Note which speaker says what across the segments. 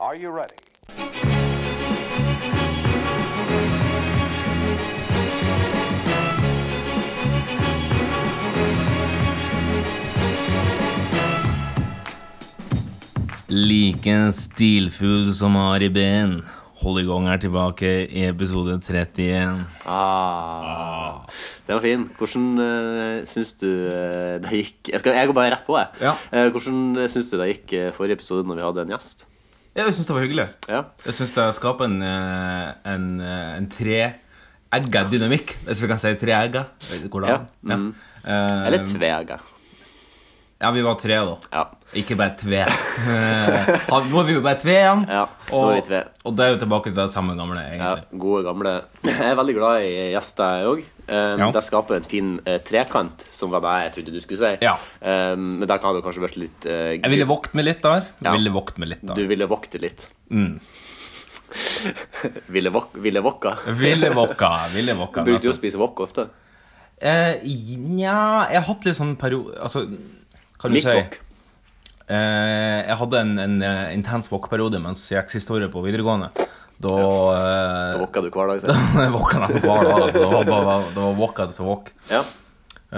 Speaker 1: Are you ready?
Speaker 2: Like stilfull som Ari Ben. Hold i gang er tilbake i episode 31.
Speaker 3: Ah, Den var fin. Hvordan uh, syns du eh, det gikk jeg, skal, jeg går bare rett på, jeg.
Speaker 4: Ja.
Speaker 3: Eh, hvordan syns du det gikk eh, forrige episode når vi hadde en gjest?
Speaker 4: Jeg syns det var hyggelig.
Speaker 3: Ja.
Speaker 4: Jeg syns det skaper en, eh, en, eh, en treegga dynamikk, hvis vi kan si treegga. Går det an?
Speaker 3: Ja, mm.
Speaker 4: Eh,
Speaker 3: Eller tvega.
Speaker 4: Ja, vi var tre, da.
Speaker 3: Ja.
Speaker 4: Ikke bare tve. Eh, han- nå er vi jo bare tve igjen.
Speaker 3: Ja, nå
Speaker 4: og,
Speaker 3: er vi tve.
Speaker 4: og det er jo tilbake til det samme gamle,
Speaker 3: Ja,
Speaker 4: egentlig.
Speaker 3: gode, gamle. Jeg er veldig glad i gjester, jeg òg.
Speaker 4: Ja.
Speaker 3: Det skaper en fin eh, trekant, som var det jeg trodde du skulle si.
Speaker 4: Ja.
Speaker 3: Eh, men der kan det kanskje vært litt eh,
Speaker 4: Jeg ville vokte meg litt der. Jeg
Speaker 3: Ja.
Speaker 4: ville vokte meg litt der.
Speaker 3: Du ville vokte litt.
Speaker 4: Mm.
Speaker 3: ville, vok ville vokka.
Speaker 4: Ville vokka. Ville vokka.
Speaker 3: Brukte du å spise wok ofte?
Speaker 4: Eh, nja Jeg har hatt litt sånn periode Altså, kan du si
Speaker 3: Mikk-wok.
Speaker 4: Eh, jeg hadde en, en eh, intens walk-periode mens jeg gikk siste året på videregående. Da
Speaker 3: Da
Speaker 4: eh,
Speaker 3: wokka du hver dag, sier
Speaker 4: jeg walka nesten hver dag. Altså. Det var, bare, det var walk etter walk.
Speaker 3: du. Ja.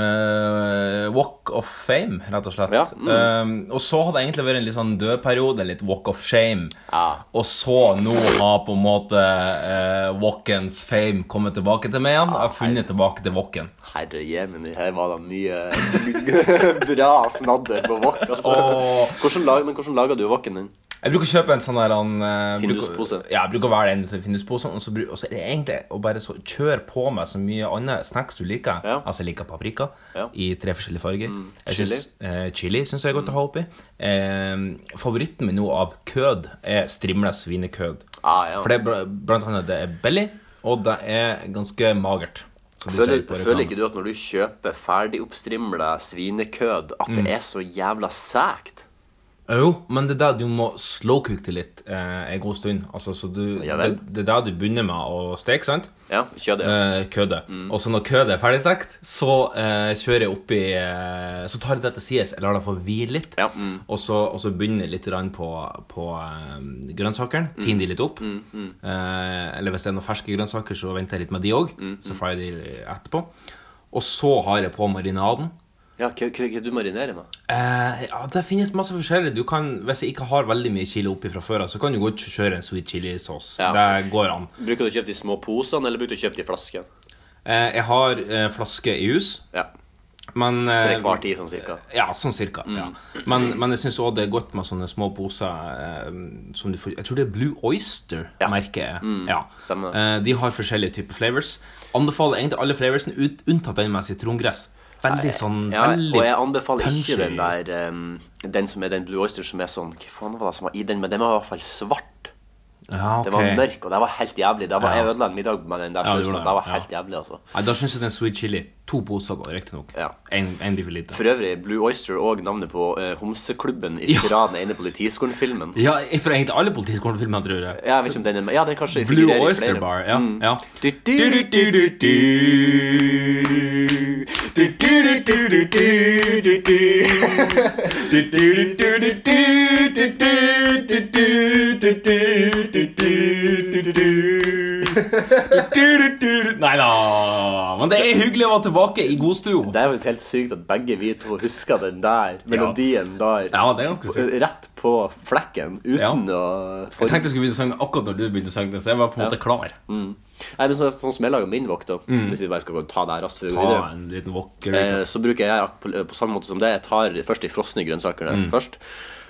Speaker 4: Eh, walk of fame, rett og slett.
Speaker 3: Ja, mm.
Speaker 4: Eh, og så hadde det egentlig vært en litt sånn død periode, litt walk of shame.
Speaker 3: Ja.
Speaker 4: Og så nå har på en måte eh, walkens fame kommet tilbake til meg igjen.
Speaker 3: Ah,
Speaker 4: Jeg har funnet tilbake til walken.
Speaker 3: Herre jemini, her var det mye bra snadder på wok. Altså.
Speaker 4: Åh.
Speaker 3: Hvordan lag, men hvordan lager du woken din?
Speaker 4: Jeg bruker å kjøpe en sånn der han, eh,
Speaker 3: Finduspose.
Speaker 4: bruker- Ja, jeg bruker å være den til Findusposen. Og så, bru- og så er det egentlig å bare så kjøre på med så mye annet snacks du liker.
Speaker 3: Ja.
Speaker 4: Altså, jeg liker paprika
Speaker 3: Ja. Mm.
Speaker 4: i tre forskjellige farger. Jeg
Speaker 3: Chili.
Speaker 4: Synes, eh, chili syns jeg er godt å ha oppi. Eh, favoritten min nå av kød er strimla svinekød.
Speaker 3: Ah, ja.
Speaker 4: For det er bl- blant annet det er billig, og det er ganske magert. som de
Speaker 3: Føler,
Speaker 4: sier på
Speaker 3: føler
Speaker 4: reklame.
Speaker 3: ikke du at når du kjøper ferdig oppstrimla svinekød, at
Speaker 4: Mm.
Speaker 3: det er så jævla sækt?
Speaker 4: Jo, men det er der du må slowcook det litt eh, en god stund. Altså, så du,
Speaker 3: Ja
Speaker 4: det,
Speaker 3: vel.
Speaker 4: det er der du begynner med å steke, sant?
Speaker 3: Ja, kjødet. Ja.
Speaker 4: eh, kødet.
Speaker 3: Mm.
Speaker 4: Og så når kødet er ferdigstekt, så eh, kjører jeg oppi eh, Så tar jeg det til sides, jeg lar det få hvile litt.
Speaker 3: Ja, mm.
Speaker 4: Og, så, og så begynner jeg litt grann på, på eh, grønnsakene.
Speaker 3: Mm.
Speaker 4: Tiner de litt opp. Eh, eller hvis det er noen ferske grønnsaker, så venter jeg litt med de òg.
Speaker 3: Mm,
Speaker 4: Så får jeg de etterpå. Og så har jeg på marinaden.
Speaker 3: Ja, hva hva- hva du marinerer med?
Speaker 4: Eh, ja, Det finnes masse forskjellig. Du kan, Hvis jeg ikke har veldig mye chili oppi fra før av, så kan du godt kjøre en sweet chili-saus.
Speaker 3: Ja.
Speaker 4: Det går an.
Speaker 3: Bruker du å kjøpe de små posene, eller bruker du å kjøpe de flaskene?
Speaker 4: Eh, jeg har eh, flaske i hus,
Speaker 3: Ja.
Speaker 4: men eh,
Speaker 3: Til hver tid, sånn cirka.
Speaker 4: Ja, sånn cirka. Ja.
Speaker 3: Mm.
Speaker 4: Men, men jeg syns òg det er godt med sånne små poser eh, som du får Jeg tror det er Blue Oyster,
Speaker 3: Ja. Mm,
Speaker 4: merker jeg. Ja.
Speaker 3: stemmer det.
Speaker 4: Eh, de har forskjellige typer flavors. Anbefaler egentlig alle flavorsene ut, unntatt den med sitrongress. Veldig sånn
Speaker 3: Ja,
Speaker 4: veldig
Speaker 3: og jeg anbefaler
Speaker 4: punchy.
Speaker 3: ikke den der um, Den som er den Blue Oyster som er sånn Hva faen var det som var i den? Men den var i hvert fall svart.
Speaker 4: Ja, ok.
Speaker 3: Den var mørk, og det var helt jævlig. Det var,
Speaker 4: Ja.
Speaker 3: Jeg ødela en middag med den der
Speaker 4: Ja, du
Speaker 3: sausen.
Speaker 4: gjorde
Speaker 3: og
Speaker 4: det,
Speaker 3: det var
Speaker 4: ja.
Speaker 3: helt jævlig, altså.
Speaker 4: Nei, da syns jeg den sweet chili. To poser, da, riktignok.
Speaker 3: Ja.
Speaker 4: Én blir for lite.
Speaker 3: For øvrig, Blue Oyster og navnet på eh, homseklubben fra den ene politiskolen-filmen.
Speaker 4: Ja, fra egentlig alle politiskolefilmer, tror jeg.
Speaker 3: Ja, jeg vet ikke om den er med. Ja, den kanskje
Speaker 4: Blue
Speaker 3: figurerer i
Speaker 4: Oyster
Speaker 3: flere. Mm.
Speaker 4: Bar. Ja. ja.
Speaker 3: Du, du, du, du, du, du. Du, du, du, du, du, du, du, du. Du, du, du, du, du, du, du, du, du, du, du, du, du, du, du.
Speaker 4: Nei da. Men det er hyggelig å være tilbake i godstue.
Speaker 3: Det er jo helt sykt at begge vi to husker den der melodien der.
Speaker 4: Ja, det er ganske sykt.
Speaker 3: Rett på flekken, uten å
Speaker 4: Jeg tenkte jeg skulle begynne å synge akkurat når du begynte å synge, det, så jeg var på en måte klar.
Speaker 3: Nei, men så, sånn som jeg lager min vakt, da Hvis vi bare skal gå og ta det her raskt før vi går
Speaker 4: Mm. Ta
Speaker 3: videre
Speaker 4: en liten walker.
Speaker 3: eh, Så bruker jeg på, på samme måte som det Jeg tar først de frosne grønnsakerne først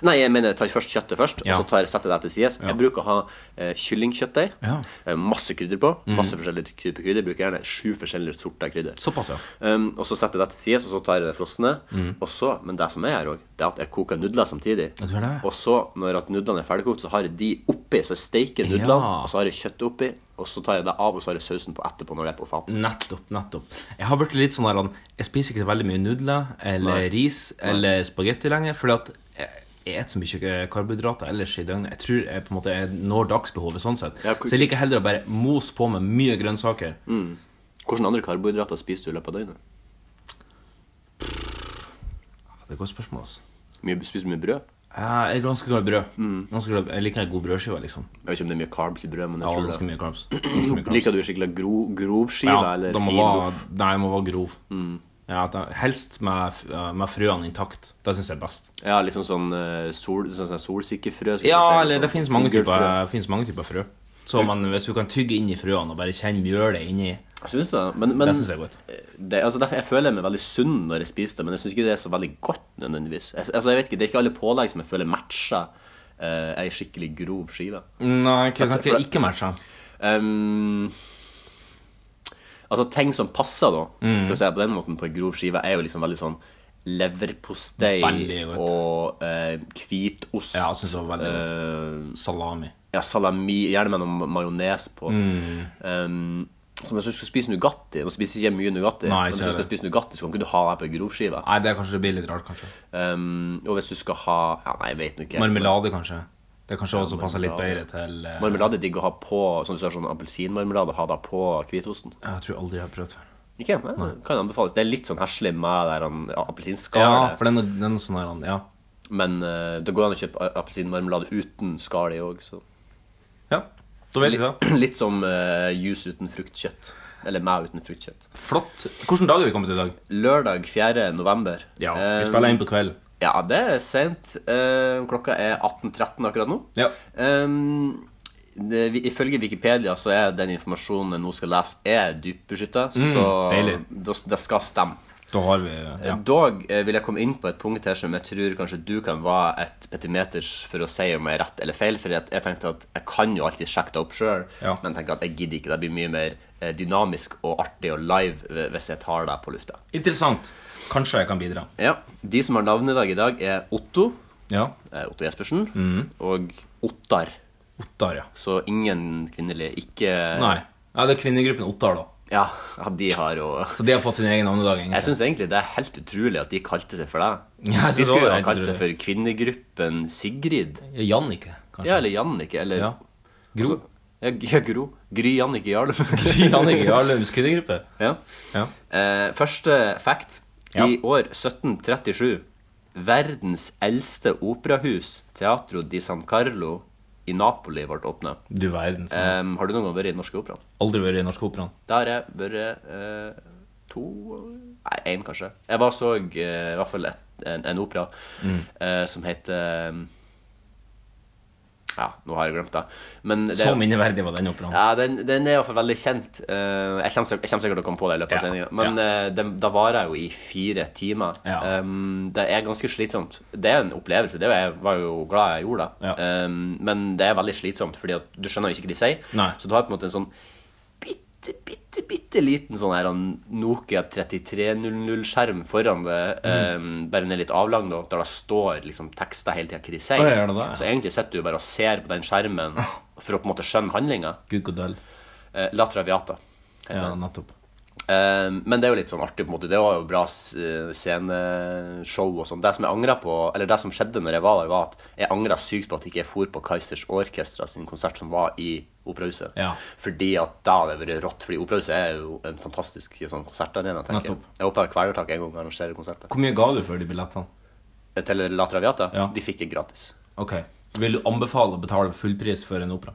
Speaker 3: Nei, jeg mener jeg tar først kjøttet først
Speaker 4: Mm. Ja.
Speaker 3: Og så tar, setter jeg det til sides Jeg bruker å ha eh, kyllingkjøttdeig
Speaker 4: Ja. Mm.
Speaker 3: eh, Masse krydder på Masse forskjellige typer krydder Jeg bruker gjerne sju forskjellige sorter krydder
Speaker 4: Såpass, ja.
Speaker 3: um, Og så setter jeg det til sides Og så tar jeg det frosne Og så, men det som er her også Det er at jeg koker nudler samtidig
Speaker 4: Mm. du gjør det.
Speaker 3: Og så, når at nudlene er ferdigkokt Så har jeg de oppi Så jeg steiker nudlene
Speaker 4: Ja.
Speaker 3: Og så har jeg kjøttet oppi Og så tar jeg det av Og så har jeg sausen på etterpå når det er på
Speaker 4: Mm.
Speaker 3: fat
Speaker 4: Nettopp. nettopp Jeg har blitt litt sånn her han, Jeg spiser ikke så veldig mye nudler eller
Speaker 3: Nei.
Speaker 4: ris eller spagetti lenger. Fordi at jeg jeg spiser så mye eh, karbohydrater ellers i døgnet. Jeg tror jeg på en måte jeg når dagsbehovet sånn sett.
Speaker 3: Ja, Mm. hvor-
Speaker 4: så jeg liker heller å bare mose på med mye grønnsaker.
Speaker 3: Hvordan andre karbohydrater spiser du i løpet av døgnet?
Speaker 4: Det er et godt spørsmål, altså.
Speaker 3: Mye, spiser du mye brød?
Speaker 4: Ja, jeg er ganske glad i brød. Ganske glad, jeg liker en god brødskive, liksom.
Speaker 3: Mm. Jeg vet ikke om det er mye carbs i brød, men
Speaker 4: Ja,
Speaker 3: jeg
Speaker 4: ganske
Speaker 3: tror det.
Speaker 4: mye carbs. Ganske mye carbs.
Speaker 3: Liker du skikkelig gro, grov skive
Speaker 4: Ja,
Speaker 3: eller
Speaker 4: de må
Speaker 3: fin
Speaker 4: være,
Speaker 3: loff? Mm.
Speaker 4: nei, de må være grov. Ja, at de- helst med, f- med frøene intakt. Det syns jeg er best.
Speaker 3: Ja, liksom sånn, eh, sol, sånn, sånn solsikkefrø? skulle jeg si,
Speaker 4: Ja, eller det
Speaker 3: sånn
Speaker 4: finnes mange,
Speaker 3: fuglefrø.
Speaker 4: typer, finnes mange typer frø. Så man, hvis du kan tygge inn i frøene og bare kjenne mjølet inni,
Speaker 3: Jeg syns det. Men, men
Speaker 4: det syns jeg er godt.
Speaker 3: det, altså, derfor, jeg føler meg veldig sunn når jeg spiser det, men jeg syns ikke det er så veldig godt nødvendigvis. Jeg, altså, jeg vet ikke, Det er ikke alle pålegg som jeg føler matcher uh, ei skikkelig grov skive.
Speaker 4: Nei, hva kan
Speaker 3: Altså,
Speaker 4: ikke
Speaker 3: for-
Speaker 4: ikke matche?
Speaker 3: Ehm, altså, ting som passer, da,
Speaker 4: Mm.
Speaker 3: for å si det på den måten, på ei grov skive, er jo liksom veldig sånn leverpostei
Speaker 4: Veldig godt.
Speaker 3: og eh, hvitost.
Speaker 4: Ja, jeg synes det var veldig godt.
Speaker 3: eh,
Speaker 4: Salami.
Speaker 3: ja, salami, gjerne med noe majones på.
Speaker 4: Mm.
Speaker 3: Um, så hvis du skal spise Nugatti Nå spiser ikke jeg mye Nugatti,
Speaker 4: Nei,
Speaker 3: men hvis
Speaker 4: ser
Speaker 3: du skal
Speaker 4: det.
Speaker 3: spise Nugatti, så kan ikke du ha det på en grovskive.
Speaker 4: Nei, det er kanskje det blir litt rart, kanskje.
Speaker 3: Um, og hvis du skal ha ja, Nei, jeg vet nå ikke. helt, men-
Speaker 4: Marmelade, kanskje. Det er kanskje også passer litt bedre
Speaker 3: marmelade.
Speaker 4: til eh,
Speaker 3: Marmelade er digg å ha på sånn du ser sånn appelsinmarmelade, ha det på hvitosten.
Speaker 4: Jeg tror aldri jeg har prøvd før.
Speaker 3: Ikke? Ja, kan anbefales. Det er litt sånn heslig med der han ja,
Speaker 4: Ja,
Speaker 3: appelsinskall,
Speaker 4: for den er, den er sånn her, ja.
Speaker 3: men eh, det går an å kjøpe a- appelsinmarmelade uten skall i òg, så
Speaker 4: Ja, da vet vi det.
Speaker 3: Litt som eh, juice uten fruktkjøtt. Eller meg uten fruktkjøtt.
Speaker 4: Flott. Hvilken dag er vi kommet til i dag?
Speaker 3: Lørdag 4. november.
Speaker 4: Ja,
Speaker 3: Eh,
Speaker 4: Vi spiller inn på kvelden.
Speaker 3: Ja, det er sent. Eh, klokka er 18.13 akkurat nå.
Speaker 4: Ja.
Speaker 3: Ehm, det, vi- ifølge Wikipedia så er den informasjonen jeg nå skal lese, er dypbeskytta. så
Speaker 4: Mm, deilig.
Speaker 3: det, det skal stemme.
Speaker 4: Da har vi ja.
Speaker 3: Dog eh, vil jeg komme inn på et punkt her som jeg tror kanskje du kan være et petimeters for å si om jeg er rett eller feil. For jeg, jeg tenkte at jeg kan jo alltid sjekke det opp sjøl,
Speaker 4: Ja.
Speaker 3: men jeg tenker at jeg gidder ikke. Det blir mye mer eh, dynamisk og artig og live eh, hvis jeg tar det på lufta.
Speaker 4: Interessant. Kanskje jeg kan bidra.
Speaker 3: Ja, De som har navnedag i dag, er Otto.
Speaker 4: Ja.
Speaker 3: eh, Otto Jespersen
Speaker 4: Mhm.
Speaker 3: og Ottar.
Speaker 4: Ottar, ja.
Speaker 3: Så ingen kvinnelige ikke
Speaker 4: Nei. Ja, det er kvinnegruppen Ottar, da.
Speaker 3: Ja, ja, de har jo
Speaker 4: Så de har fått sin egen navnedag.
Speaker 3: Jeg
Speaker 4: egentlig.
Speaker 3: syns egentlig det er helt utrolig at de kalte seg for det.
Speaker 4: Ja, jeg synes
Speaker 3: de
Speaker 4: også
Speaker 3: skulle
Speaker 4: det
Speaker 3: jo
Speaker 4: er
Speaker 3: ha
Speaker 4: helt
Speaker 3: kalt seg for Kvinnegruppen Sigrid.
Speaker 4: Jannicke, kanskje.
Speaker 3: Ja, eller Jannicke, eller
Speaker 4: Ja. Gro.
Speaker 3: Ja, G- ja, Gro. Gry Jannicke Jarlum.
Speaker 4: Jannicke Jarlums kvinnegruppe.
Speaker 3: ja.
Speaker 4: Ja.
Speaker 3: Eh, første fact.
Speaker 4: Ja.
Speaker 3: I år 1737, verdens eldste operahus, Teatro di San Carlo, i Napoli ble åpna.
Speaker 4: Du verden. så-
Speaker 3: Em, har du noen gang vært i Den norske operaen?
Speaker 4: Aldri vært i Norsk Operaen.
Speaker 3: Da har jeg vært eh, to Nei, én, kanskje. Jeg bare så eh, i hvert fall et, en, en opera
Speaker 4: Mm.
Speaker 3: eh, som heter eh, Ja, nå har jeg glemt det. Men det,
Speaker 4: Så minneverdig var den operaen.
Speaker 3: ja, den, den er i hvert fall veldig kjent. Eh, jeg kommer sik- jeg kommer sikkert til å komme på det i løpet av
Speaker 4: Ja,
Speaker 3: sendinga. Men eh, den- da varer jeg jo i fire timer.
Speaker 4: Ja.
Speaker 3: Em, det er ganske slitsomt. Det er en opplevelse. Det var jeg var jo glad jeg gjorde det.
Speaker 4: Ja.
Speaker 3: Em, men det er veldig slitsomt, Fordi at du skjønner jo ikke hva de sier.
Speaker 4: Nei.
Speaker 3: Så du har på en måte en sånn bitte, bitte, bitte liten sånn her en Nokia 3300-skjerm foran det.
Speaker 4: Mm.
Speaker 3: em, bare den er litt avlang, da, der det står liksom tekster hele tida hva de sier.
Speaker 4: Å, ja, gjør det det, ja.
Speaker 3: Så egentlig sitter du bare og ser på den skjermen for å på en måte skjønne handlinga.
Speaker 4: Gud god døll.
Speaker 3: Eh, La Traviata.
Speaker 4: Ja, nettopp.
Speaker 3: Eh, men det er jo litt sånn artig, på en måte. Det var jo bra s- eh, sceneshow og sånn. Det som jeg angret på, eller det som skjedde når jeg var der, var at jeg angra sykt på at ikke jeg for på Kaizers Orkestra sin konsert som var i Operahuset.
Speaker 4: Ja.
Speaker 3: Fordi at da hadde det vært rått. Fordi Operahuset er jo en fantastisk sånn konsertarena, tenker jeg.
Speaker 4: Nettopp.
Speaker 3: Jeg håper Kvelertak en gang arrangerer konserter.
Speaker 4: Hvor mye ga du for de billettene?
Speaker 3: Til La Traviata?
Speaker 4: Ja.
Speaker 3: De fikk det gratis.
Speaker 4: Ok. Vil du anbefale å betale fullpris for en opera?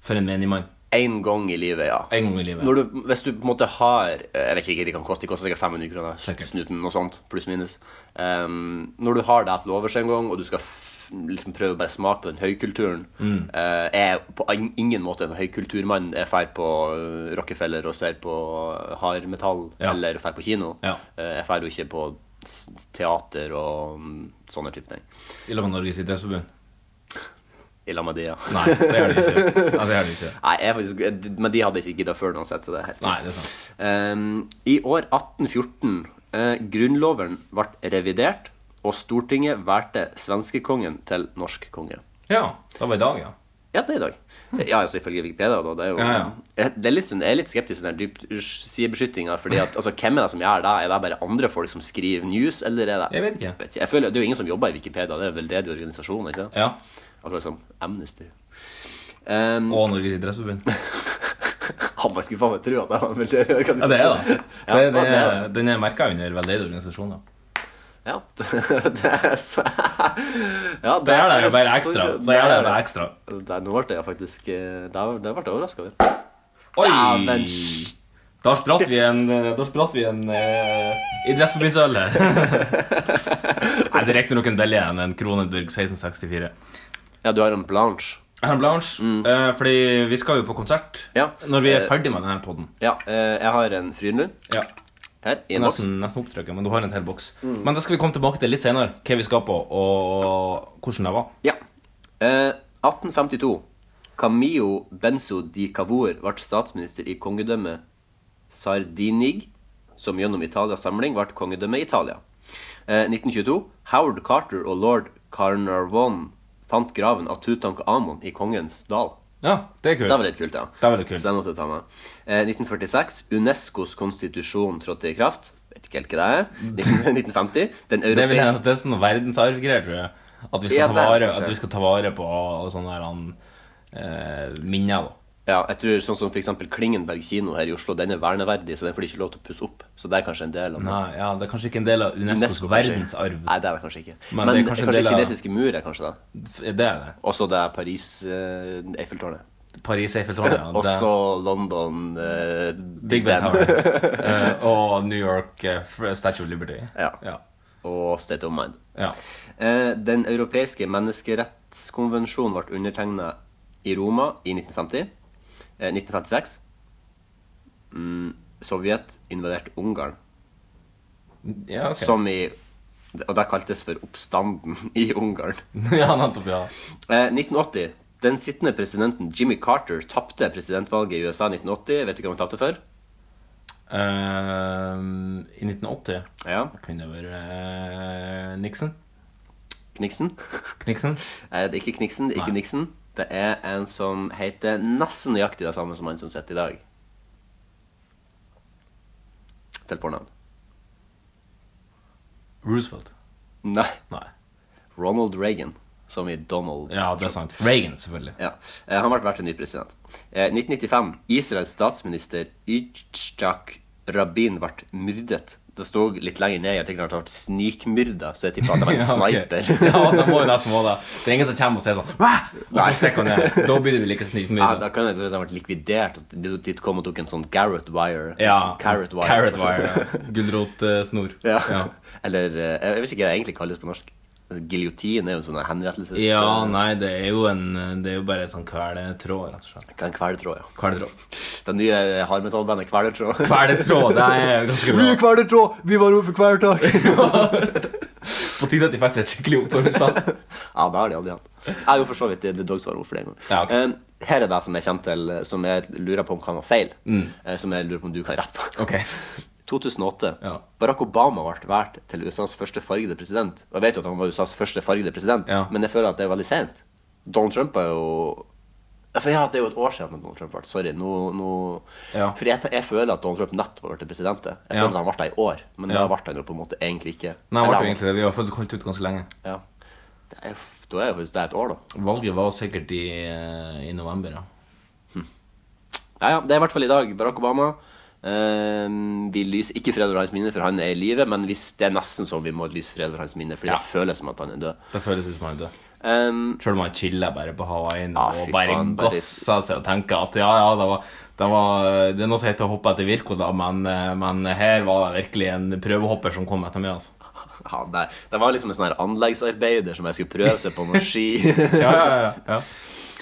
Speaker 4: For en menig mann?
Speaker 3: Én gang i livet, ja.
Speaker 4: En gang i livet.
Speaker 3: Når du, hvis du på en måte har eh, Jeg vet ikke hva de kan koste, de koster sikkert 500 kroner.
Speaker 4: Sikkert.
Speaker 3: Snuten, noe sånt, pluss minus. Ehm, når du har det til overs en gang, og du skal f liksom prøve å bare smake på den høykulturen
Speaker 4: Mm.
Speaker 3: eh, Jeg er på in- ingen måte en høykulturmann. Jeg drar på eh, Rockefeller og ser på eh, hardmetall,
Speaker 4: Ja.
Speaker 3: eller drar på kino.
Speaker 4: Ja.
Speaker 3: Eh, jeg drar jo ikke på s- teater og mm, sånne typer ting.
Speaker 4: I lag med Norges idrettsforbund?
Speaker 3: I lag med de, ja.
Speaker 4: Nei, det gjør de ikke. Nei, det gjør de ikke.
Speaker 3: Nei, jeg er faktisk, eh, men de hadde ikke gidda før uansett, så det er helt
Speaker 4: Nei, det er sant.
Speaker 3: Um, I år 1814 eh, Grunnloven ble revidert, og Stortinget valgte svenskekongen til norsk konge.
Speaker 4: Ja, det var i dag, ja.
Speaker 3: Ja, det er i dag. Ja, altså ifølge Wikipedia, da. Det er jo
Speaker 4: Hm. Ja, ja.
Speaker 3: Jeg, det er litt, sånn- jeg er litt skeptisk til den dypsidebeskyttinga. Fordi at, altså, hvem er det som gjør det? Er det bare andre folk som skriver news, eller er det
Speaker 4: Jeg vet ikke.
Speaker 3: Vet ikke. Jeg føler, Det er jo ingen som jobber i Wikipedia, det er veldedig organisasjon, ikke sant?
Speaker 4: Ja,
Speaker 3: Akkurat som Amnesty. Um,
Speaker 4: Og Norges idrettsforbund. Ja,
Speaker 3: han bare skulle faen meg tro at det var en veldedig organisasjon.
Speaker 4: det er det.
Speaker 3: Ja,
Speaker 4: det,
Speaker 3: det er
Speaker 4: det den er merka under veldedige organisasjoner.
Speaker 3: Ja, det er så Ja, det
Speaker 4: Der er det bare
Speaker 3: så-
Speaker 4: ekstra. Der er det bare ekstra.
Speaker 3: Der, nå ble jeg faktisk eh, Der, der ble jeg overraska over. Dæven,
Speaker 4: Oi!
Speaker 3: sj.
Speaker 4: Da spratt vi en, eh, da spratt vi en eh, idrettsforbundsøl her. Nei, det er riktignok en billig en. En Kronenburg 1664.
Speaker 3: Ja, du har en blanche.
Speaker 4: Herr Blanche, eh, fordi vi skal jo på konsert
Speaker 3: Mm. Ja.
Speaker 4: når vi er
Speaker 3: Eh,
Speaker 4: ferdig med denne poden.
Speaker 3: Ja, eh, jeg har en Frydenlund.
Speaker 4: Ja.
Speaker 3: Her, i en boks. Mm.
Speaker 4: Nesten, nesten opptrykket, men du har en hel boks. Men det skal vi komme tilbake til litt senere, hva vi skal på, og hvordan det var.
Speaker 3: Ja. Eh, 1852. Camillo Benzo di Cavour ble statsminister i kongedømmet Sardinig, som gjennom Italias samling ble kongedømmet Italia. Eh, 1922. Howard Carter og lord Carnarvon fant graven av Tutankhamon i Kongens dal.
Speaker 4: Ja, det er kult.
Speaker 3: Det var litt kult, ja.
Speaker 4: Det var litt kult.
Speaker 3: Så det måtte jeg ta med. Eh, 1946. UNESCOs konstitusjon trådte i kraft. Vet ikke helt hva det er. 1950. Den
Speaker 4: Det er, vel,
Speaker 3: europeiske
Speaker 4: en- det er sånn verdensarvgreier, tror jeg. At vi skal,
Speaker 3: Ja,
Speaker 4: ta,
Speaker 3: det er
Speaker 4: vare,
Speaker 3: kanskje.
Speaker 4: at vi skal ta vare på sånne der, han, eh, minner. da.
Speaker 3: Ja, jeg tror sånn som for eksempel Klingenberg kino her i Oslo, den er verneverdig, så den får de ikke lov til å pusse opp. Så det er kanskje en del av den.
Speaker 4: Nei, ja, Det er kanskje ikke en del av UNESCOs
Speaker 3: UNESCO, kanskje.
Speaker 4: verdensarv.
Speaker 3: Nei, det er det kanskje ikke.
Speaker 4: Men
Speaker 3: Men,
Speaker 4: det er kanskje
Speaker 3: kanskje,
Speaker 4: en del av-
Speaker 3: kinesiske mur er kanskje det.
Speaker 4: Det er det.
Speaker 3: Også det er Paris, eh, Eiffeltårnet.
Speaker 4: Paris Eiffeltårnet. Ja. Det-
Speaker 3: Også London, eh,
Speaker 4: Big Ben Tower. Eh, og New York eh, F- Statue of Liberty.
Speaker 3: Ja.
Speaker 4: Ja.
Speaker 3: og State of Mind.
Speaker 4: ja.
Speaker 3: Eh, Den europeiske menneskerettskonvensjonen ble undertegna i Roma i 1950. Eh, 1956. Mm, Sovjet invaderte Ungarn.
Speaker 4: ja ok.
Speaker 3: Som i Og det kaltes for oppstanden i Ungarn.
Speaker 4: ja, nettopp, ja.
Speaker 3: Eh, 1980. Den sittende presidenten Jimmy Carter tapte presidentvalget i USA i 1980. Vet du hva han tapte for?
Speaker 4: Eh, I 1980
Speaker 3: Ja,
Speaker 4: kunne det være eh, Nixon.
Speaker 3: Kniksen.
Speaker 4: Nixon.
Speaker 3: Eh, det er ikke Kniksen, det er ikke Nixon. Det er en som heter nesten nøyaktig det samme som han som sitter i dag. Til fornavn.
Speaker 4: Roosevelt.
Speaker 3: Nei.
Speaker 4: Nei.
Speaker 3: Ronald Reagan. Som i Donald
Speaker 4: Ja, det er sant. Reagan, selvfølgelig.
Speaker 3: Ja. Eh, Han ble vært en ny president. Eh, 1995. Israels statsminister Yitzhak Rabin ble myrdet. Det sto litt lenger ned i artikkelen at han ble snikmyrda, så jeg tipper at det var en
Speaker 4: Ja, ok.
Speaker 3: sniper.
Speaker 4: ja, det må jo nesten være det. Det er ingen som kommer og sier sånn «Wah!» Og så stikker han ned. Da blir det vel ikke
Speaker 3: Ja,
Speaker 4: snikmyrdet.
Speaker 3: da kan det være at han ble likvidert. at de- De kom og tok en sånn Garrett wire.
Speaker 4: Ja.
Speaker 3: Carrot wire.
Speaker 4: Carrot wire. ja. Gulrotsnor.
Speaker 3: Ja.
Speaker 4: Ja.
Speaker 3: Eller eh, jeg vet ikke hva det egentlig kalles på norsk. Altså, Giljotin er jo en sånn henrettelses...
Speaker 4: ja, nei, det er jo en Det er jo bare en sånn kveletråd, rett og slett.
Speaker 3: Hva er en Kvelertråd, ja.
Speaker 4: Kveletråd.
Speaker 3: Det nye eh, hardmetallbandet Kvelertråd.
Speaker 4: Kveletråd, det er ganske bra.
Speaker 3: Kvelertråd! Vi var oppe for kvelertak!
Speaker 4: På tide at de fikk seg et skikkelig oppvarmingssted.
Speaker 3: Ja, det har de aldri hatt. Jeg er jo for så vidt The Dogs var overfor eh, det en gang.
Speaker 4: Ja, ok.
Speaker 3: Eh, her er det som jeg, kommer til, eh, som jeg lurer på om kan være feil. eh, Som jeg lurer på om du kan rette på.
Speaker 4: Mm. Ok.
Speaker 3: 2008.
Speaker 4: Ja.
Speaker 3: Barack Obama ble valgt til USAs første fargede president. Og jeg vet jo at han var USAs første fargede president,
Speaker 4: Ja.
Speaker 3: men jeg føler at det er veldig sent. Donald Trump er jo Ja, For ja, Det er jo et år siden Donald Trump ble Sorry. Nå, nå...
Speaker 4: Ja.
Speaker 3: For jeg, jeg føler at Donald Trump nettopp ble president. Jeg
Speaker 4: Ja.
Speaker 3: føler at han ble det i år, men
Speaker 4: Ja.
Speaker 3: da ble han jo på en måte egentlig ikke.
Speaker 4: Nei, det
Speaker 3: Eller
Speaker 4: var
Speaker 3: han-
Speaker 4: egentlig det. Vi har faktisk holdt ut ganske lenge.
Speaker 3: Ja. Det er, jo- da er jo faktisk det et år, da.
Speaker 4: Valget var sikkert i, eh, i november, ja.
Speaker 3: Ja, ja, det er i hvert fall i dag. Barack Obama. Ehm, vi lyser ikke fred over hans minne, for han er i live. Men hvis det er nesten så vi må lyse fred over hans minne, fordi det føles som at han er død.
Speaker 4: Det føles ut som han er død.
Speaker 3: Ehm,
Speaker 4: Selv om han chiller bare på Hawaiian
Speaker 3: Ah,
Speaker 4: og
Speaker 3: fy
Speaker 4: bare
Speaker 3: faen, bare-
Speaker 4: gasser seg og tenker at ja, ja, det var, det var Det er noe som heter å hoppe etter Virko, da, men, eh, men her var det virkelig en prøvehopper som kom etter meg, altså.
Speaker 3: ja, det, det var liksom en sånn her anleggsarbeider som jeg skulle prøve seg på med ski.
Speaker 4: Ja, ja, ja. ja.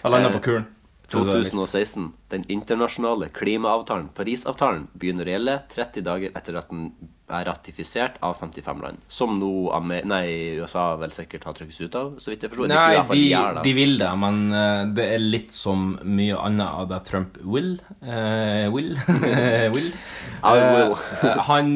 Speaker 4: Jeg landa på kulen.
Speaker 3: 2016. Den internasjonale klimaavtalen, Parisavtalen, begynner å gjelde 30 dager etter at den er ratifisert av 55 land. Som nå Amer nei, USA vel sikkert har trukket seg ut av, så vidt jeg forstår.
Speaker 4: Nei,
Speaker 3: skulle i hvert fall
Speaker 4: de,
Speaker 3: gjøre det, altså.
Speaker 4: de vil det, men eh, det er litt som mye annet av det Trump will. eh, will. will.
Speaker 3: I will.
Speaker 4: Eh, han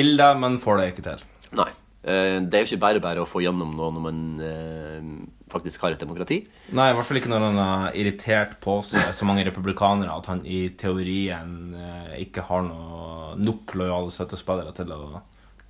Speaker 4: vil det, men får det ikke til.
Speaker 3: Nei. Eh, Det er jo ikke bare bare å få gjennom noe når man eh, faktisk har et demokrati.
Speaker 4: Nei, i hvert fall ikke når han har irritert på seg så mange republikanere at han i teorien eh, ikke har noe, nok lojale støttespillere til å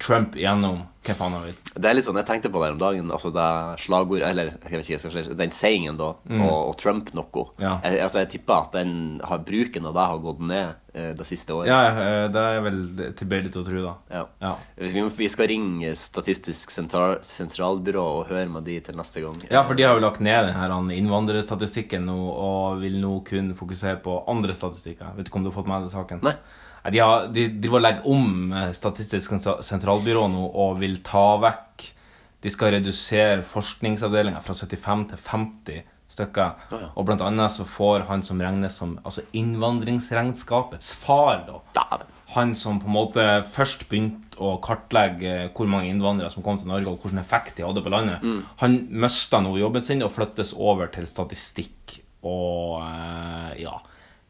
Speaker 4: Trump gjennom Hva faen han vil.
Speaker 3: Det er litt sånn, Jeg tenkte på det her om dagen. altså det slagord, eller jeg vet ikke, jeg skal si, Den sayingen, da, og, og Trump noe.
Speaker 4: Mm. Ja.
Speaker 3: Jeg, altså, jeg tipper at den har, bruken av det har gått ned eh, det siste året.
Speaker 4: Ja, eh, det er vel tilbøyelig til å tro, da.
Speaker 3: Ja.
Speaker 4: Ja.
Speaker 3: Hvis Vi, må- vi skal ringe Statistisk sentral, sentralbyrå og høre med de til neste gang.
Speaker 4: Ja, for de har jo lagt ned den her han, innvandrerstatistikken nå, og vil nå kun fokusere på andre statistikker. Vet du ikke om du har fått med deg saken?
Speaker 3: Nei.
Speaker 4: Nei, De, har, de, de vil legge om eh, Statistisk sentra- sentralbyrå nå og vil ta vekk De skal redusere forskningsavdelinga fra 75 til 50 stykker.
Speaker 3: Å, ja.
Speaker 4: Og blant annet så får han som regnes som altså innvandringsregnskapets far, da
Speaker 3: Dæven.
Speaker 4: han som på en måte først begynte å kartlegge hvor mange innvandrere som kom til Norge, og hvilken effekt de hadde på landet, han mista nå jobben sin og flyttes over til statistikk. Og eh, ja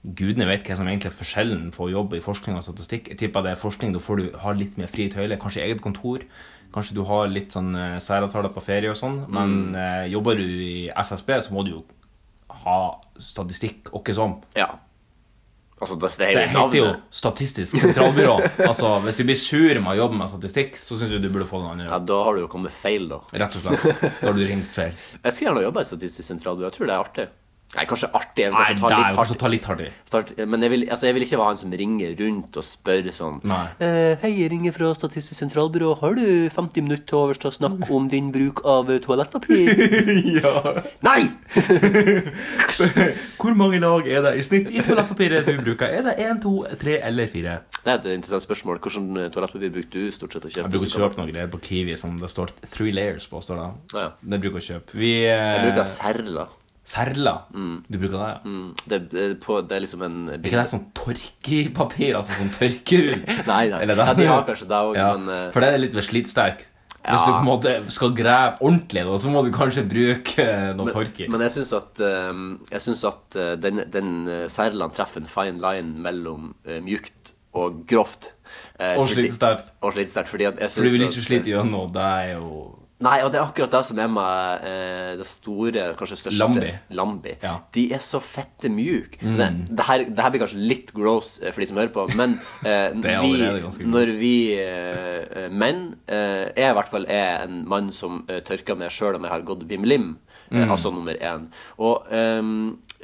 Speaker 4: Gudene vet hva som egentlig er forskjellen på å jobbe i forskning og statistikk. Jeg tipper det er forskning, da får du ha litt mer frie tøyler, kanskje eget kontor. Kanskje du har litt sånn eh, særavtaler på ferie og sånn, men eh, jobber du i SSB, så må du jo ha statistikk åkke som.
Speaker 3: Ja. Altså, det, det er
Speaker 4: Det
Speaker 3: jo
Speaker 4: heter jo
Speaker 3: navnet.
Speaker 4: Statistisk sentralbyrå. altså, Hvis du blir sur med å jobbe med statistikk, så syns jeg du burde få noen annen
Speaker 3: Ja,
Speaker 4: jobb.
Speaker 3: da har du jo kommet feil, da.
Speaker 4: Rett og slett. Da har du ringt feil.
Speaker 3: Jeg skulle gjerne jobba i Statistisk sentralbyrå. Jeg tror det er artig. Nei, kanskje artig. Jeg vil
Speaker 4: Nei, det er jo
Speaker 3: kanskje ta litt hardt
Speaker 4: kanskje å ta litt hardt i.
Speaker 3: Start, men jeg vil, altså jeg vil ikke være han som ringer rundt og spør sånn
Speaker 4: Nei.
Speaker 3: «Eh, Hei, jeg ringer fra Statistisk sentralbyrå. Har du 50 minutter til overs til å snakke om din bruk av eh, toalettpapir? Nei!
Speaker 4: Hvor mange lag er det i snitt i toalettpapiret du bruker? Er det én, to, tre eller fire?
Speaker 3: Det er et interessant spørsmål. Hvordan eh, toalettpapir bruker du stort sett å
Speaker 4: Jeg
Speaker 3: kjøpe?
Speaker 4: bruker å kjøpe noen greier på Kiwi som det står 'three layers' på. står det.
Speaker 3: Ja, ja.
Speaker 4: Det bruker jeg å kjøpe. Vi eh,
Speaker 3: Jeg bruker serla.
Speaker 4: Serla. Du bruker det, ja?
Speaker 3: Mm, Det, det, er på, det er liksom en
Speaker 4: Er ikke det sånn tørkepapir? Altså sånn tørkerull?
Speaker 3: Nei, nei.
Speaker 4: Eller det?
Speaker 3: Ja, de har kanskje det òg,
Speaker 4: Ja,
Speaker 3: men eh,
Speaker 4: For det er litt for slitsterk. Hvis
Speaker 3: Ja.
Speaker 4: du på en måte skal grave ordentlig, da, så må du kanskje bruke eh, noe tørk i.
Speaker 3: Men jeg syns at, eh, jeg synes at eh, den, den eh, serlaen treffer en fine line mellom eh, mjukt og grovt. Eh,
Speaker 4: Og
Speaker 3: fordi-
Speaker 4: slitsterkt.
Speaker 3: Og slitsterkt, fordi at jeg
Speaker 4: For du vil
Speaker 3: synes
Speaker 4: ikke
Speaker 3: at-
Speaker 4: slite gjennom. Det er jo
Speaker 3: Nei, og det er akkurat det som er med eh, det store, kanskje største
Speaker 4: Lambi.
Speaker 3: Lambi.
Speaker 4: Ja. Mm.
Speaker 3: De er så fette mjuke. Det, det, her, det her blir kanskje litt gross eh, for de som hører på, men eh,
Speaker 4: Det er allerede ganske
Speaker 3: vi,
Speaker 4: gross.
Speaker 3: når vi eh, eh, menn eh, Jeg i hvert fall er en mann som eh, tørker meg sjøl om jeg har gått bimlim. Eh,
Speaker 4: Mm.
Speaker 3: Altså nummer én. Og ehm,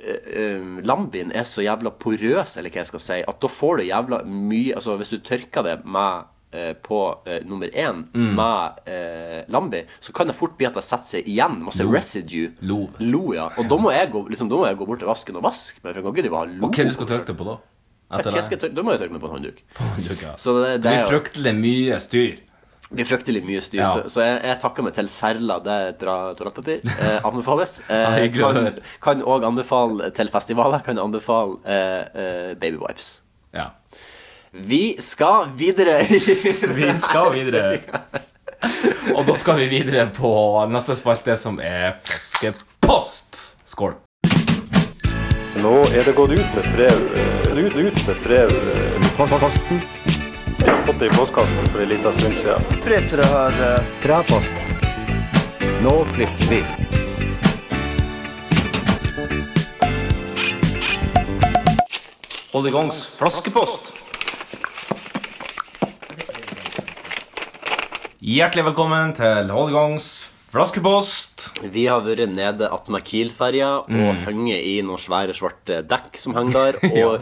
Speaker 3: eh, ehm, lambien er så jævla porøs, eller hva jeg skal si, at da får du jævla mye Altså hvis du tørker det med eh, på eh, nummer én
Speaker 4: Mm.
Speaker 3: med eh, lambi, så kan det fort bli at det setter seg igjen. Masse residue.
Speaker 4: Lov.
Speaker 3: ja. Og da må jeg gå, liksom, da må jeg gå bort til vasken og vaske. Men jeg kan ikke drive og ha lo.
Speaker 4: Og hva du skal tørke deg på da?
Speaker 3: Ja,
Speaker 4: Etter
Speaker 3: hva skal
Speaker 4: det?
Speaker 3: jeg tørke- Da må jeg tørke meg på en håndduk.
Speaker 4: Så
Speaker 3: Så det, det
Speaker 4: blir
Speaker 3: er jo
Speaker 4: fryktelig mye styr.
Speaker 3: det blir fryktelig mye styr,
Speaker 4: Ja.
Speaker 3: så, så jeg, jeg takker meg til Serla. Det er et bra toalettpapir. Eh, anbefales. Eh,
Speaker 4: hyggelig å
Speaker 3: kan-
Speaker 4: høre.
Speaker 3: kan òg anbefale til festivaler. Kan anbefale eh, eh, Baby Wipes.
Speaker 4: Ja.
Speaker 3: Vi skal videre. vi
Speaker 4: Vi skal videre. Og da skal vi videre på neste spalte, som er flaskepost. Skål.
Speaker 1: Nå er det gått ut med brev. eh, Ut, ut med brev. eh, Jeg har fått det i postkassen for en liten stund siden.
Speaker 4: Hold i gangs flaskepost. Hjertelig velkommen til Hold i gangs flaskepost.
Speaker 3: Vi har vært nede attmed Kiel-ferja og
Speaker 4: Mm.
Speaker 3: hengt i noen svære svarte dekk som hang der, og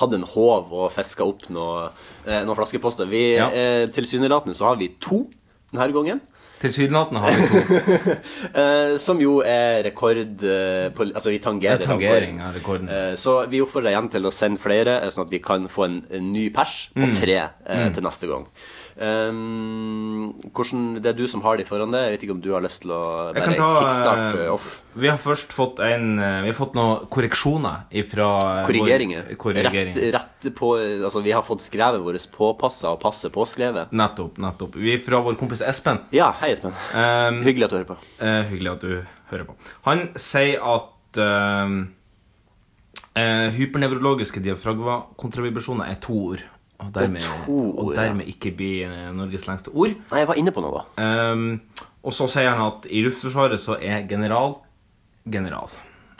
Speaker 3: hadde en håv og fiska opp noe, eh, noen flaskeposter. Vi,
Speaker 4: Ja.
Speaker 3: eh, Tilsynelatende så har vi to denne gangen.
Speaker 4: Tilsynelatende har vi to
Speaker 3: Eh, som jo er rekord eh, på, Altså, vi tangerer
Speaker 4: tangering
Speaker 3: rekorden.
Speaker 4: av rekorden.
Speaker 3: Eh, så vi oppfordrer igjen til å sende flere, eh, sånn at vi kan få en, en ny pers på
Speaker 4: Mm.
Speaker 3: tre eh, til neste gang. Um, hvordan, det er du som har de foran deg. Jeg vet ikke om du har lyst til å
Speaker 4: Jeg kan
Speaker 3: bare
Speaker 4: ta,
Speaker 3: kickstart
Speaker 4: eh,
Speaker 3: eh, off.
Speaker 4: Vi har først fått, en, eh, vi har fått noen korreksjoner ifra eh,
Speaker 3: Korrigeringer.
Speaker 4: vår- Korrigering.
Speaker 3: Rett, rett på Altså, vi har fått skrevet vårt påpassa og passet påskrevet.
Speaker 4: Nettopp. nettopp. Vi er fra vår kompis Espen.
Speaker 3: Ja, hei, Espen.
Speaker 4: Um,
Speaker 3: Hyggelig at du hører på.
Speaker 4: Eh, hyggelig at du hører på. Han sier at eh, eh, hypernevrologiske diafragmakontravibrasjoner er to ord. Og dermed,
Speaker 3: to ord,
Speaker 4: og
Speaker 3: ja.
Speaker 4: dermed ikke blir eh, Norges lengste ord.
Speaker 3: Nei, jeg var inne på noe, da.
Speaker 4: Ehm, og så sier han at i Luftforsvaret så er general general.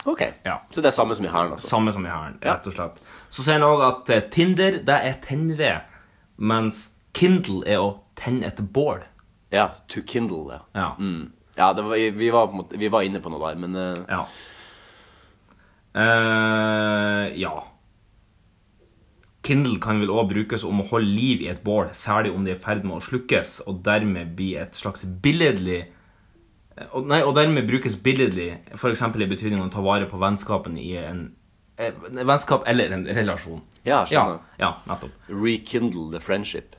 Speaker 3: Ok.
Speaker 4: Ja.
Speaker 3: Så det er samme som i hæren, altså.
Speaker 4: Samme som i Hæren, rett og slett. Så sier han òg at eh, Tinder, det er Tenve, mens Kindle er å tenne et bål.
Speaker 3: Ja, to kindle, ja.
Speaker 4: Ja.
Speaker 3: Mm. Ja, det var, vi, var på en måte, vi var inne på noe der, men eh,
Speaker 4: Ja. Eh, ja. Kindle kan vel òg brukes om å holde liv i et bål, særlig om det er i ferd med å slukkes, og dermed bli et slags billedlig eh, og, Nei, og dermed brukes billedlig, f.eks. i betydningen å ta vare på vennskapen i en eh, Vennskap eller en relasjon.
Speaker 3: Ja, skjønner.
Speaker 4: Ja, ja nettopp.
Speaker 3: Rekindle the friendship.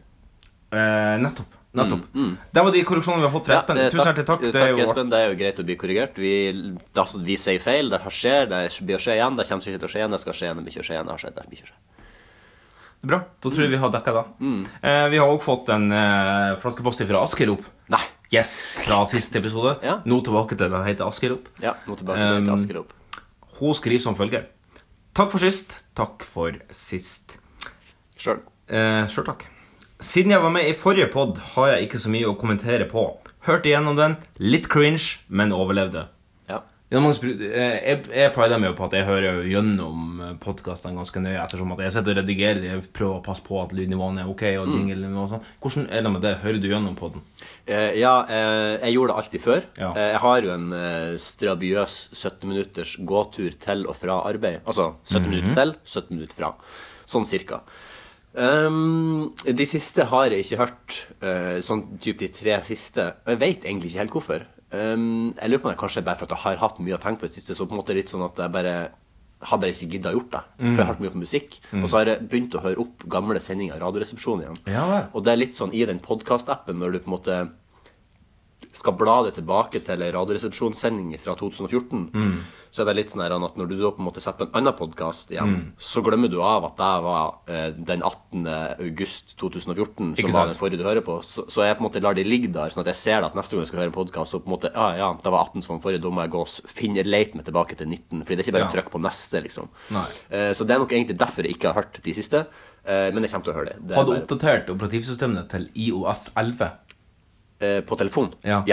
Speaker 4: Eh, nettopp. Nettopp. Der var de korreksjonene vi har fått fra
Speaker 3: Mm, Ja,
Speaker 4: Espen.
Speaker 3: eh,
Speaker 4: Tusen hjertelig takk.
Speaker 3: eh,
Speaker 4: Det er jo
Speaker 3: Espen. Det er jo greit å bli korrigert. Vi, det er altså, vi sier feil. Det her skjer. Det blir å skje igjen. Det kommer ikke til å skje igjen. Det skal skje igjen. Det blir ikke å skje igjen. Det har skjedd. Det blir ikke å skje.
Speaker 4: Bra. Da tror jeg vi har dekka det. Eh, vi har òg fått en eh, flaskepost fra Askerop.
Speaker 3: Nei.
Speaker 4: Yes, fra siste episode.
Speaker 3: Ja.
Speaker 4: Nå tilbake til det heter Askerop.
Speaker 3: Ja, nå tilbake til
Speaker 4: Um,
Speaker 3: til Askerop.
Speaker 4: Hun skriver som følger. Takk for sist. Takk for sist.
Speaker 3: Sjøl.
Speaker 4: Eh, Sjøl takk. Siden jeg var med i forrige pod, har jeg ikke så mye å kommentere på. Hørte igjennom den. Litt cringe, men overlevde.
Speaker 3: Ja.
Speaker 4: Ja, mange spru- eh, Jeg, jeg prider meg jo på at jeg hører jo gjennom podkastene ganske nøye. Ettersom at jeg sitter og redigerer Jeg prøver å passe på at lydnivåene er ok.
Speaker 3: Mm.
Speaker 4: og jinglene og sånn Hvordan er det med det? Hører du gjennom på den?
Speaker 3: Eh, ja, eh, jeg gjorde det alltid før.
Speaker 4: Ja.
Speaker 3: Eh, jeg har jo en eh, strabiøs 17 minutters gåtur til og fra arbeid. Altså 17
Speaker 4: Mhm.
Speaker 3: minutter til, 17 minutter fra. Sånn cirka. Ehm, de siste har jeg ikke hørt. eh, sånn typ de tre siste. Og jeg vet egentlig ikke helt hvorfor. Ehm, jeg lurer på om det kanskje er bare for at jeg har hatt mye å tenke på i det siste. Så på en måte litt sånn at jeg bare har bare ikke gidda gjort det. For jeg har hørt mye på musikk.
Speaker 4: Mm.
Speaker 3: Og så har jeg begynt å høre opp gamle sendinger av Radioresepsjonen igjen.
Speaker 4: Ja, vel.
Speaker 3: Og det er litt sånn i den podkast-appen, når du på en måte skal bla det tilbake til en radioresepsjonssending fra 2014,
Speaker 4: Mm.
Speaker 3: så er det litt sånn her at når du da på en måte setter på en annen podkast igjen,
Speaker 4: Mm.
Speaker 3: så glemmer du av at det var eh, den 18. august 2014,
Speaker 4: Ikke
Speaker 3: som var
Speaker 4: sant?
Speaker 3: den forrige du hører på. Så, så jeg på en måte lar det ligge der, sånn at jeg ser det at neste gang jeg skal høre en podkast, så på en måte Ja, ja, det var 18 som var den forrige, da må jeg gå og s- finne leite meg tilbake til 19. Fordi det er ikke bare å
Speaker 4: Ja.
Speaker 3: trykke på neste, liksom.
Speaker 4: Nei.
Speaker 3: Eh, så det er nok egentlig derfor jeg ikke har hørt de siste. eh, men jeg kommer til å høre det. det er
Speaker 4: Har du
Speaker 3: bare-
Speaker 4: oppdatert operativsystemet til IOS 11?
Speaker 3: Eh, på telefon? ja.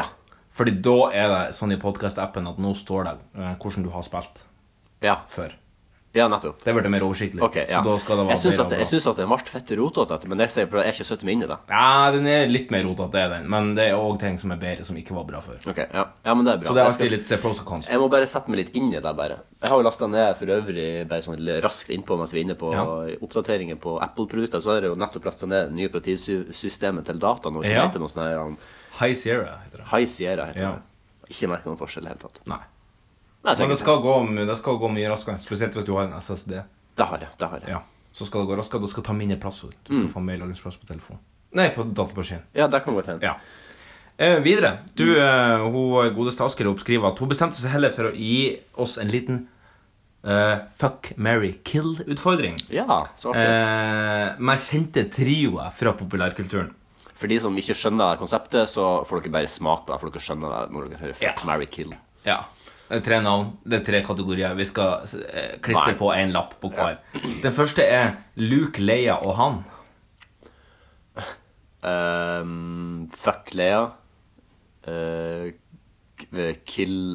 Speaker 4: Fordi da er det sånn i podkast-appen at nå står det eh, hvordan du har spilt
Speaker 3: Ja,
Speaker 4: før.
Speaker 3: ja nettopp.
Speaker 4: Det ble mer oversiktlig.
Speaker 3: Ok, ja.
Speaker 4: Så da skal det være
Speaker 3: jeg syns
Speaker 4: mer
Speaker 3: at, jeg
Speaker 4: bra.
Speaker 3: syns at den ble fett rotete, dette, men jeg sier for jeg har ikke satt meg inn i det.
Speaker 4: Ja, den er litt mer rotete, er den. Men det er òg ting som er bedre, som ikke var bra før.
Speaker 3: Ok, ja. ja, men det er bra.
Speaker 4: Så det er
Speaker 3: jeg, skal,
Speaker 4: alltid litt se pros og cons.
Speaker 3: jeg må bare sette meg litt inn i det, bare. Jeg har jo lasta ned for øvrig bare sånn litt raskt innpå mens vi er inne på
Speaker 4: Ja.
Speaker 3: oppdateringer på Apple-produkter, så har jeg jo nettopp lasta ned det nye operativsystemet til data nå, som
Speaker 4: Ja.
Speaker 3: heter noe sånn her um,
Speaker 4: High Sierra heter det.
Speaker 3: High Sierra, heter
Speaker 4: Ja.
Speaker 3: det. Ikke merka noen forskjell i det hele tatt.
Speaker 4: Nei.
Speaker 3: Nei,
Speaker 4: Men
Speaker 3: sikkert.
Speaker 4: det skal, gå, det skal gå mye raskere, spesielt hvis du har en SSD.
Speaker 3: Det har jeg. Det har jeg. Ja.
Speaker 4: Ja,
Speaker 3: Mm.
Speaker 4: Så skal det gå raskere, du skal ta mindre plass. Du skal få mer lagringsplass på telefonen. Nei, på datamaskinen.
Speaker 3: det kan godt hende.
Speaker 4: Ja. Eh, videre. Du,
Speaker 3: Mm.
Speaker 4: eh, hun godeste Askerop skriver at hun bestemte seg heller for å gi oss en liten eh, fuck, marry, kill-utfordring.
Speaker 3: Ja, så artig.
Speaker 4: Eh, men kjente trioer fra populærkulturen.
Speaker 3: For de som ikke skjønner konseptet, så får dere bare smake på det, for dere skjønner det når dere hører Fuck,
Speaker 4: Ja.
Speaker 3: marry, kill.
Speaker 4: Ja. Det er tre navn, det er tre kategorier. Vi skal eh, klistre
Speaker 3: Nei.
Speaker 4: på en lapp på hver. Den første er Luke, Leia og han.
Speaker 3: Ehm, fuck Leia. Eh, k- kill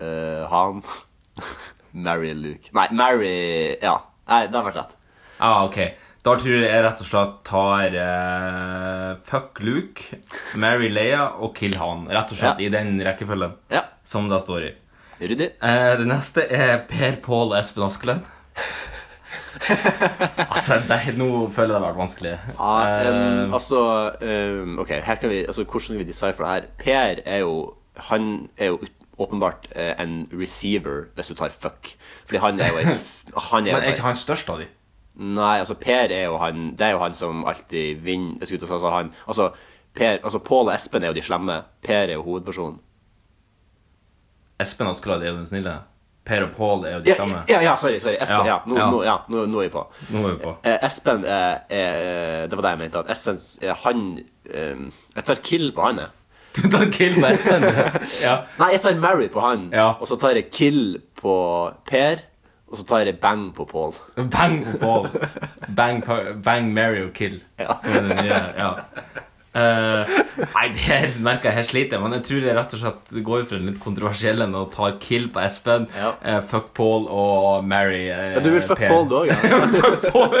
Speaker 3: eh, han. marry Luke. Nei, marry Ja. Nei, det har vært rett.
Speaker 4: Ja, Ah, ok. Da tror jeg jeg rett og slett tar eh, Fuck Luke, Mary Leia og Kill Han. Rett og slett
Speaker 3: Ja.
Speaker 4: i den rekkefølgen
Speaker 3: Ja.
Speaker 4: som det står i.
Speaker 3: Ryddig.
Speaker 4: Eh, det neste er Per Pål Espen Askeladd. altså, det, nå føler jeg det har vært vanskelig.
Speaker 3: Ja,
Speaker 4: Eh,
Speaker 3: ehm, altså ehm, Ok, her kan vi Altså, hvordan skal vi decipher det her? Per er jo Han er jo ut- åpenbart eh, en receiver, hvis du tar fuck. Fordi han er jo en f- Han er jo
Speaker 4: men er
Speaker 3: bare-
Speaker 4: ikke han størst av de?
Speaker 3: Nei, altså Per er jo han Det er jo han som alltid vinner Jeg skulle til å si altså, han Altså, per, altså Pål og Espen er jo de slemme Per er jo hovedpersonen
Speaker 4: Espen Askeladd er jo den snille. Per og Pål er jo de
Speaker 3: ja,
Speaker 4: samme.
Speaker 3: ja, ja, sorry, sorry Espen,
Speaker 4: Ja,
Speaker 3: ja, nå,
Speaker 4: ja.
Speaker 3: Nå, ja nå, nå er jeg på
Speaker 4: Nå er vi på.
Speaker 3: eh, Espen er, er Det var det jeg mente At Essens eh, Han eh, Jeg tar kill på han jeg.
Speaker 4: Du tar Kill på Espen. ja.
Speaker 3: Nei, jeg tar Mary på han
Speaker 4: Ja.
Speaker 3: Og så tar jeg kill på Per Og så tar jeg bang på Pål
Speaker 4: Bang på Paul. Bang, pa- bang Mary og Kill.
Speaker 3: Ja.
Speaker 4: Som er den nye, ja. Eh, nei, det her merker jeg her sliter jeg, men jeg tror jeg rett og slett går for den litt kontroversielle med å ta kill på Espen,
Speaker 3: Ja.
Speaker 4: eh, fuck Paul og Mary eh,
Speaker 3: Ja, du vil fuck
Speaker 4: Per.
Speaker 3: Pål da, ja
Speaker 4: Fuck Paul.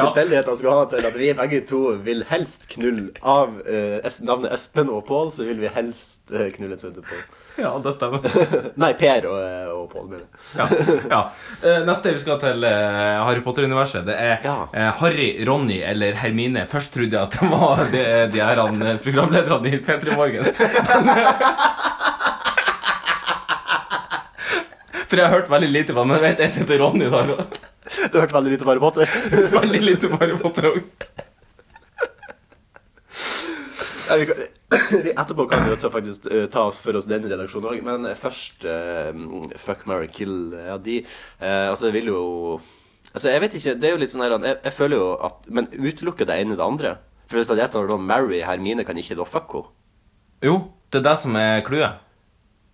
Speaker 3: tilfeldigheter skal ha til at vi begge to vil helst knulle Av eh, es- navnet Espen og Pål, så vil vi helst eh, knulle en stund til Pål.
Speaker 4: Ja, det stemmer.
Speaker 3: Nei, Per og, eh, og Pål, mener jeg.
Speaker 4: Ja, ja. Eh, Neste vi skal til eh, Harry Potter-universet, det er
Speaker 3: Ja.
Speaker 4: eh, Harry, Ronny eller Hermine. Først trodde jeg at det var de, de her han, eh, programlederne i P3 Morgen. For jeg har hørt veldig lite på ham, men jeg vet jeg sitter Ronny der og
Speaker 3: Du har hørt veldig lite på Harry Potter?
Speaker 4: Veldig lite på Harry Potter òg.
Speaker 3: Ja, vi kan, vi etterpå kan vi jo ta, faktisk eh, ta for oss den redaksjonen òg, men først eh, Fuck, marry, kill. Ja, de eh, Altså, jeg vil jo Altså, jeg vet ikke. Det er jo litt sånn her Jeg, jeg føler jo at Men utelukker det ene det andre? For hvis at jeg tar da Marry Hermine, kan ikke da fuck henne?
Speaker 4: Jo, det er det som er clouet.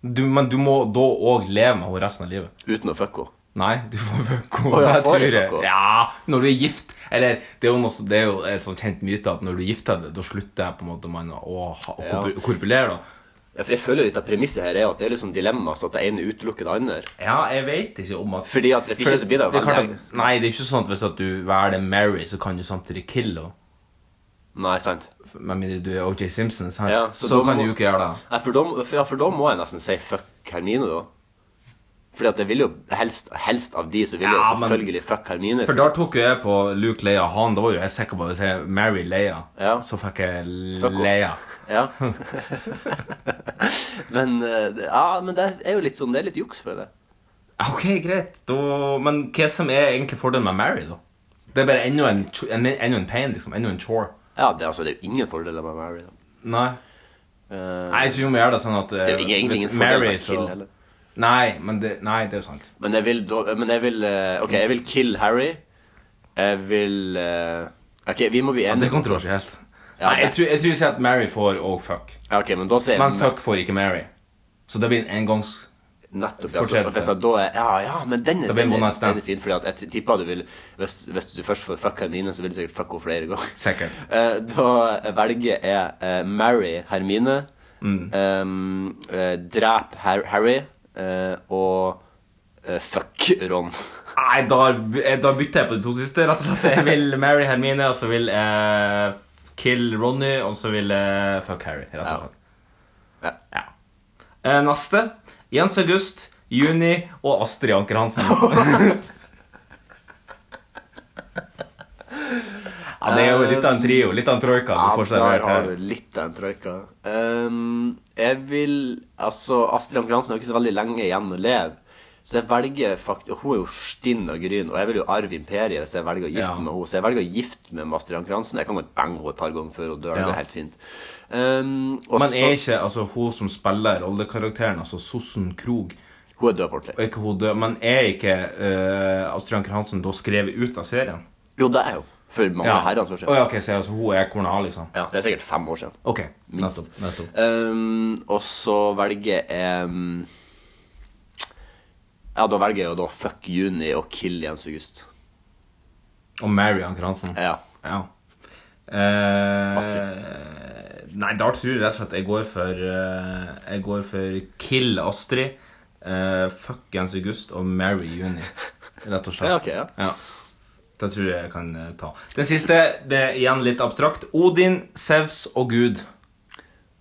Speaker 4: Du- Men du må da òg leve med henne resten av livet.
Speaker 3: Uten å fuck henne?
Speaker 4: Nei, du får fucko.
Speaker 3: Å ja,
Speaker 4: det
Speaker 3: får
Speaker 4: tror
Speaker 3: jeg
Speaker 4: jeg.
Speaker 3: fucko?
Speaker 4: Ja, når du er gift. Eller, det er jo, noe, det er jo et sånn kjent myte at når du gifter deg, da slutter på en måte man å ha- å
Speaker 3: Ja.
Speaker 4: korpu- korpulere. da.
Speaker 3: Ja, for jeg føler litt av premisset her er at det er liksom dilemma, så at det ene utelukker det andre.
Speaker 4: Ja, jeg vet ikke om at
Speaker 3: Fordi at hvis ikke, så blir det jo
Speaker 4: er klart
Speaker 3: veldig
Speaker 4: at- Nei, det er ikke sånn at hvis at du velger Mary, så kan du samtidig kille henne.
Speaker 3: Nei, sant.
Speaker 4: Med mindre du er OJ Simpson, sant?
Speaker 3: Ja, så
Speaker 4: så,
Speaker 3: da
Speaker 4: kan
Speaker 3: må-
Speaker 4: du jo ikke gjøre det.
Speaker 3: Nei, for da, for, ja, for da må jeg nesten si fuck Hermine, da. Fordi at jeg vil jo helst, helst av de, så vil jeg jo
Speaker 4: Ja, men-
Speaker 3: selvfølgelig fuck Hermine.
Speaker 4: For da tok jo jeg på Luke Leia han. Da var jo jeg sikker på at hvis jeg Mary Leia,
Speaker 3: Ja.
Speaker 4: så fikk jeg
Speaker 3: Fucko.
Speaker 4: Leia.
Speaker 3: Ja. men, eh, det- ja, men det er jo litt sånn, det er litt juks, føler jeg.
Speaker 4: Ah, Ok, greit. Da, men hva som er egentlig fordelen med Mary, da? Det er bare enda en, ch- en, enda en pain, liksom. Enda en chore.
Speaker 3: Ja, det, er altså, det er jo ingen fordeler med Mary. Da.
Speaker 4: Nei.
Speaker 3: Eh,
Speaker 4: Nei, jeg tror vi må gjøre det sånn at
Speaker 3: det er jo ingen- egentlig ingen fordeler med Kill heller.
Speaker 4: Nei, men det, nei, det er jo sant.
Speaker 3: Men jeg vil, da, men jeg vil eh, Ok, jeg vil kill Harry. Jeg vil eh, Ok, vi må bli
Speaker 4: Det
Speaker 3: enige.
Speaker 4: er kontroversielt.
Speaker 3: Ja,
Speaker 4: nei, jeg
Speaker 3: det-
Speaker 4: tror, jeg tror ikke at Mary får og fuck.
Speaker 3: Ja, ok, men da sier
Speaker 4: Men fuck får ikke Mary. Så det blir en engangs...
Speaker 3: Nettopp, ja.
Speaker 4: Fortsettelse.
Speaker 3: Så, hvis jeg da er, ja, ja, men den,
Speaker 4: Da
Speaker 3: er-
Speaker 4: blir det
Speaker 3: den,
Speaker 4: one
Speaker 3: er-
Speaker 4: night stand.
Speaker 3: den er fin, fordi at jeg tipper du vil hvis, hvis du først får fuck Hermine, så vil du sikkert fuck henne flere ganger.
Speaker 4: Sikkert.
Speaker 3: Eh, da velger jeg eh, marry Hermine,
Speaker 4: Mm.
Speaker 3: eh, eh, drep Har Harry eh, og eh, fuck Ron.
Speaker 4: Nei, da, eh, da bytter jeg på de to siste, rett og slett. Jeg vil Mary Hermine, og så vil jeg kill Ronny, og så vil jeg fuck Harry, rett og
Speaker 3: Ja.
Speaker 4: slett.
Speaker 3: Ja.
Speaker 4: Ja. Eh, neste. Jens August, Juni og Astrid Anker Hansen. ja, det er jo litt av en trio. Litt av en troika. du
Speaker 3: Ja,
Speaker 4: får
Speaker 3: der
Speaker 4: servert
Speaker 3: har
Speaker 4: her.
Speaker 3: du litt av en troika. Ehm, jeg vil Altså, Astrid Anker Hansen har ikke så veldig lenge igjen å leve. Så jeg velger faktisk Hun er jo stinn og gryn, og jeg vil jo arve imperiet hvis jeg velger å gifte
Speaker 4: Ja.
Speaker 3: meg med henne. Så jeg velger å gifte meg med Astrid Anker Hansen. Jeg kan godt bange henne et par ganger før hun dør. Det
Speaker 4: Ja.
Speaker 3: er helt fint. Ehm, og
Speaker 4: Men er
Speaker 3: så
Speaker 4: ikke altså, hun som spiller rollekarakteren, altså Sossen Krog
Speaker 3: Hun er død på ordentlig.
Speaker 4: er ikke hun død, Men er ikke eh, Astrid Anker Hansen da skrevet ut av serien?
Speaker 3: Jo, det er hun. For mange
Speaker 4: Ja.
Speaker 3: herrer, tror jeg.
Speaker 4: Å ja, ok, så altså, hun er kona, liksom?
Speaker 3: Ja, det er sikkert fem år siden.
Speaker 4: Ok,
Speaker 3: Minst.
Speaker 4: nettopp. nettopp.
Speaker 3: Ehm, og så velger jeg ehm, Ja, da velger jeg jo da fuck Juni og kill Jens August.
Speaker 4: Og Mary Anker Hansen.
Speaker 3: Ja.
Speaker 4: Ja. Eh,
Speaker 3: Astrid.
Speaker 4: nei, da tror jeg rett og slett jeg går for eh, Jeg går for Kill Astrid, eh, Fuck Jens August og Marry Juni. Rett og slett.
Speaker 3: Ja, ok, ja.
Speaker 4: Det tror jeg jeg kan eh, ta. Den siste det er igjen litt abstrakt. Odin, Sevs og Gud.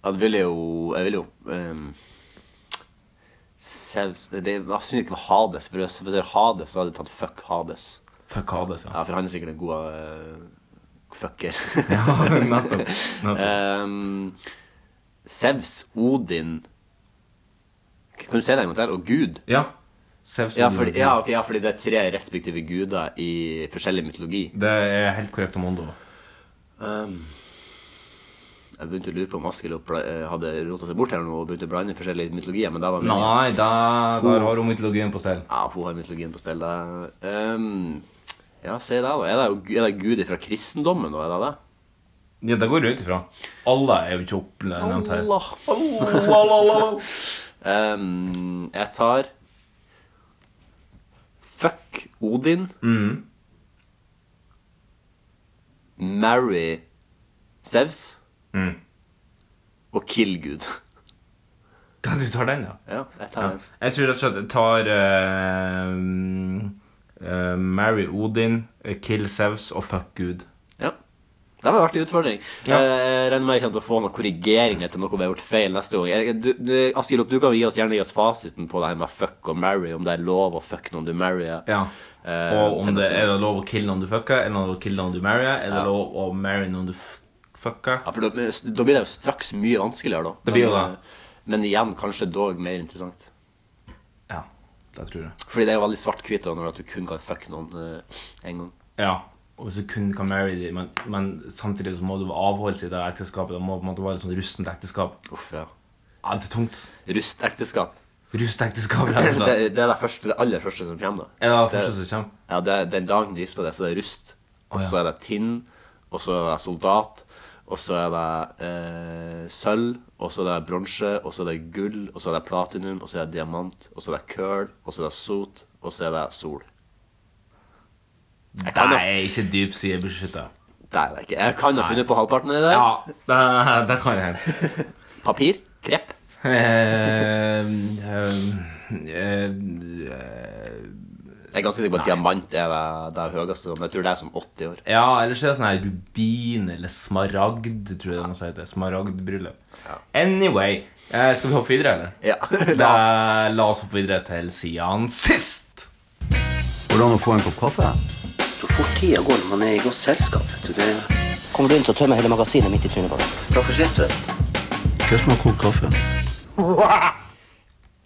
Speaker 3: Ja, det ville jo Jeg ville jo ehm, Zeus det, Jeg synes ikke det var Hades. For hvis hvis det var Hades, så hadde jeg tatt fuck Hades.
Speaker 4: Fuck Hades, ja.
Speaker 3: Ja, For han er sikkert en god eh, fucker.
Speaker 4: ja nettopp. nettopp.
Speaker 3: Ehm, Zeus, Odin Kan du si det en gang til? Og Gud.
Speaker 4: Ja. Sevs og
Speaker 3: Ja
Speaker 4: Gud.
Speaker 3: fordi, ja, ok, ja, fordi det er tre respektive guder i forskjellig mytologi.
Speaker 4: Det er helt korrekt om Ondo.
Speaker 3: Ehm, jeg begynte å lure på om Askild og Pla- eh, hadde rota seg bort her nå og begynte å blande inn forskjellige mytologier, men det var meningen.
Speaker 4: Nei, da, der har hun mytologien på stell.
Speaker 3: Ja, hun har mytologien på stell. da. Ehm, ja, se der, da. Er det, jo- er det gud fra kristendommen, da? Er det det?
Speaker 4: Ja, det går du ut ifra. Alle er jo ikke oppnevnt her.
Speaker 3: Allah, Ehm, jeg tar Fuck Odin.
Speaker 4: Mm.
Speaker 3: Marry Zeus.
Speaker 4: Mm.
Speaker 3: Og kill Gud.
Speaker 4: Ja, du tar den, ja.
Speaker 3: Ja, jeg tar
Speaker 4: ja.
Speaker 3: den.
Speaker 4: Jeg tror rett og slett jeg tar eh, eh, marry Odin, eh, kill Sevs og fuck Gud.
Speaker 3: Ja. Det var en artig utfordring.
Speaker 4: Ja.
Speaker 3: Jeg regner med jeg kommer til å få noen korrigeringer til noe vi har gjort feil neste gang. Jeg- Du, du, Asgerup, du kan jo gi oss, gjerne gi oss fasiten på det her med fuck og marry, om det er lov å fuck noen du marrier.
Speaker 4: Ja.
Speaker 3: Eh,
Speaker 4: Og om
Speaker 3: til
Speaker 4: det
Speaker 3: neste
Speaker 4: er
Speaker 3: gang.
Speaker 4: det lov å kille noen du fucker, er det lov å kille noen du marrier, er det
Speaker 3: Ja.
Speaker 4: lov å marry noen du f- fucker?
Speaker 3: Ja, for da, da blir det jo straks mye vanskeligere, da.
Speaker 4: Det blir jo
Speaker 3: Men,
Speaker 4: det.
Speaker 3: eh, Men igjen kanskje dog mer interessant.
Speaker 4: Ja, det tror jeg.
Speaker 3: Fordi det er jo veldig svart-hvitt da, når at du kun kan fuck noen eh, en gang.
Speaker 4: Ja. Og hvis du kun kan marry dem, men, men samtidig så må du avholde seg i det ekteskapet. Det må på en måte være et sånt rustent ekteskap.
Speaker 3: Uff, ja.
Speaker 4: Ja, det er tungt.
Speaker 3: Rustekteskap.
Speaker 4: Rustent ekteskap, rett og
Speaker 3: Det,
Speaker 4: slett.
Speaker 3: det er det, første, det aller første som kommer, da.
Speaker 4: Er det det første som kommer?
Speaker 3: Ja, det er den dagen du gifter deg, så det er rust. Og
Speaker 4: Å, ja.
Speaker 3: så er det tinn, og så er det soldat, og så er det eh, sølv, og så er det bronse, og så er det gull, og så er det platinum, og så er det diamant, og så er det køl, og så er det sot, og så er det sol. Jeg kan ha,
Speaker 4: Nei, ikke dyp side beskytta.
Speaker 3: det er det ikke. Jeg kan ha funnet på halvparten i det.
Speaker 4: Ja, det, det kan jeg hende.
Speaker 3: Papir, krepp,
Speaker 4: Eh, eh, eh,
Speaker 3: Jeg er ganske sikker på at diamant er det, det høyeste, men jeg tror det er som 80 år.
Speaker 4: Ja, ellers er det sånn her rubin eller smaragd, tror jeg det må hete. Smaragdbryllup. Anyway, eh, skal vi hoppe videre, eller?
Speaker 3: Ja, la oss.
Speaker 4: La, la oss hoppe videre til siden sist.
Speaker 5: Hvordan å få en kopp kaffe?
Speaker 6: Så fort tida går når man er i godt selskap. vet du, Det... Kommer du inn, så tømmer jeg hele magasinet midt i trynet på deg. Takk for sist, forresten.
Speaker 5: Hva som er kokt kaffe?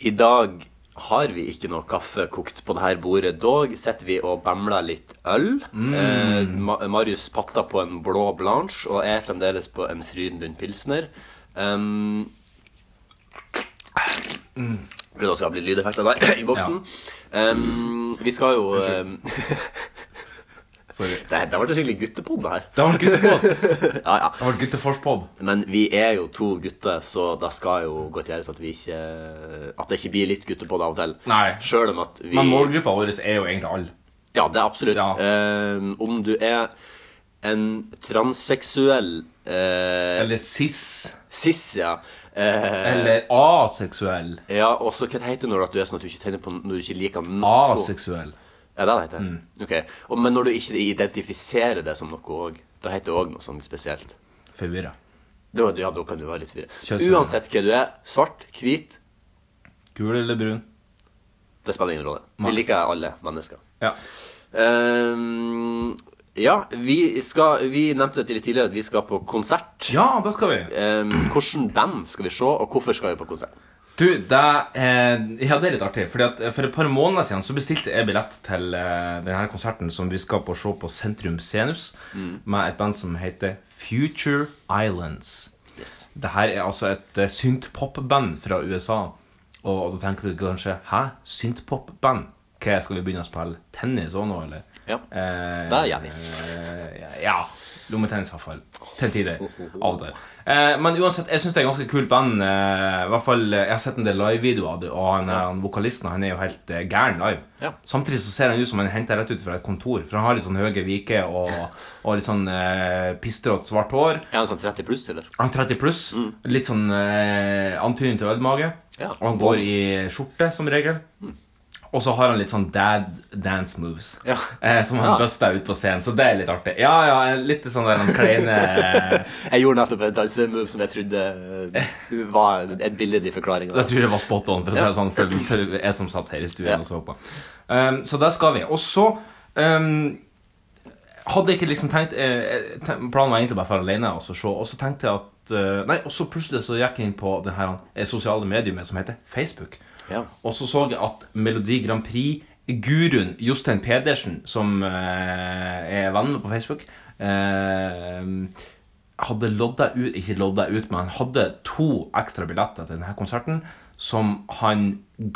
Speaker 3: I dag har vi ikke noe kaffe kokt på dette bordet. Dog sitter vi og bamler litt øl. Eh, Ma Marius patter på en blå blanche og er fremdeles på en Frydenlund pilsner. Um, Prøvde å skape litt lydeffekter der i boksen. Um, vi skal jo um,
Speaker 4: Sorry.
Speaker 3: Det, det ble skikkelig guttepod, det her.
Speaker 4: Det var en guttepod.
Speaker 3: Ja, ja.
Speaker 4: Det var en gutteforspod.
Speaker 3: Men vi er jo to gutter, så det skal jo godt gjøres at vi ikke At det ikke blir litt gutter på det av og til.
Speaker 4: Nei.
Speaker 3: Sjøl om at vi
Speaker 4: Men målgruppa vår er jo egentlig alle.
Speaker 3: Ja, det er absolutt.
Speaker 4: Ja.
Speaker 3: Eh, om du er en transseksuell eh,
Speaker 4: Eller cis.
Speaker 3: cis, ja. Eh,
Speaker 4: Eller aseksuell.
Speaker 3: ja, og så hva heter det når at du er sånn at du ikke tegner på Når du ikke liker noe?
Speaker 4: Ah, Aseksuell.
Speaker 3: Ja, det er det heter.
Speaker 4: Mm.
Speaker 3: Ok. Og, men når du ikke identifiserer det som noe òg, da heter det òg noe sånn spesielt.
Speaker 4: Forvirra.
Speaker 3: Da, ja, da kan du være litt forvirra.
Speaker 4: Kjønnsforvirra.
Speaker 3: Uansett hva du er, svart, hvit,
Speaker 4: Gul eller brun?
Speaker 3: Det spiller ingen rolle.
Speaker 4: Nei.
Speaker 3: Vi liker alle mennesker.
Speaker 4: Ja.
Speaker 3: Ehm, ja, vi skal Vi nevnte det litt tidligere at vi skal på konsert.
Speaker 4: Ja, da skal vi.
Speaker 3: Ehm, Hvordan band skal vi se, og hvorfor skal vi på konsert?
Speaker 4: Du, det, eh, ja, det er litt artig. Fordi at eh, For et par måneder siden så bestilte jeg billett til eh, denne konserten som vi skal på se på Sentrum Senus, med et band som heter Future Islands.
Speaker 3: Yes.
Speaker 4: Det her er altså et eh, synthpop-band fra USA. Og, og da tenker du kanskje Hæ? Synthpop-band? Hva skal vi begynne å spille tennis òg nå, eller?
Speaker 3: Ja.
Speaker 4: Eh,
Speaker 3: Det gjør vi.
Speaker 4: eh, ja. Lommetennis, i hvert fall. Til tider. Av og til. Eh, men uansett, jeg syns det er et ganske kult band. Eh, I hvert fall, eh, Jeg har sett en del livevideoer av det, og han, eh, han vokalisten han er jo helt eh, gæren live.
Speaker 3: Ja.
Speaker 4: Samtidig så ser han ut som han er hentet rett ut fra et kontor, for han har litt sånn høye viker og, og litt sånn eh, pistrått svart hår.
Speaker 3: Er han sånn 30 pluss, eller?
Speaker 4: Han er 30 pluss. Litt sånn eh, antydning til ølmage.
Speaker 3: Mm. Ja. Mm.
Speaker 4: Og han går i skjorte, som regel. Og så har han litt sånn dad dance moves
Speaker 3: Ja.
Speaker 4: eh, som han
Speaker 3: Ja.
Speaker 4: buster ut på scenen. Så det er litt artig. Ja, ja, litt sånn der han kleine
Speaker 3: Jeg gjorde nettopp en dansemove som jeg trodde eh, var et billedlig forklaring.
Speaker 4: Jeg tror det var spot on, for å si
Speaker 3: Ja.
Speaker 4: det sånn, for, for jeg som satt her i stuen
Speaker 3: Ja.
Speaker 4: og så på. Um, så der skal vi. Og så um, hadde jeg ikke liksom tenkt eh, eh, ten- Planen var egentlig bare for alene og så se, og så tenkte jeg at eh, Nei, og så plutselig så gikk jeg inn på det her eh, sosiale mediumet som heter Facebook.
Speaker 3: Ja.
Speaker 4: Og så så jeg at Melodi Grand Prix-guruen Jostein Pedersen, som eh, er venn med på Facebook eh, hadde lodda ut, ikke lodda ut, men han hadde to ekstra billetter til denne konserten som han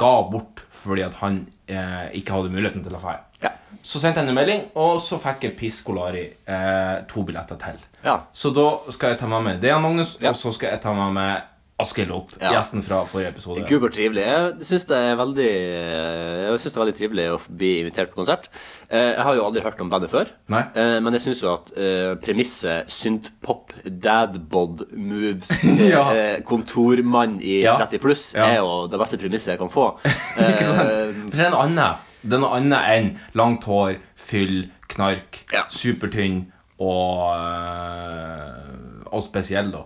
Speaker 4: ga bort fordi at han eh, ikke hadde muligheten til å dra.
Speaker 3: Ja.
Speaker 4: Så sendte han en melding, og så fikk jeg Piscolari eh, to billetter til.
Speaker 3: Ja.
Speaker 4: Så da skal jeg ta med meg Dean Magnus,
Speaker 3: Ja.
Speaker 4: og så skal jeg ta med meg Askild Opp,
Speaker 3: Ja.
Speaker 4: gjesten fra forrige episode.
Speaker 3: Gud, hvor trivelig. Jeg syns det er veldig eh, Jeg synes det er veldig trivelig å bli invitert på konsert. Eh, Jeg har jo aldri hørt om bandet før,
Speaker 4: Nei.
Speaker 3: Eh, men jeg syns jo at eh, premisset synthpop, dadbod moves,
Speaker 4: Ja.
Speaker 3: eh, kontormann i
Speaker 4: Ja.
Speaker 3: 30 pluss
Speaker 4: Ja.
Speaker 3: er jo det beste premisset jeg kan få.
Speaker 4: Ikke sant?
Speaker 3: Eh,
Speaker 4: For det er en annen Det er noe annet enn langt hår, fyll, knark,
Speaker 3: Ja.
Speaker 4: supertynn og, øh, og spesiell, da.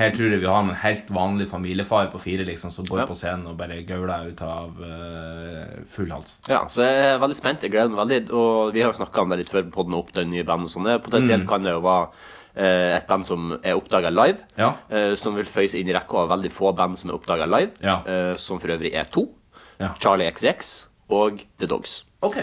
Speaker 4: Her tror jeg vi har en helt vanlig familiefar på fire liksom, som går
Speaker 3: Ja.
Speaker 4: på scenen og bare gauler ut av øh, full hals.
Speaker 3: Ja, så jeg er veldig spent. Jeg gleder meg veldig. Og vi har jo snakka om det litt før på podden opp, den nye bandet og sånn.
Speaker 4: Mm.
Speaker 3: Potensielt kan det jo være eh, et band som er oppdaga live.
Speaker 4: Ja.
Speaker 3: eh, som vil føye seg inn i rekka av veldig få band som er oppdaga live.
Speaker 4: Ja.
Speaker 3: eh, som for øvrig er to.
Speaker 4: Ja.
Speaker 3: Charlie XX og The Dogs.
Speaker 4: Ok.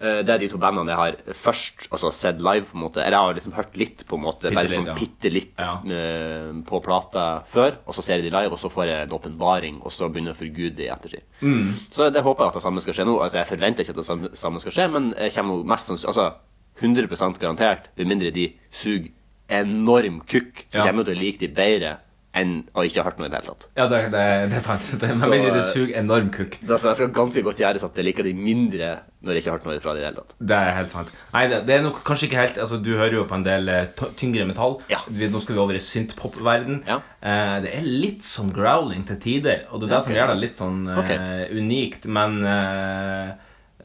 Speaker 3: Eh, Det er de to bandene jeg har først altså, sett live, på en måte. Eller jeg har liksom hørt litt, på en måte.
Speaker 4: Bitte
Speaker 3: bare
Speaker 4: litt,
Speaker 3: sånn
Speaker 4: ja.
Speaker 3: bitte litt
Speaker 4: Ja.
Speaker 3: eh, på plata før. Og så ser jeg de live, og så får jeg en åpenbaring, og så begynner jeg å forgude det i ettertid.
Speaker 4: Mm.
Speaker 3: Så det håper jeg at det samme skal skje nå. Altså, jeg forventer ikke at det samme- samme skal skje, men jeg kommer nå mest sannsynlig Altså 100 garantert, med mindre de suger enorm kukk, så
Speaker 4: Ja.
Speaker 3: kommer jeg til å like de bedre enn å ikke ha hørt noe i det hele tatt.
Speaker 4: Ja, det, det, det er sant. Det,
Speaker 3: Så,
Speaker 4: men
Speaker 3: øh,
Speaker 4: det suger enorm kukk.
Speaker 3: Det, altså, jeg skal ganske godt gjøres at jeg liker de mindre når jeg ikke har hørt noe fra de i det hele tatt.
Speaker 4: Det er helt sant. Nei, det, det er nok kanskje ikke helt Altså, Du hører jo på en del eh, t- tyngre metall.
Speaker 3: Ja.
Speaker 4: Vi, nå skal vi over i synthpop-verden.
Speaker 3: Ja.
Speaker 4: Eh, det er litt sånn growling til tider, og det er det
Speaker 3: Ja,
Speaker 4: som
Speaker 3: ok.
Speaker 4: gjør det litt sånn eh,
Speaker 3: Ok.
Speaker 4: unikt. Men eh,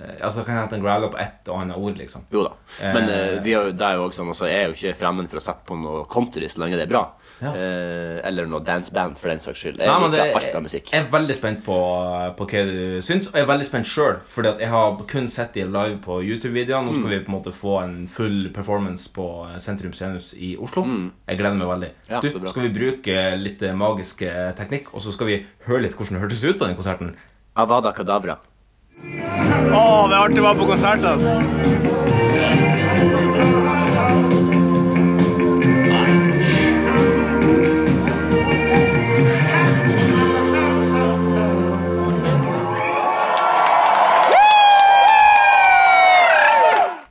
Speaker 4: eh, Altså, kan hende at den growler på ett og annet ord, liksom.
Speaker 3: Jo da.
Speaker 4: Eh,
Speaker 3: Men eh, vi er jo, det er jo også sånn, altså, jeg er jo ikke fremmed for å sette på noe country så lenge det er bra.
Speaker 4: Ja.
Speaker 3: Eh, eller noe danceband, for den saks skyld. Jeg
Speaker 4: Nei, men
Speaker 3: liker
Speaker 4: det-
Speaker 3: alt av musikk.
Speaker 4: Jeg er veldig spent på, på hva du syns, og jeg er veldig spent sjøl. For jeg har kun sett de live på YouTube-videoene.
Speaker 3: Mm.
Speaker 4: Nå skal vi på en måte få en full performance på eh, Sentrum Scenehus i Oslo. Jeg gleder meg veldig.
Speaker 3: Mm. Ja,
Speaker 4: du,
Speaker 3: så bra.
Speaker 4: skal vi bruke litt eh, magisk eh, teknikk, og så skal vi høre litt hvordan det hørtes ut på den konserten?
Speaker 3: Avada Kadabra.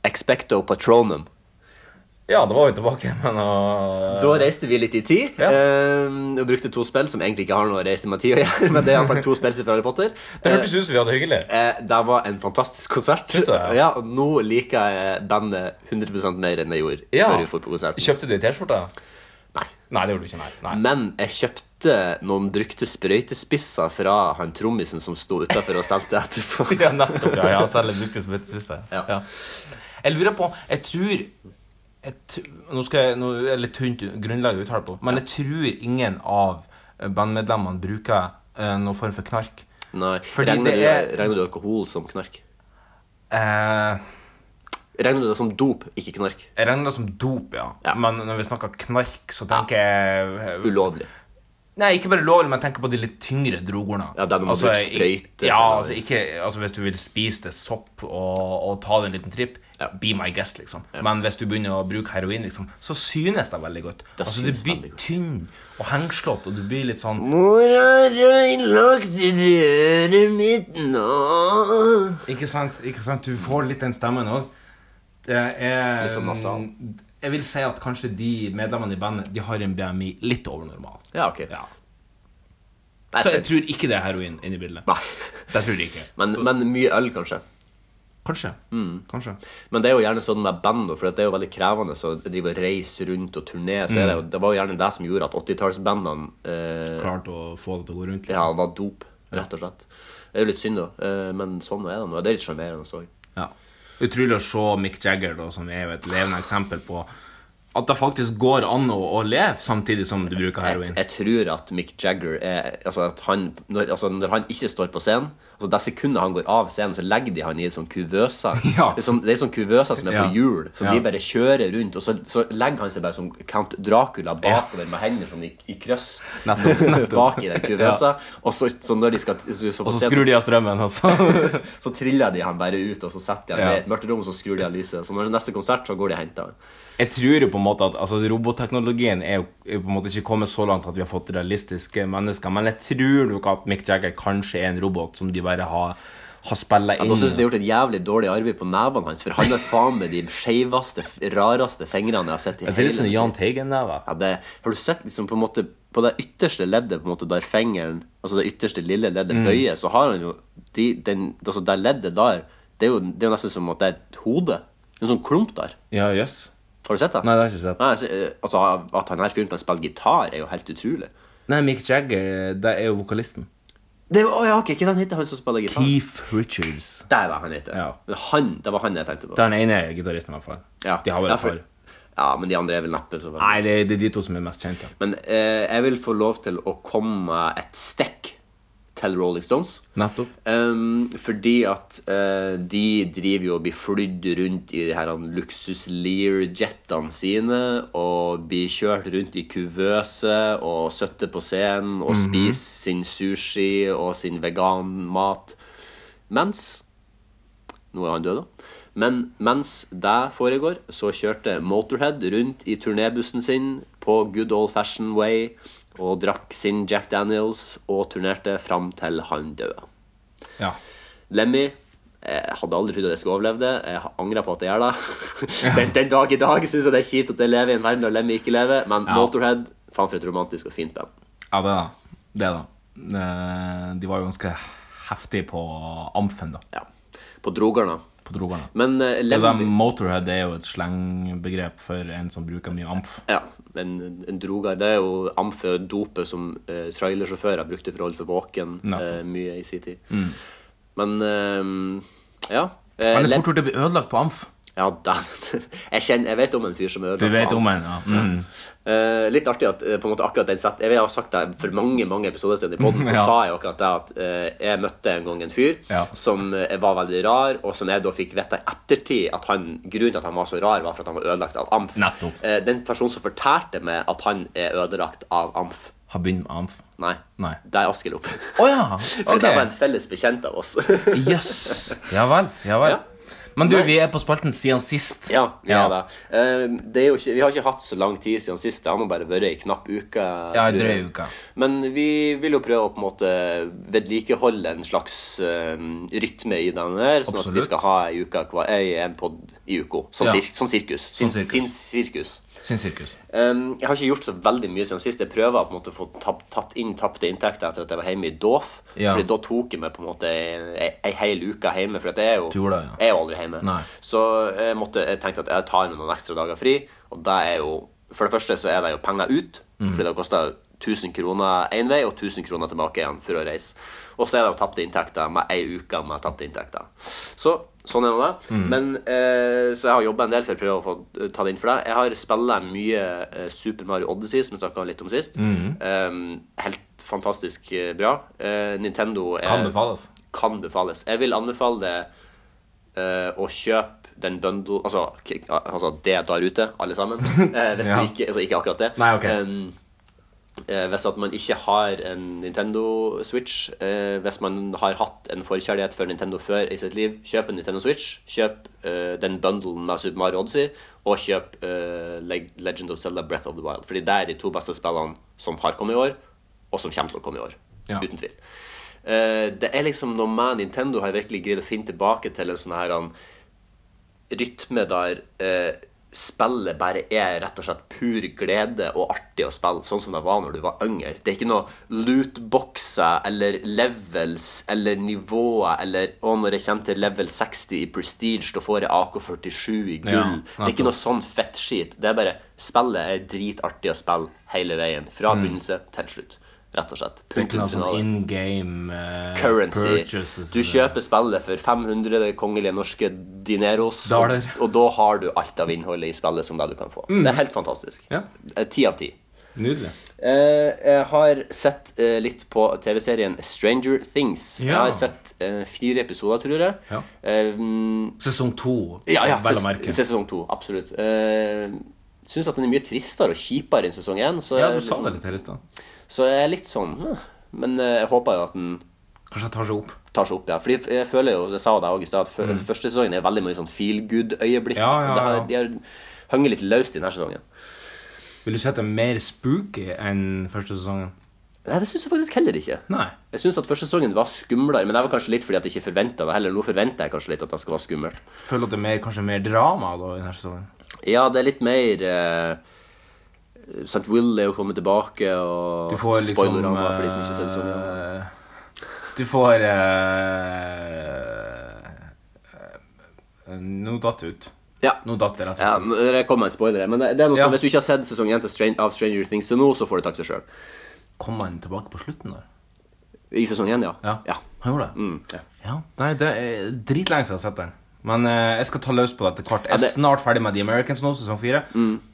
Speaker 3: Expecto Patronum.
Speaker 4: Ja, da var vi tilbake, men uh,
Speaker 3: Da reiste vi litt i tid
Speaker 4: Ja.
Speaker 3: eh, og brukte to spill som egentlig ikke har noe å reise med tid å gjøre, men det er iallfall to spill fra Harry Potter.
Speaker 4: Det hørtes ut som vi hadde det hyggelig.
Speaker 3: Eh, det var en fantastisk konsert.
Speaker 4: Synes du det?
Speaker 3: Ja, og Nå liker jeg bandet 100 mer enn jeg gjorde
Speaker 4: Ja.
Speaker 3: før vi dro på konserten.
Speaker 4: Kjøpte du T-skjorte?
Speaker 3: Nei.
Speaker 4: Nei, det gjorde du ikke. Nei. nei.
Speaker 3: Men jeg kjøpte noen brukte sprøytespisser fra han trommisen som sto utafor og solgte etterpå.
Speaker 4: Ja, nettopp. Ja, ja, særlig brukte som et sysse.
Speaker 3: Ja.
Speaker 4: Ja. Jeg lurer på Jeg tror jeg tr- Nå skal jeg Nå er det litt tynt grunnlag å uttale på, men jeg tror ingen av bandmedlemmene bruker eh, noen form for knark.
Speaker 3: Nei,
Speaker 4: Fordi
Speaker 3: regner,
Speaker 4: det
Speaker 3: du,
Speaker 4: er-
Speaker 3: regner du alkohol som knark?
Speaker 4: Eh,
Speaker 3: Regner du det som dop, ikke knark?
Speaker 4: jeg regner det som dop, ja.
Speaker 3: Ja.
Speaker 4: Men når vi snakker knark, så tenker jeg
Speaker 3: Ulovlig.
Speaker 4: Nei, ikke bare lovlig, men jeg tenker på de litt tyngre drogorna.
Speaker 3: Ja, der du må bruke sprøyte sånn
Speaker 4: Ja,
Speaker 3: til å-
Speaker 4: altså, ikke, altså hvis du vil spise det sopp og, og ta deg en liten tripp,
Speaker 3: Ja.
Speaker 4: be my guest, liksom. Men hvis du begynner å bruke heroin, liksom, så synes det veldig godt.
Speaker 3: Det
Speaker 4: altså, du
Speaker 3: synes
Speaker 4: blir
Speaker 3: veldig godt.
Speaker 4: tynn og hengslått, og du blir litt sånn
Speaker 3: Hvor har ødelagt røret mitt nå?
Speaker 4: Ikke sant? ikke sant? Du får litt den stemmen òg.
Speaker 3: Litt sånn nasal.
Speaker 4: Jeg vil si at kanskje de medlemmene i bandet De har en BMI litt over normal.
Speaker 3: Ja, ok.
Speaker 4: Ja.
Speaker 3: Nei,
Speaker 4: Så jeg
Speaker 3: spent.
Speaker 4: tror ikke det er heroin inni bildet.
Speaker 3: Nei.
Speaker 4: Det tror jeg ikke.
Speaker 3: Men, men mye øl, kanskje.
Speaker 4: Kanskje.
Speaker 3: Mm.
Speaker 4: Kanskje.
Speaker 3: Men det er jo gjerne sånn med band, da, for det er jo veldig krevende å drive og reise rundt og turnere. Så er det, jo, det var jo gjerne det som gjorde at 80-tallsbandene eh,
Speaker 4: klart å få det til å gå rundt.
Speaker 3: ja, var dop, rett og slett. Det er jo litt synd, da. Eh, men sånn er det nå. Det er litt sjarmerende òg.
Speaker 4: Ja. Utrolig å se Mick Jagger, da, som er jo et levende eksempel på at det faktisk går an å, å leve samtidig som du bruker
Speaker 3: Jeg,
Speaker 4: heroin.
Speaker 3: jeg tror at Mick Jagger er Altså, at han, når, altså når han ikke står på scenen altså Det sekundet han går av scenen, så legger de han i sånn kuvøser.
Speaker 4: Ja.
Speaker 3: Det er sånn- det er sånn kuvøser som er
Speaker 4: Ja.
Speaker 3: på hjul, som
Speaker 4: Ja.
Speaker 3: de bare kjører rundt. Og så, så legger han seg bare som Count Dracula bakover med hendene sånn i, i krøss
Speaker 4: Nettopp, nettopp.
Speaker 3: bak i den kuvøsa. Og så, så når de skal så, så på
Speaker 4: Og så
Speaker 3: scenen,
Speaker 4: skrur de av strømmen, altså. og så
Speaker 3: så, så triller de han bare ut, og så setter de han
Speaker 4: Ja.
Speaker 3: i et mørkt rom, og så skrur de av lyset. Så når det er neste konsert, så går de og henter han.
Speaker 4: Jeg tror jo på en måte at altså, robotteknologien er jo er jo på en måte ikke kommet så langt at vi har fått realistiske mennesker, men jeg tror nok at Mick Jagger kanskje er en robot som de bare har, har spilla
Speaker 3: Ja,
Speaker 4: inn.
Speaker 3: da synes jeg de har gjort et jævlig dårlig arbeid på nevene hans, for han har faen med de skeiveste, f- rareste fingrene jeg har sett i
Speaker 4: det er litt sånn
Speaker 3: hele
Speaker 4: Jahn Teigen-neve.
Speaker 3: ja, det, Har du sett liksom på en måte På det ytterste leddet, på en måte der fingeren Altså det ytterste lille
Speaker 4: Mm.
Speaker 3: leddet bøyer, så har han jo de, den, Altså det leddet der, det er, jo, det er jo nesten som at det er et hode. En sånn klump der.
Speaker 4: Ja, jøss.
Speaker 3: Har du sett det?
Speaker 4: Nei, det har jeg ikke sett.
Speaker 3: Nei, altså, eh, altså, At han her fyren kan spille gitar, er jo helt utrolig.
Speaker 4: Nei, Mick Jagger, det er jo vokalisten.
Speaker 3: Det er jo, å, ja, ok, Hvem han heter han som spiller gitar?
Speaker 4: Keith Richards.
Speaker 3: Der var han heter.
Speaker 4: Ja.
Speaker 3: Det er Han, det var han jeg tenkte på.
Speaker 4: Det er den ene gitaristen, i hvert fall.
Speaker 3: Ja.
Speaker 4: De har vel
Speaker 3: Ja,
Speaker 4: et
Speaker 3: for-
Speaker 4: par.
Speaker 3: Ja, men de andre er vel neppe så veldig
Speaker 4: Nei, det, det er de to som er mest kjente.
Speaker 3: Men eh, jeg vil få lov til å komme et stekk til Rolling Stones.
Speaker 4: Nettopp.
Speaker 3: Ehm, fordi at eh, de driver jo og blir flydd rundt i de her han, luksus Lear-jetene sine og blir kjørt rundt i kuvøse og søtte på scenen og spiser sin sushi og sin veganmat. Mens Nå er han død, da. Men mens det foregår, så kjørte Motorhead rundt i turnébussen sin på good old fashion way og drakk sin Jack Daniels og turnerte fram til han døde.
Speaker 4: Ja.
Speaker 3: Lemmy jeg hadde aldri trodd at jeg skulle overleve det. Jeg angrer på at jeg gjør det. Den, den dag i dag syns jeg det er kjipt at jeg lever i en verden der Lemmy ikke lever, men Motorhead Faen for et romantisk og fint band.
Speaker 4: ja, det da. Det da. Eh, De var jo ganske heftige på Amfen, da.
Speaker 3: Ja. På Drogarna.
Speaker 4: På Drogarna.
Speaker 3: Men eh,
Speaker 4: Det der
Speaker 3: Lemmy
Speaker 4: Motorhead er jo et slengbegrep for en som bruker mye amf.
Speaker 3: Ja, en, en drogar Det er jo amfø dopet som eh, trailersjåfører brukte for å holde seg våken
Speaker 4: Nettopp.
Speaker 3: eh, mye i sin tid. Men eh, ja. Eh,
Speaker 4: Han er
Speaker 3: Lem-
Speaker 4: fort gjort å bli ødelagt på amf.
Speaker 3: ja da. jeg, kjenner, jeg vet om en fyr som er
Speaker 4: Du
Speaker 3: ødelagt
Speaker 4: vet
Speaker 3: av
Speaker 4: om en, ja. Mm.
Speaker 3: Eh, litt artig at eh, på en måte akkurat den set, Jeg har sagt det for mange mange episoder siden i podden, så
Speaker 4: Ja.
Speaker 3: sa jeg jo akkurat det at eh, jeg møtte en gang en fyr
Speaker 4: Ja.
Speaker 3: som eh, var veldig rar, og som jeg da fikk vite i ettertid at han, grunnen til at han var så rar, var for at han var ødelagt av amf.
Speaker 4: Nettopp.
Speaker 3: Eh, den personen som fortalte meg at han er ødelagt av amf
Speaker 4: Har begynt med amf.
Speaker 3: Nei.
Speaker 4: Nei.
Speaker 3: Det er Askelopp.
Speaker 4: Å ja!
Speaker 3: For
Speaker 4: Ok.
Speaker 3: det var en felles bekjent av oss.
Speaker 4: Jøss. Ja vel. Ja vel.
Speaker 3: Ja.
Speaker 4: Men du,
Speaker 3: Nei.
Speaker 4: vi er på spalten siden sist.
Speaker 3: ja, vi
Speaker 4: Ja.
Speaker 3: er det. Eh, det er jo ikke, vi har ikke hatt så lang tid siden sist. Det har nå bare vært ei knapp uke.
Speaker 4: Ja,
Speaker 3: tror jeg.
Speaker 4: drøy uke.
Speaker 3: Men vi vil jo prøve å på en måte vedlikeholde en slags eh, rytme i den her, sånn at vi
Speaker 4: Absolutt.
Speaker 3: skal ha ei uke hver, ei, en pod i uka. Sånn,
Speaker 4: Ja.
Speaker 3: sirk, sånn sirkus. Sin,
Speaker 4: Sånn sirkus.
Speaker 3: Sin sirkus.
Speaker 4: Sin sirkus.
Speaker 3: Um, jeg har ikke gjort så veldig mye siden sist. Jeg prøver å på en måte få tapp, tatt inn tapte inntekter etter at jeg var hjemme i Dof.
Speaker 4: Ja.
Speaker 3: Fordi da tok jeg meg på en måte ei, ei hel uke hjemme. For at jeg er jo,
Speaker 4: Du gjorde det, ja.
Speaker 3: jeg er jo aldri hjemme.
Speaker 4: Nei.
Speaker 3: Så jeg, måtte, jeg tenkte at jeg tar meg noen ekstra dager fri. Og det er jo For det første så er det jo penger ut, fordi det koster 1000 kroner én vei og 1000 kroner tilbake igjen for å reise. Og så er det jo tapte inntekter med ei uke med tapte inntekter. Så sånn er nå det. Men eh, Så jeg har jobba en del for å prøve å få ta det inn for deg. Jeg har spilt mye eh, Super Mario Odyssey, som vi snakka litt om sist. Eh, helt fantastisk eh, bra. Eh, Nintendo er,
Speaker 4: Kan befales.
Speaker 3: kan befales. Jeg vil anbefale det eh, å kjøpe den bundle Altså, k- altså det der ute, alle sammen. Eh, hvis
Speaker 4: Ja.
Speaker 3: du ikke Altså ikke akkurat det.
Speaker 4: Nei, ok.
Speaker 3: Em, eh, hvis at man ikke har en Nintendo Switch, eh, hvis man har hatt en forkjærlighet for Nintendo før i sitt liv, kjøp en Nintendo Switch. Kjøp eh, den bundlen med Super Mario Odyssey, og kjøp eh, Leg Legend of Zelda Breath of the Wild. Fordi det er de to beste spillene som har kommet i år, og som kommer til å komme i år.
Speaker 4: Ja.
Speaker 3: Uten tvil. Eh, det er liksom noe med Nintendo har virkelig greid å finne tilbake til en sånn her han, rytme der eh, spillet bare er rett og slett pur glede og artig å spille, sånn som det var når du var yngre. Det er ikke noe lootboxer eller levels eller nivåer eller Å, når jeg kommer til level 60 i prestige, da får jeg AK-47 i gull.
Speaker 4: Ja,
Speaker 3: det er ikke noe sånn fettskit. Det er bare Spillet er dritartig å spille hele veien. Fra begynnelse til slutt. Rett og slett.
Speaker 4: Det er ikke
Speaker 3: Punktum
Speaker 4: noe Mm. sånn
Speaker 3: finale
Speaker 4: in game eh,
Speaker 3: currency.
Speaker 4: purchases. eh.
Speaker 3: Du kjøper spillet for 500 kongelige norske dineros, og,
Speaker 4: Dollar.
Speaker 3: og da har du alt av innholdet i spillet som det du kan få. Det er helt fantastisk.
Speaker 4: Mm. Ja.
Speaker 3: Eh, Ti av ti.
Speaker 4: Nydelig.
Speaker 3: Eh, jeg har sett eh, litt på TV-serien Stranger Things. Jeg
Speaker 4: Ja.
Speaker 3: har sett eh, fire episoder, tror jeg.
Speaker 4: Ja.
Speaker 3: Eh, mm,
Speaker 4: Sesong to,
Speaker 3: ja, ja.
Speaker 4: vel å
Speaker 3: ses-
Speaker 4: merke.
Speaker 3: Sesong to, absolutt. Uh, Syns at den er mye tristere og kjipere enn sesong én. Så,
Speaker 4: Ja, du
Speaker 3: jeg er
Speaker 4: sa
Speaker 3: liksom-
Speaker 4: det litt her i stad.
Speaker 3: så jeg er litt sånn hm. Men eh, jeg håper jo at den
Speaker 4: Kanskje jeg tar seg opp.
Speaker 3: tar seg opp, ja. Fordi jeg føler jo, jeg sa det også i sted, at fø- første sesongen er veldig mye sånn feel good-øyeblikk.
Speaker 4: Mm. Ja, ja,
Speaker 3: Det har-
Speaker 4: ja.
Speaker 3: De har hengt litt løst i denne sesongen.
Speaker 4: Vil du si at det er mer spooky enn første sesongen?
Speaker 3: Nei, det syns jeg faktisk heller ikke.
Speaker 4: Nei.
Speaker 3: Jeg syns at første sesongen var skumlere, men det var kanskje litt fordi at jeg ikke forventa det heller. Nå forventer jeg kanskje litt at det skal være skummelt.
Speaker 4: Føler at det er mer, kanskje mer drama da i denne sesongen?
Speaker 3: Ja, det er litt mer eh, St. Will er jo kommet tilbake, og
Speaker 4: Du får liksom
Speaker 3: spoilerama for de som ikke ser det sånn.
Speaker 4: eh, Du får eh, eh, Nå datt det ut.
Speaker 3: Ja.
Speaker 4: Nå datt det rett
Speaker 3: Ja,
Speaker 4: og slett.
Speaker 3: nå- det kommer en spoiler her, men det, det er noe
Speaker 4: Ja.
Speaker 3: sånn, hvis du ikke har sett sesong 1 av Stranger Things til nå, så får du takke deg sjøl.
Speaker 4: Kommer han tilbake på slutten der?
Speaker 3: I sesong én, ja.
Speaker 4: Ja.
Speaker 3: ja.
Speaker 4: Han gjorde det.
Speaker 3: Mm, ja.
Speaker 4: Ja, nei, det er eh, dritlenge siden jeg har sett den. Men eh, jeg skal ta løs på det etter hvert. Jeg er
Speaker 3: det- Mm.
Speaker 4: snart ferdig med The Americans nå, sesong fire.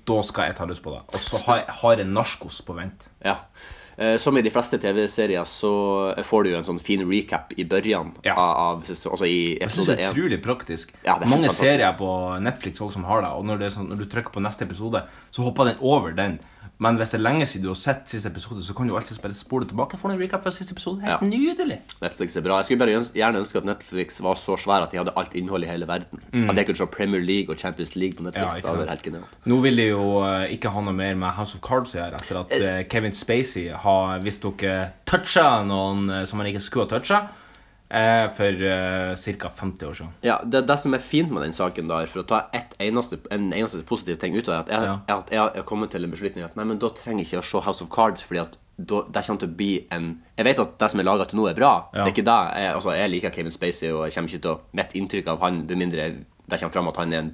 Speaker 4: Da skal jeg ta løs på det. Og så har, jeg- har jeg Narkos på vent.
Speaker 3: Ja. Eh, Som i de fleste TV-serier så får du jo en sånn fin recap i børjan
Speaker 4: Ja.
Speaker 3: av, av sesong, altså i
Speaker 4: Jeg synes
Speaker 3: episode
Speaker 4: det er
Speaker 3: én.
Speaker 4: utrolig praktisk.
Speaker 3: Ja, det er helt
Speaker 4: Mange
Speaker 3: fantastisk.
Speaker 4: serier på Netflix også som har det, og når, det er sånn, når du trykker på neste episode, så hopper den over den. Men hvis det er lenge siden du har sett siste episode, så kan du alltid bare spole tilbake for en recap fra siste episode. Helt
Speaker 3: Ja.
Speaker 4: nydelig.
Speaker 3: Netflix er bra. Jeg skulle bare øns- gjerne ønske at Netflix var så svær at de hadde alt innholdet i hele verden. At jeg kunne se Premier League og Champions League på
Speaker 4: Mm. Ja,
Speaker 3: Netflix.
Speaker 4: ikke
Speaker 3: det hadde
Speaker 4: sant?
Speaker 3: vært helt genialt.
Speaker 4: Nå vil de jo eh, ikke ha noe mer med House of Cards å gjøre, etter at eh, Kevin Spacey har visstnok eh, toucha noen eh, som han ikke skulle ha toucha, eh, for ca. 50 år siden.
Speaker 3: Ja, det, det som er fint med den saken der, for å ta ett eneste, en eneste positiv ting ut av det, at jeg,
Speaker 4: Ja.
Speaker 3: er at jeg har kommet til en beslutning at nei, men da trenger jeg ikke å se House of Cards, fordi at da, det kommer til å bli en Jeg vet at det som er laga til nå, er bra. Det er ikke det. Jeg, altså, jeg liker Kevin Spacey, og jeg kommer ikke til å Mitt inntrykk av han, med mindre det kommer fram at han er en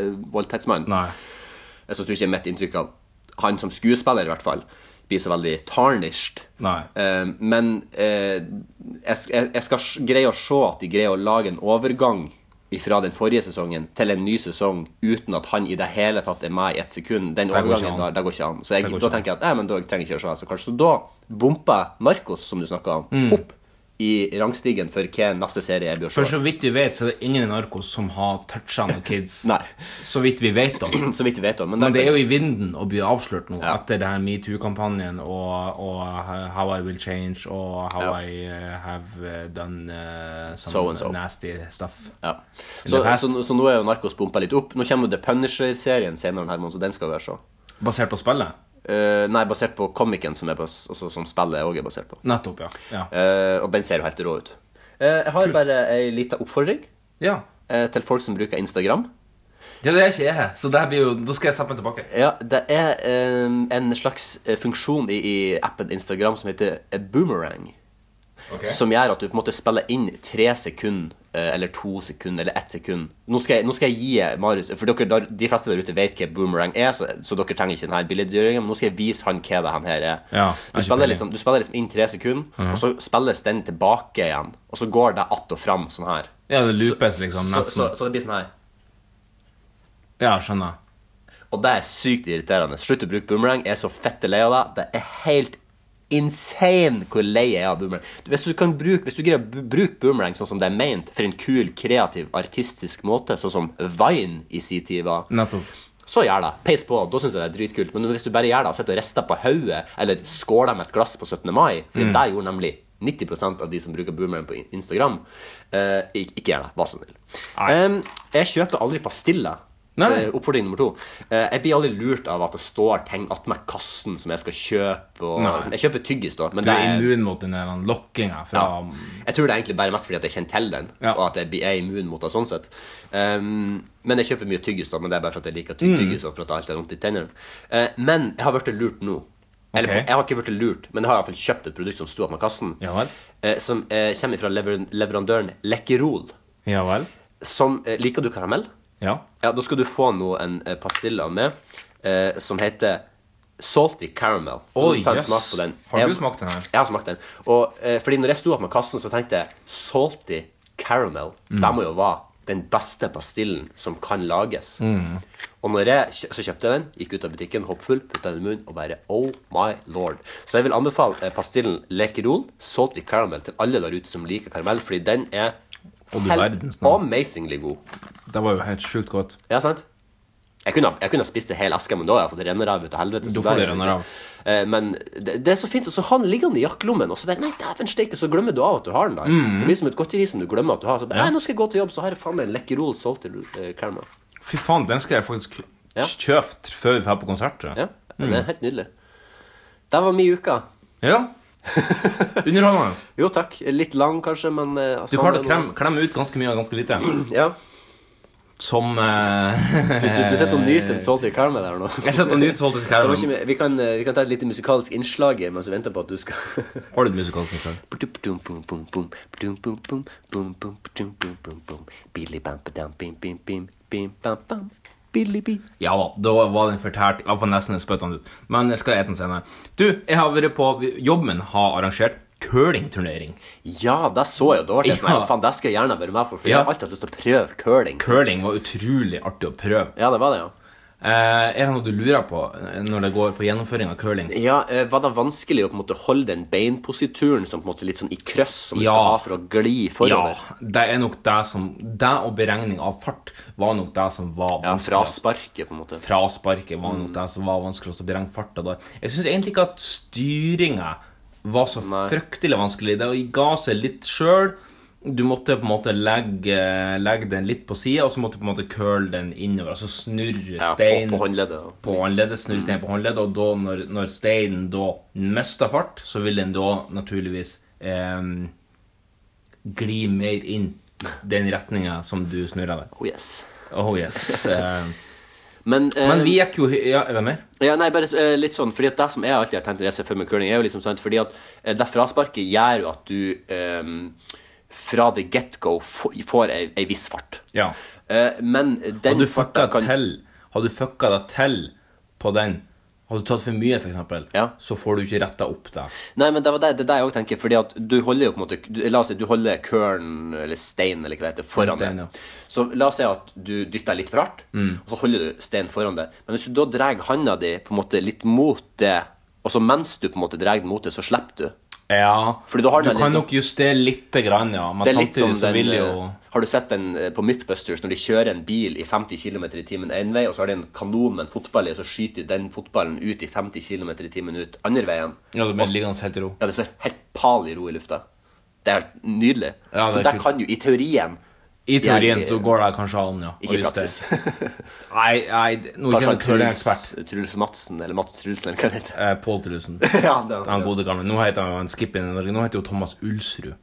Speaker 3: barnevoldtektsmann,
Speaker 4: Nei.
Speaker 3: Eh, så tror jeg ikke mitt inntrykk av han som skuespiller, i hvert fall, blir så veldig tarnished.
Speaker 4: Nei.
Speaker 3: Eh, men eh, jeg, sk- jeg, jeg skal s- greie å se at de greier å lage en overgang fra den forrige sesongen til en ny sesong uten at han i det hele tatt er med i ett sekund. Den
Speaker 4: går ikke
Speaker 3: overgangen
Speaker 4: an.
Speaker 3: der, det går ikke an. Så jeg,
Speaker 4: Det går ikke
Speaker 3: da tenker jeg at nei, men da trenger jeg ikke å se. Så, kanskje, så da bumper jeg Marcos, som du snakka om,
Speaker 4: Mm.
Speaker 3: opp i rangstigen for hva neste serie jeg bør
Speaker 4: For
Speaker 3: se.
Speaker 4: så vidt vi vet, så er det ingen i Narkos som har toucha noen kids.
Speaker 3: Nei.
Speaker 4: Så vidt vi vet, da.
Speaker 3: Så vidt vi vet om. Men,
Speaker 4: Men det er
Speaker 3: jo
Speaker 4: jo i vinden å bli avslørt nå
Speaker 3: Ja.
Speaker 4: etter det her metoo-kampanjen og, og uh, How I Will Change og How
Speaker 3: Ja.
Speaker 4: I uh, Have uh, Done uh, Some
Speaker 3: So and so.
Speaker 4: Nasty Stuff.
Speaker 3: ja.
Speaker 4: In the
Speaker 3: så,
Speaker 4: past.
Speaker 3: så, så nå er jo Narcos bumpa litt opp. Nå kommer jo The Punisher-serien senere, Herman, så den skal vi se.
Speaker 4: Basert på spillet?
Speaker 3: Eh, nei, basert på komikken som, er bas altså, som spillet òg er basert på.
Speaker 4: Nettopp, ja. Ja.
Speaker 3: Eh, og den ser jo helt rå ut. Eh, jeg har bare ei lita oppfordring
Speaker 4: ja.
Speaker 3: eh, til folk som bruker Instagram.
Speaker 4: Det er det jeg ikke er her, så det her blir jo, da skal jeg sette meg tilbake.
Speaker 3: Ja, Det er eh, en slags eh, funksjon i, i appen Instagram som heter eh, boomerang. Som gjør at du på en måte spiller inn tre sekunder, eh, eller to sekunder, eller ett sekund. Nå skal jeg, nå skal jeg gi Marius For dere, der- de fleste der ute vet hva boomerang er, så, så dere trenger ikke denne billedgjøringen, men nå skal jeg vise han hva det her er.
Speaker 4: Ja, jeg er
Speaker 3: du,
Speaker 4: ikke Mhm.
Speaker 3: spiller
Speaker 4: enig.
Speaker 3: liksom, du spiller liksom inn tre sekunder, og så spilles den tilbake igjen. Og så går det att og fram sånn her.
Speaker 4: Ja, det loopes liksom
Speaker 3: Så,
Speaker 4: nesten.
Speaker 3: så, så det blir sånn her.
Speaker 4: Ja, skjønner.
Speaker 3: Og det er sykt irriterende. Slutt å bruke boomerang. Jeg er så fette lei av det. Det er helt insane hvor lei jeg er av boomerang. Du, Hvis du, kan bruke, hvis du greier å bu- bruke boomerang sånn som det er meint, for en kul, kreativ, artistisk måte, sånn som Vine i sin tid var,
Speaker 4: Nettopp.
Speaker 3: så gjør det. Peis på. Da syns jeg det er dritkult. Men hvis du bare gjør det og sitter og rister på hodet, eller skåler med et glass på 17. mai, for
Speaker 4: Mm.
Speaker 3: det gjorde nemlig 90 av de som bruker boomerang på Instagram, eh, ik- ikke gjør det. Vær så snill. Em, jeg kjøper aldri pastiller.
Speaker 4: Nei.
Speaker 3: Eh, Oppfordring nummer to. Eh, jeg blir aldri lurt av at det står ting attmed kassen som jeg skal kjøpe. Og, sånn.
Speaker 4: Nei.
Speaker 3: Jeg kjøper tyggis, da. Men
Speaker 4: Du er
Speaker 3: det er,
Speaker 4: immun mot den der lokkinga fra
Speaker 3: ja, jeg tror det er egentlig bare mest fordi at jeg kjenner til den,
Speaker 4: Um, Ja.
Speaker 3: og at jeg blir- jeg er immun mot det sånn sett. Um, men jeg kjøper mye tyggis, da. Men det er bare for at jeg liker
Speaker 4: Mm.
Speaker 3: ty tyggis, og for at det alltid er vondt i tennene. Eh, men jeg har blitt lurt nå. Eller,
Speaker 4: Ok.
Speaker 3: jeg har ikke blitt lurt, men jeg har i hvert fall kjøpt et produkt som sto attmed kassen,
Speaker 4: Ja vel.
Speaker 3: eh, som eh, kommer fra lever leverandøren Lekkerol.
Speaker 4: Ja vel.
Speaker 3: Som eh, Liker du karamell?
Speaker 4: Ja.
Speaker 3: Ja, da skal du få nå en eh, pastille av meg eh, som heter Salty Caramel. Og
Speaker 4: Oi,
Speaker 3: ta en
Speaker 4: yes.
Speaker 3: smak på den.
Speaker 4: Har du
Speaker 3: Jeg-
Speaker 4: smakt den her?
Speaker 3: Jeg har smakt den. Og, eh, fordi når jeg sto opp med kassen, så tenkte jeg Salty Caramel,
Speaker 4: Mm.
Speaker 3: det må jo være den beste pastillen som kan lages.
Speaker 4: Mm.
Speaker 3: Og når jeg, kjø- så kjøpte jeg den, gikk ut av butikken hoppfull, putta den i munnen og bare Oh my lord. Så jeg vil anbefale eh, pastillen Lekerol Salty Caramel til alle der ute som liker karamell, fordi den er
Speaker 4: Og du verdens
Speaker 3: helt
Speaker 4: navn.
Speaker 3: amazingly god.
Speaker 4: Det var jo helt sjukt godt.
Speaker 3: Ja, sant? Jeg kunne, ha- jeg kunne ha spist en hel eske, men da har jeg fått renneræv ut av helvete. så
Speaker 4: Da får
Speaker 3: der
Speaker 4: du
Speaker 3: er det
Speaker 4: renneræv.
Speaker 3: ikke. Eh, Men det, det er så fint. Og så har den liggende i jakkelommen, og så bare Nei, dæven steike, så glemmer du av at du har den der.
Speaker 4: Mm.
Speaker 3: Det blir som et godteri som du glemmer at du har. Så bare, nei, nå skal jeg gå til jobb, så har jeg faen meg en Lekkerol solgt til eh, Caramel.
Speaker 4: Fy faen, den skal jeg faktisk
Speaker 3: Ja.
Speaker 4: kjøpe før vi drar på konsert. tror jeg.
Speaker 3: Ja, det
Speaker 4: Mm.
Speaker 3: er helt nydelig. Det var min uke.
Speaker 4: Ja. Underholdende.
Speaker 3: Jo takk. Litt lang, kanskje, men eh,
Speaker 4: Du
Speaker 3: sånn
Speaker 4: klarte å
Speaker 3: er
Speaker 4: klemme, klemme ut ganske mye og ganske lite.
Speaker 3: det nå. Ja.
Speaker 4: Som eh,
Speaker 3: Du, sit- du sitter og nyter en salty caramel her nå.
Speaker 4: Jeg sitter og nyter Saltis
Speaker 3: Det var
Speaker 4: Caramel.
Speaker 3: ikke mer- vi, kan, eh, vi kan ta et lite musikalsk innslag eh, mens vi venter på at du skal
Speaker 4: Har du et musikalsk innslag? Ja da, da var den fortært. Jeg får nesten spyttende ut. Men jeg skal ete den senere. Du, jeg har vært på jobben min har arrangert curlingturnering.
Speaker 3: Ja, det så jeg dårlig. Sånn,
Speaker 4: Ja.
Speaker 3: ja. Faen, det skulle jeg gjerne vært med på, for jeg
Speaker 4: Ja.
Speaker 3: har alltid hatt lyst til å prøve curling.
Speaker 4: Curling var utrolig artig å prøve.
Speaker 3: Ja, det var det, ja.
Speaker 4: Eh, er det noe du lurer på eh, når det går på gjennomføring av curling?
Speaker 3: Ja, eh, Var det vanskelig å på en måte holde den beinposituren som på en måte litt sånn i krøss, som du
Speaker 4: Ja.
Speaker 3: skal ha for å gli
Speaker 4: Ja,
Speaker 3: forover?
Speaker 4: det er nok det som Det og beregning av fart var nok det som var
Speaker 3: Ja, fra
Speaker 4: vanskeligst.
Speaker 3: sparket, på en måte.
Speaker 4: Fra sparket var
Speaker 3: Mm.
Speaker 4: nok det som var vanskeligst å beregne farta da. Jeg syns egentlig ikke at styringa var så fryktelig vanskelig. Det ga seg litt sjøl. Du måtte på en måte legge, legge den litt på sida, og så måtte du på en måte curle den innover. Altså snurre
Speaker 3: Ja, på, Mm.
Speaker 4: steinen
Speaker 3: på håndleddet. ja.
Speaker 4: på håndleddet, snurre steinen på håndleddet, og da når, når steinen da mister fart, så vil den da naturligvis eh, gli mer inn den retninga som du snurrer den.
Speaker 3: Oh, yes.
Speaker 4: Oh yes. Eh,
Speaker 3: Men, eh,
Speaker 4: men vi gikk jo Ja, er det mer?
Speaker 3: Ja, nei, bare eh, litt sånn, fordi at det som jeg alltid har tenkt når jeg ser for meg curling, er jo liksom sant, fordi at eh, det frasparket gjør jo at du ehm, fra det get-go få- får ei, ei viss fart.
Speaker 4: Ja.
Speaker 3: Eh, men den
Speaker 4: Hadde du fucka
Speaker 3: farta kan
Speaker 4: til Hadde du fucka deg til på den Hadde du tatt for mye, for eksempel,
Speaker 3: Ja.
Speaker 4: så får du ikke retta opp det.
Speaker 3: Nei, men det var det, det er det jeg òg tenker, fordi at du holder jo på en måte du, La oss si du holder curlen, eller steinen, eller hva det heter, foran
Speaker 4: Stein, ja. Mm.
Speaker 3: deg. Så la oss si at du dytter litt for hardt, og så holder du steinen foran deg. Men hvis du da drar handa di på en måte litt mot det, og så mens du på en måte drar den mot det, så slipper du.
Speaker 4: Ja.
Speaker 3: Fordi du har den
Speaker 4: kan
Speaker 3: litt-
Speaker 4: nok justere lite grann, ja. Men
Speaker 3: Det er litt
Speaker 4: samtidig
Speaker 3: som
Speaker 4: så
Speaker 3: den,
Speaker 4: vil jo
Speaker 3: eh, Har du sett den eh, på Mythbusters når de kjører en bil i 50 km i timen én vei, og så har de en kanon med en fotball i, og så skyter de den fotballen ut i 50 km i timen ut andre veien?
Speaker 4: Ja, det blir liggende helt i ro.
Speaker 3: Ja, det står helt pal i ro i lufta. Det er helt nydelig.
Speaker 4: Ja, det er
Speaker 3: så det
Speaker 4: kult.
Speaker 3: kan jo i teorien,
Speaker 4: I teorien
Speaker 3: Jeg-
Speaker 4: så går det kanskje an, ja. å
Speaker 3: ikke i
Speaker 4: justere.
Speaker 3: praksis.
Speaker 4: Nei, nei, det- nå er
Speaker 3: Kanskje
Speaker 4: ikke
Speaker 3: han
Speaker 4: jeg noen
Speaker 3: Truls,
Speaker 4: ekspert.
Speaker 3: Truls Madsen, eller Mats Trulsen, eller hva det heter.
Speaker 4: Eh, Pål Trusen.
Speaker 3: ja, det er
Speaker 4: Han
Speaker 3: han.
Speaker 4: gode gamle. Nå heter han jo en skipper i Norge. Nå heter jo Thomas Ulsrud.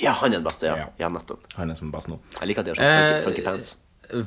Speaker 3: Ja, han er den beste, ja.
Speaker 4: Ja.
Speaker 3: ja nettopp.
Speaker 4: Han er som er best nå.
Speaker 3: Jeg liker at de har sånn funky,
Speaker 4: Eh,
Speaker 3: funky pants.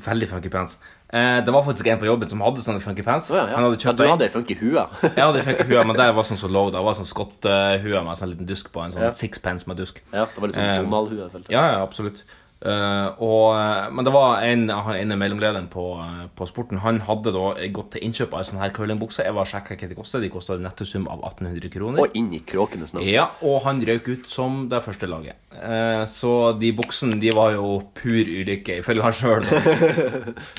Speaker 4: Veldig funky pants. Eh, det var faktisk en på jobben som hadde sånne funky pants.
Speaker 3: Å, ja, ja.
Speaker 4: Han hadde
Speaker 3: ja,
Speaker 4: kjøpt
Speaker 3: du
Speaker 4: en.
Speaker 3: hadde ei funky hue.
Speaker 4: Jeg hadde funky hue, men der var sånn så low. Det var sånn skotthue med sånn liten dusk på. En sånn sixpence med dusk.
Speaker 3: ja, det var litt sånn
Speaker 4: Eh,
Speaker 3: Donald-hue, jeg følte.
Speaker 4: Ja, ja, absolutt. Eh, og, eh, men det var en han ene mellomlederen på, eh, på sporten. Han hadde da gått til innkjøp av en sånn her curlingbukse. Jeg var og sjekket hva de kostet. De kostet en nettosum av 1800 kroner.
Speaker 3: Og inn i kråkenes navn.
Speaker 4: Ja, og han røyk ut som det første laget. Eh, så de buksene de var jo pur ulykke, ifølge han sjøl.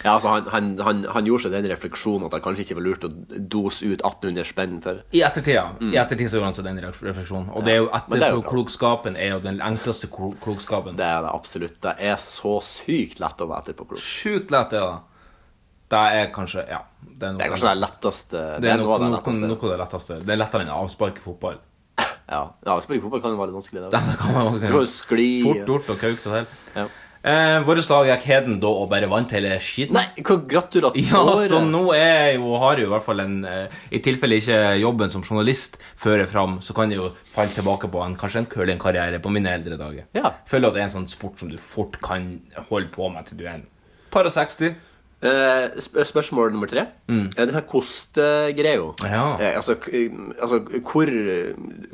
Speaker 3: Ja, altså han, han, han, han gjorde seg den refleksjonen at det kanskje ikke var lurt å dose ut 1800 spenn for
Speaker 4: I ettertida. I ettertid så gjorde han seg den refleksjonen. Og det er jo
Speaker 3: Mm. men det er jo bra.
Speaker 4: etterpåklokskapen er jo den enkleste klo- klokskapen.
Speaker 3: Det er det absolutt. Det er så sykt lett å være etterpåklok.
Speaker 4: Sjukt lett er det. Det er kanskje Ja. Det er,
Speaker 3: Det er kanskje det letteste
Speaker 4: det er
Speaker 3: noe
Speaker 4: noe,
Speaker 3: av det
Speaker 4: noe,
Speaker 3: letteste.
Speaker 4: noe av det letteste. Det er lettere enn avspark i fotball.
Speaker 3: Ja, ja Spille fotball kan jo være litt vanskelig. Det,
Speaker 4: Det kan man
Speaker 3: Du må jo skli
Speaker 4: Fort gjort å kauke det til.
Speaker 3: Ja.
Speaker 4: Eh, Vårt lag gikk heden da og bare vant hele skitten.
Speaker 3: Nei, hvor gratulatore!
Speaker 4: Ja, så nå er jeg jo, har jeg jo i hvert fall en eh, I tilfelle ikke jobben som journalist fører fram, så kan jeg jo falle tilbake på en, kanskje en curlingkarriere på mine eldre dager.
Speaker 3: Ja.
Speaker 4: Føler at det er en sånn sport som du fort kan holde på med til du er en par og 60.
Speaker 3: Eh, sp spørsmål nummer tre. Mm. Den her kostegreia.
Speaker 4: Ja.
Speaker 3: Eh, altså, k- altså hvor,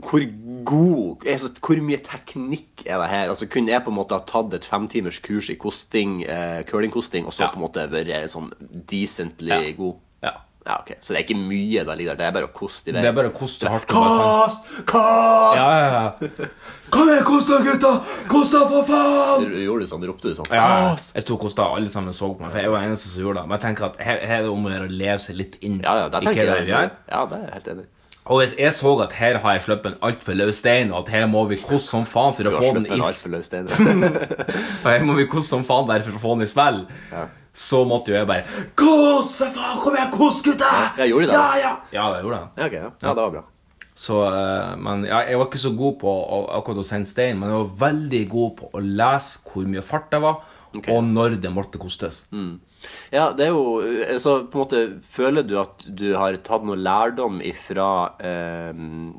Speaker 3: hvor god altså, Hvor mye teknikk er det her? Altså, Kunne jeg på en måte ha tatt et femtimers kurs i kosting, eh, curlingkosting og så
Speaker 4: Ja.
Speaker 3: på en måte vært sånn decently
Speaker 4: Ja.
Speaker 3: god?
Speaker 4: Ja.
Speaker 3: Ja, ok Så det er ikke mye der ligger der. Det er bare å koste i vei.
Speaker 4: Det er bare å koste hardt. du bare kan.
Speaker 3: Kost! Kost!
Speaker 4: Ja, ja, ja. Kom igjen, kost deg, gutta! Kost deg, for faen!
Speaker 3: Du- du Gjorde du sånn? Du Ropte du sånn?
Speaker 4: Ja, ja. jeg sto og kosta, og alle sammen så på meg. For jeg var den eneste som gjorde det. Men jeg tenker at her, her er det om å gjøre å leve seg litt inn
Speaker 3: Ja, ja,
Speaker 4: i hva
Speaker 3: det tenker
Speaker 4: det er
Speaker 3: jeg.
Speaker 4: vi gjør.
Speaker 3: Ja, det er jeg helt enig i.
Speaker 4: Og hvis jeg så at her har jeg sluppet en altfor løs stein, og at her må vi koste som faen for
Speaker 3: Du
Speaker 4: å
Speaker 3: har
Speaker 4: få den
Speaker 3: sluppet
Speaker 4: i
Speaker 3: en
Speaker 4: s-
Speaker 3: altfor løs stein.
Speaker 4: og her må vi koste som faen bare for å få den i spill, så måtte jo jeg bare Kos, for faen! Kom igjen, kos, gutta!
Speaker 3: Ja, gjorde du det?
Speaker 4: Ja, ja! ja, det gjorde jeg.
Speaker 3: Ja, ok, ja. ja, det var bra.
Speaker 4: Så, eh, men ja, jeg var ikke så god på å, akkurat å sende stein, men jeg var veldig god på å lese hvor mye fart det var,
Speaker 3: Ok. Mm.
Speaker 4: og når det måtte kostes.
Speaker 3: Ja, det er jo altså, på en måte, Føler du at du har tatt noe lærdom ifra eh,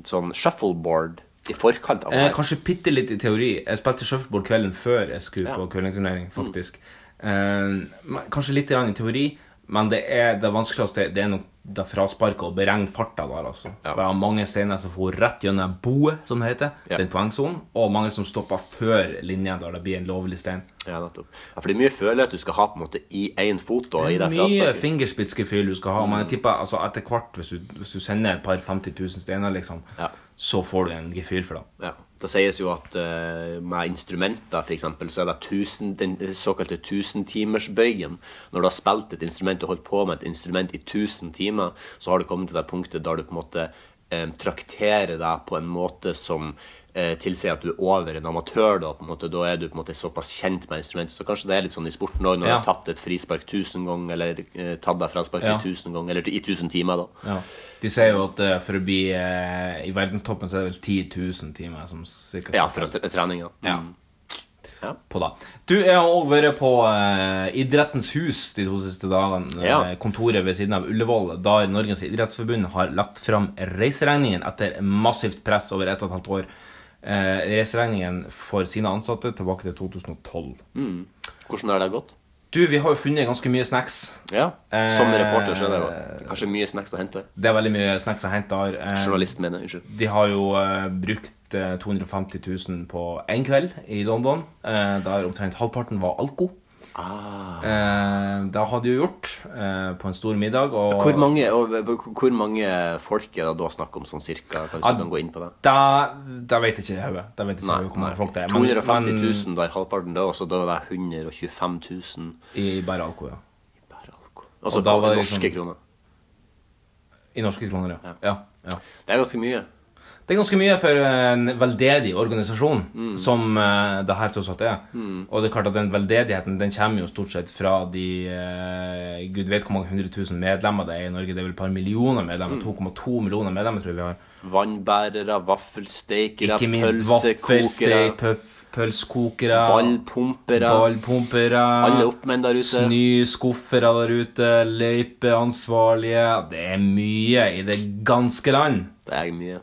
Speaker 3: sånn shuffleboard i forkant av det?
Speaker 4: Eh,
Speaker 3: her?
Speaker 4: kanskje bitte litt i teori. Jeg spilte shuffleboard kvelden før jeg skulle
Speaker 3: Ja. Mm.
Speaker 4: på curlingturnering, faktisk. Eh, men kanskje litt grann i teori, men det, er det vanskeligste det er nok det frasparket og beregne farta der, altså. Det
Speaker 3: Ja.
Speaker 4: var mange steiner som for rett gjennom boet, som det heter,
Speaker 3: Ja.
Speaker 4: den poengsonen, og mange som stoppa før linja der det blir en lovlig stein.
Speaker 3: Ja, nettopp. Ja, for det er mye føler jeg at du skal ha på en måte i én fot. da, i det
Speaker 4: Mye
Speaker 3: frasparket. Mm.
Speaker 4: fingerspitzgefühl du skal ha, men jeg tipper altså, etter hvert, hvis du, hvis du sender et par 50 000 steiner, liksom,
Speaker 3: Ja.
Speaker 4: så får du en gefühl for det.
Speaker 3: Ja. Det sies jo at eh, med instrumenter, f.eks., så er det 1000, den såkalte 1000-timersbøygen. Når du har spilt et instrument og holdt på med et instrument i 1000 timer, så har du kommet til det punktet der du på en måte eh, trakterer deg på en måte som eh, tilsier at du er over en amatør. Da, på en måte. da er du på en måte såpass kjent med instrumentet. Så kanskje det er litt sånn i sporten òg, når
Speaker 4: Ja.
Speaker 3: du har tatt et frispark 1000 ganger, eller eh, tatt deg fraspark
Speaker 4: Ja.
Speaker 3: 1000 ganger, eller i 1000 timer, da.
Speaker 4: Ja. De sier jo at eh, for å bli eh, I verdenstoppen så er det vel 10 000 timer som cirka
Speaker 3: Ja, fra tre- treninga.
Speaker 4: Ja.
Speaker 3: Mm.
Speaker 4: på da. Du jeg har òg vært på eh, Idrettens hus de to siste dagene. eh,
Speaker 3: Ja.
Speaker 4: Kontoret ved siden av Ullevål, der Norges idrettsforbund har lagt fram reiseregningen etter massivt press over ett og et halvt år. Eh, reiseregningen for sine ansatte tilbake til 2012.
Speaker 3: Hvordan har det gått?
Speaker 4: Du, vi har jo funnet ganske mye snacks.
Speaker 3: Ja, Som
Speaker 4: Eh,
Speaker 3: reporter så er det jo kanskje mye snacks å hente.
Speaker 4: Det er veldig mye snacks å hente der. eh,
Speaker 3: Journalist, mener jeg. Unnskyld.
Speaker 4: De har jo eh, brukt eh, 250 000 på én kveld i London, eh, der omtrent halvparten var alko. Eh, det hadde de jo gjort eh, på en stor middag. Og
Speaker 3: Hvor mange, og, hvor- hvor mange folk er det da snakk om sånn cirka? Kanskje
Speaker 4: Ja,
Speaker 3: du kan gå inn på det?
Speaker 4: Da, da vet jeg ikke i hodet. Da vet jeg ikke i hodet hvor mange folk det er. men-
Speaker 3: 250
Speaker 4: men
Speaker 3: 000 der halvparten da, og så da er det 125 000
Speaker 4: I bare alko, ja.
Speaker 3: per alkohol. Altså
Speaker 4: Og da
Speaker 3: på
Speaker 4: var det
Speaker 3: norske
Speaker 4: liksom-
Speaker 3: kroner.
Speaker 4: I norske kroner, ja. ja. ja.
Speaker 3: Det er ganske mye.
Speaker 4: Det er ganske mye for en veldedig organisasjon,
Speaker 3: Mm.
Speaker 4: som uh, det her tross alt er. Og det er klart at den veldedigheten den kommer jo stort sett fra de eh, Gud vet hvor mange hundre tusen medlemmer det er i Norge. Det er vel et par millioner
Speaker 3: Mm.
Speaker 4: medlemmer. 2,2 millioner medlemmer, tror jeg vi har.
Speaker 3: Vannbærere, vaffelsteikere,
Speaker 4: Ikke minst
Speaker 3: pølsekokere,
Speaker 4: vaffelsteik, pøff- pølsekokere,
Speaker 3: ballpumpere
Speaker 4: ballpumpere
Speaker 3: Alle oppmenn der ute.
Speaker 4: Snøskuffere der ute, løypeansvarlige Det er mye i det ganske land.
Speaker 3: Det er mye.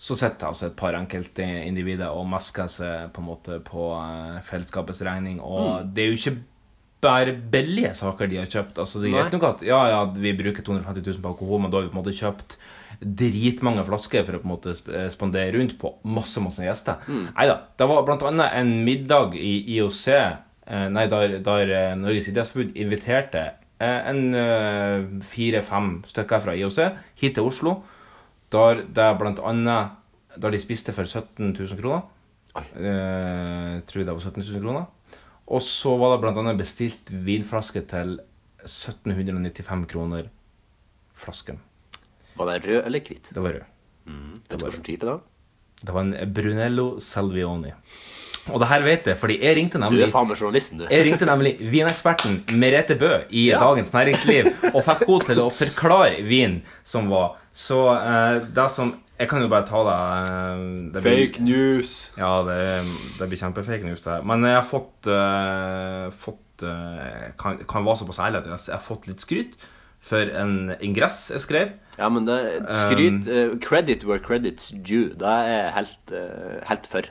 Speaker 4: så sitter altså et par enkelte individer og mesker seg på en måte på eh, fellesskapets regning. Og det er jo ikke bare billige saker de har kjøpt. Altså Det er greit nok at ja, ja, vi bruker 250 000 på alkohol, men da har vi på en måte kjøpt dritmange flasker for å på en måte sp- eh, spandere rundt på masse masse gjester. Nei da. Det var blant annet en middag i IOC, eh, nei, der, der eh, Norges idrettsforbund inviterte eh, en fire-fem stykker fra IOC hit til Oslo. Der det blant annet Der de spiste for 17 000 kroner. Eh, tror det var 17 000 kroner. Og så var det blant annet bestilt vinflaske til 1795 kroner flasken.
Speaker 3: Var det rød eller hvitt?
Speaker 4: Det var rød.
Speaker 3: Vet du hvilken type da?
Speaker 4: Det var en Brunello Salvioni. Og det her vet jeg, fordi jeg ringte
Speaker 3: Du
Speaker 4: nemlig
Speaker 3: er faen meg journalisten, du.
Speaker 4: Jeg ringte nemlig vineksperten Merete Bø i Dagens Næringsliv og fikk henne til å forklare vin som var. Så eh, det som Jeg kan jo bare ta det, eh, det blir-
Speaker 3: news.
Speaker 4: Ja, det, det blir kjempefake news, det her. Men jeg har fått, eh, fått eh, kan, kan være såpass ærlig at jeg, jeg har fått litt skryt for en ingress jeg skrev.
Speaker 3: Ja, men det
Speaker 4: Um,
Speaker 3: skryt eh, Credit where credit's due. Det er jeg helt, eh, helt for.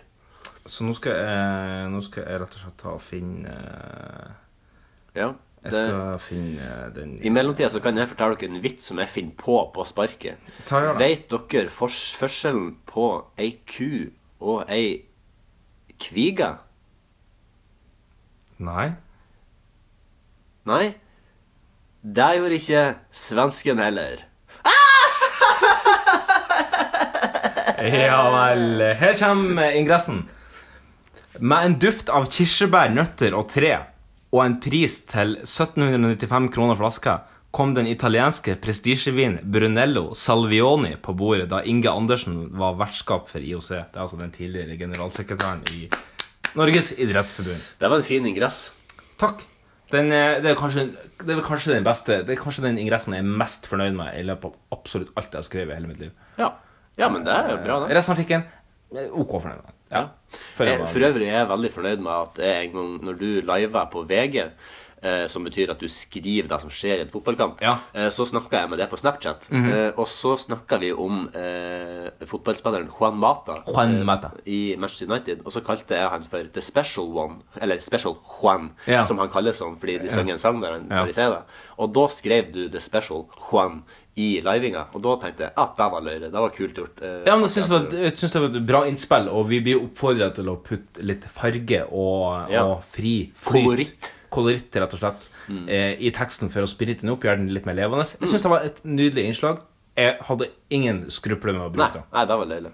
Speaker 4: Så nå skal jeg, nå skal jeg rett og slett ta og finne eh,
Speaker 3: Ja.
Speaker 4: Jeg
Speaker 3: Det,
Speaker 4: skal finne den
Speaker 3: I mellomtida så kan jeg fortelle dere en vits som jeg finner på på sparket.
Speaker 4: Ta gjør det.
Speaker 3: Vet dere fors forskjellen på ei ku og ei kvige?
Speaker 4: Nei?
Speaker 3: Nei, det gjorde ikke svensken heller.
Speaker 4: Ja vel. Her kommer ingressen. Med en duft av kirsebær, nøtter og tre og en pris til 1795 kroner flaska kom den italienske prestisjevin Brunello Salvioni på bordet da Inge Andersen var vertskap for IOC. Det er altså den tidligere generalsekretæren i Norges idrettsforbund.
Speaker 3: Det var en fin ingress.
Speaker 4: Takk. Den, eh, det, er kanskje, det er vel kanskje den beste Det er kanskje den ingressen jeg er mest fornøyd med i løpet av absolutt alt jeg har skrevet i hele mitt liv.
Speaker 3: Ja. ja, men det er jo bra, det.
Speaker 4: Resten av artikkelen eh, OK fornøyd med.
Speaker 3: Ja. Eh,
Speaker 4: Føler
Speaker 3: Jeg,
Speaker 4: jeg var-
Speaker 3: for øvrig er jeg veldig fornøyd med at jeg en gang, når du liver på VG, eh, som betyr at du skriver det som skjer i en fotballkamp,
Speaker 4: Ja. Mhm.
Speaker 3: eh, så snakka jeg med deg på Snapchat. eh, og så snakka vi om eh, fotballspilleren Juan Mata. eh,
Speaker 4: Juan Mata.
Speaker 3: I Manchester United. Og så kalte jeg han for The Special One, eller Special Juan,
Speaker 4: Ja.
Speaker 3: som han kalles sånn fordi de sang en sang der han der de sier det. Og da skrev du The Special Juan i livinga, og da tenkte jeg at det var løyre. Det var kult gjort. eh,
Speaker 4: Ja, men jeg syns det, var- jeg synes det var et bra innspill, og vi blir oppfordra til å putte litt farge og,
Speaker 3: Ja.
Speaker 4: og fri
Speaker 3: Koloritt. Mm.
Speaker 4: Koloritt, rett og slett, eh, i teksten for å sprite den opp, gjøre den litt mer levende. Jeg syns det var et nydelig innslag. Jeg hadde ingen skrupler med å
Speaker 3: Nei,
Speaker 4: bruke det.
Speaker 3: nei, det var løyre.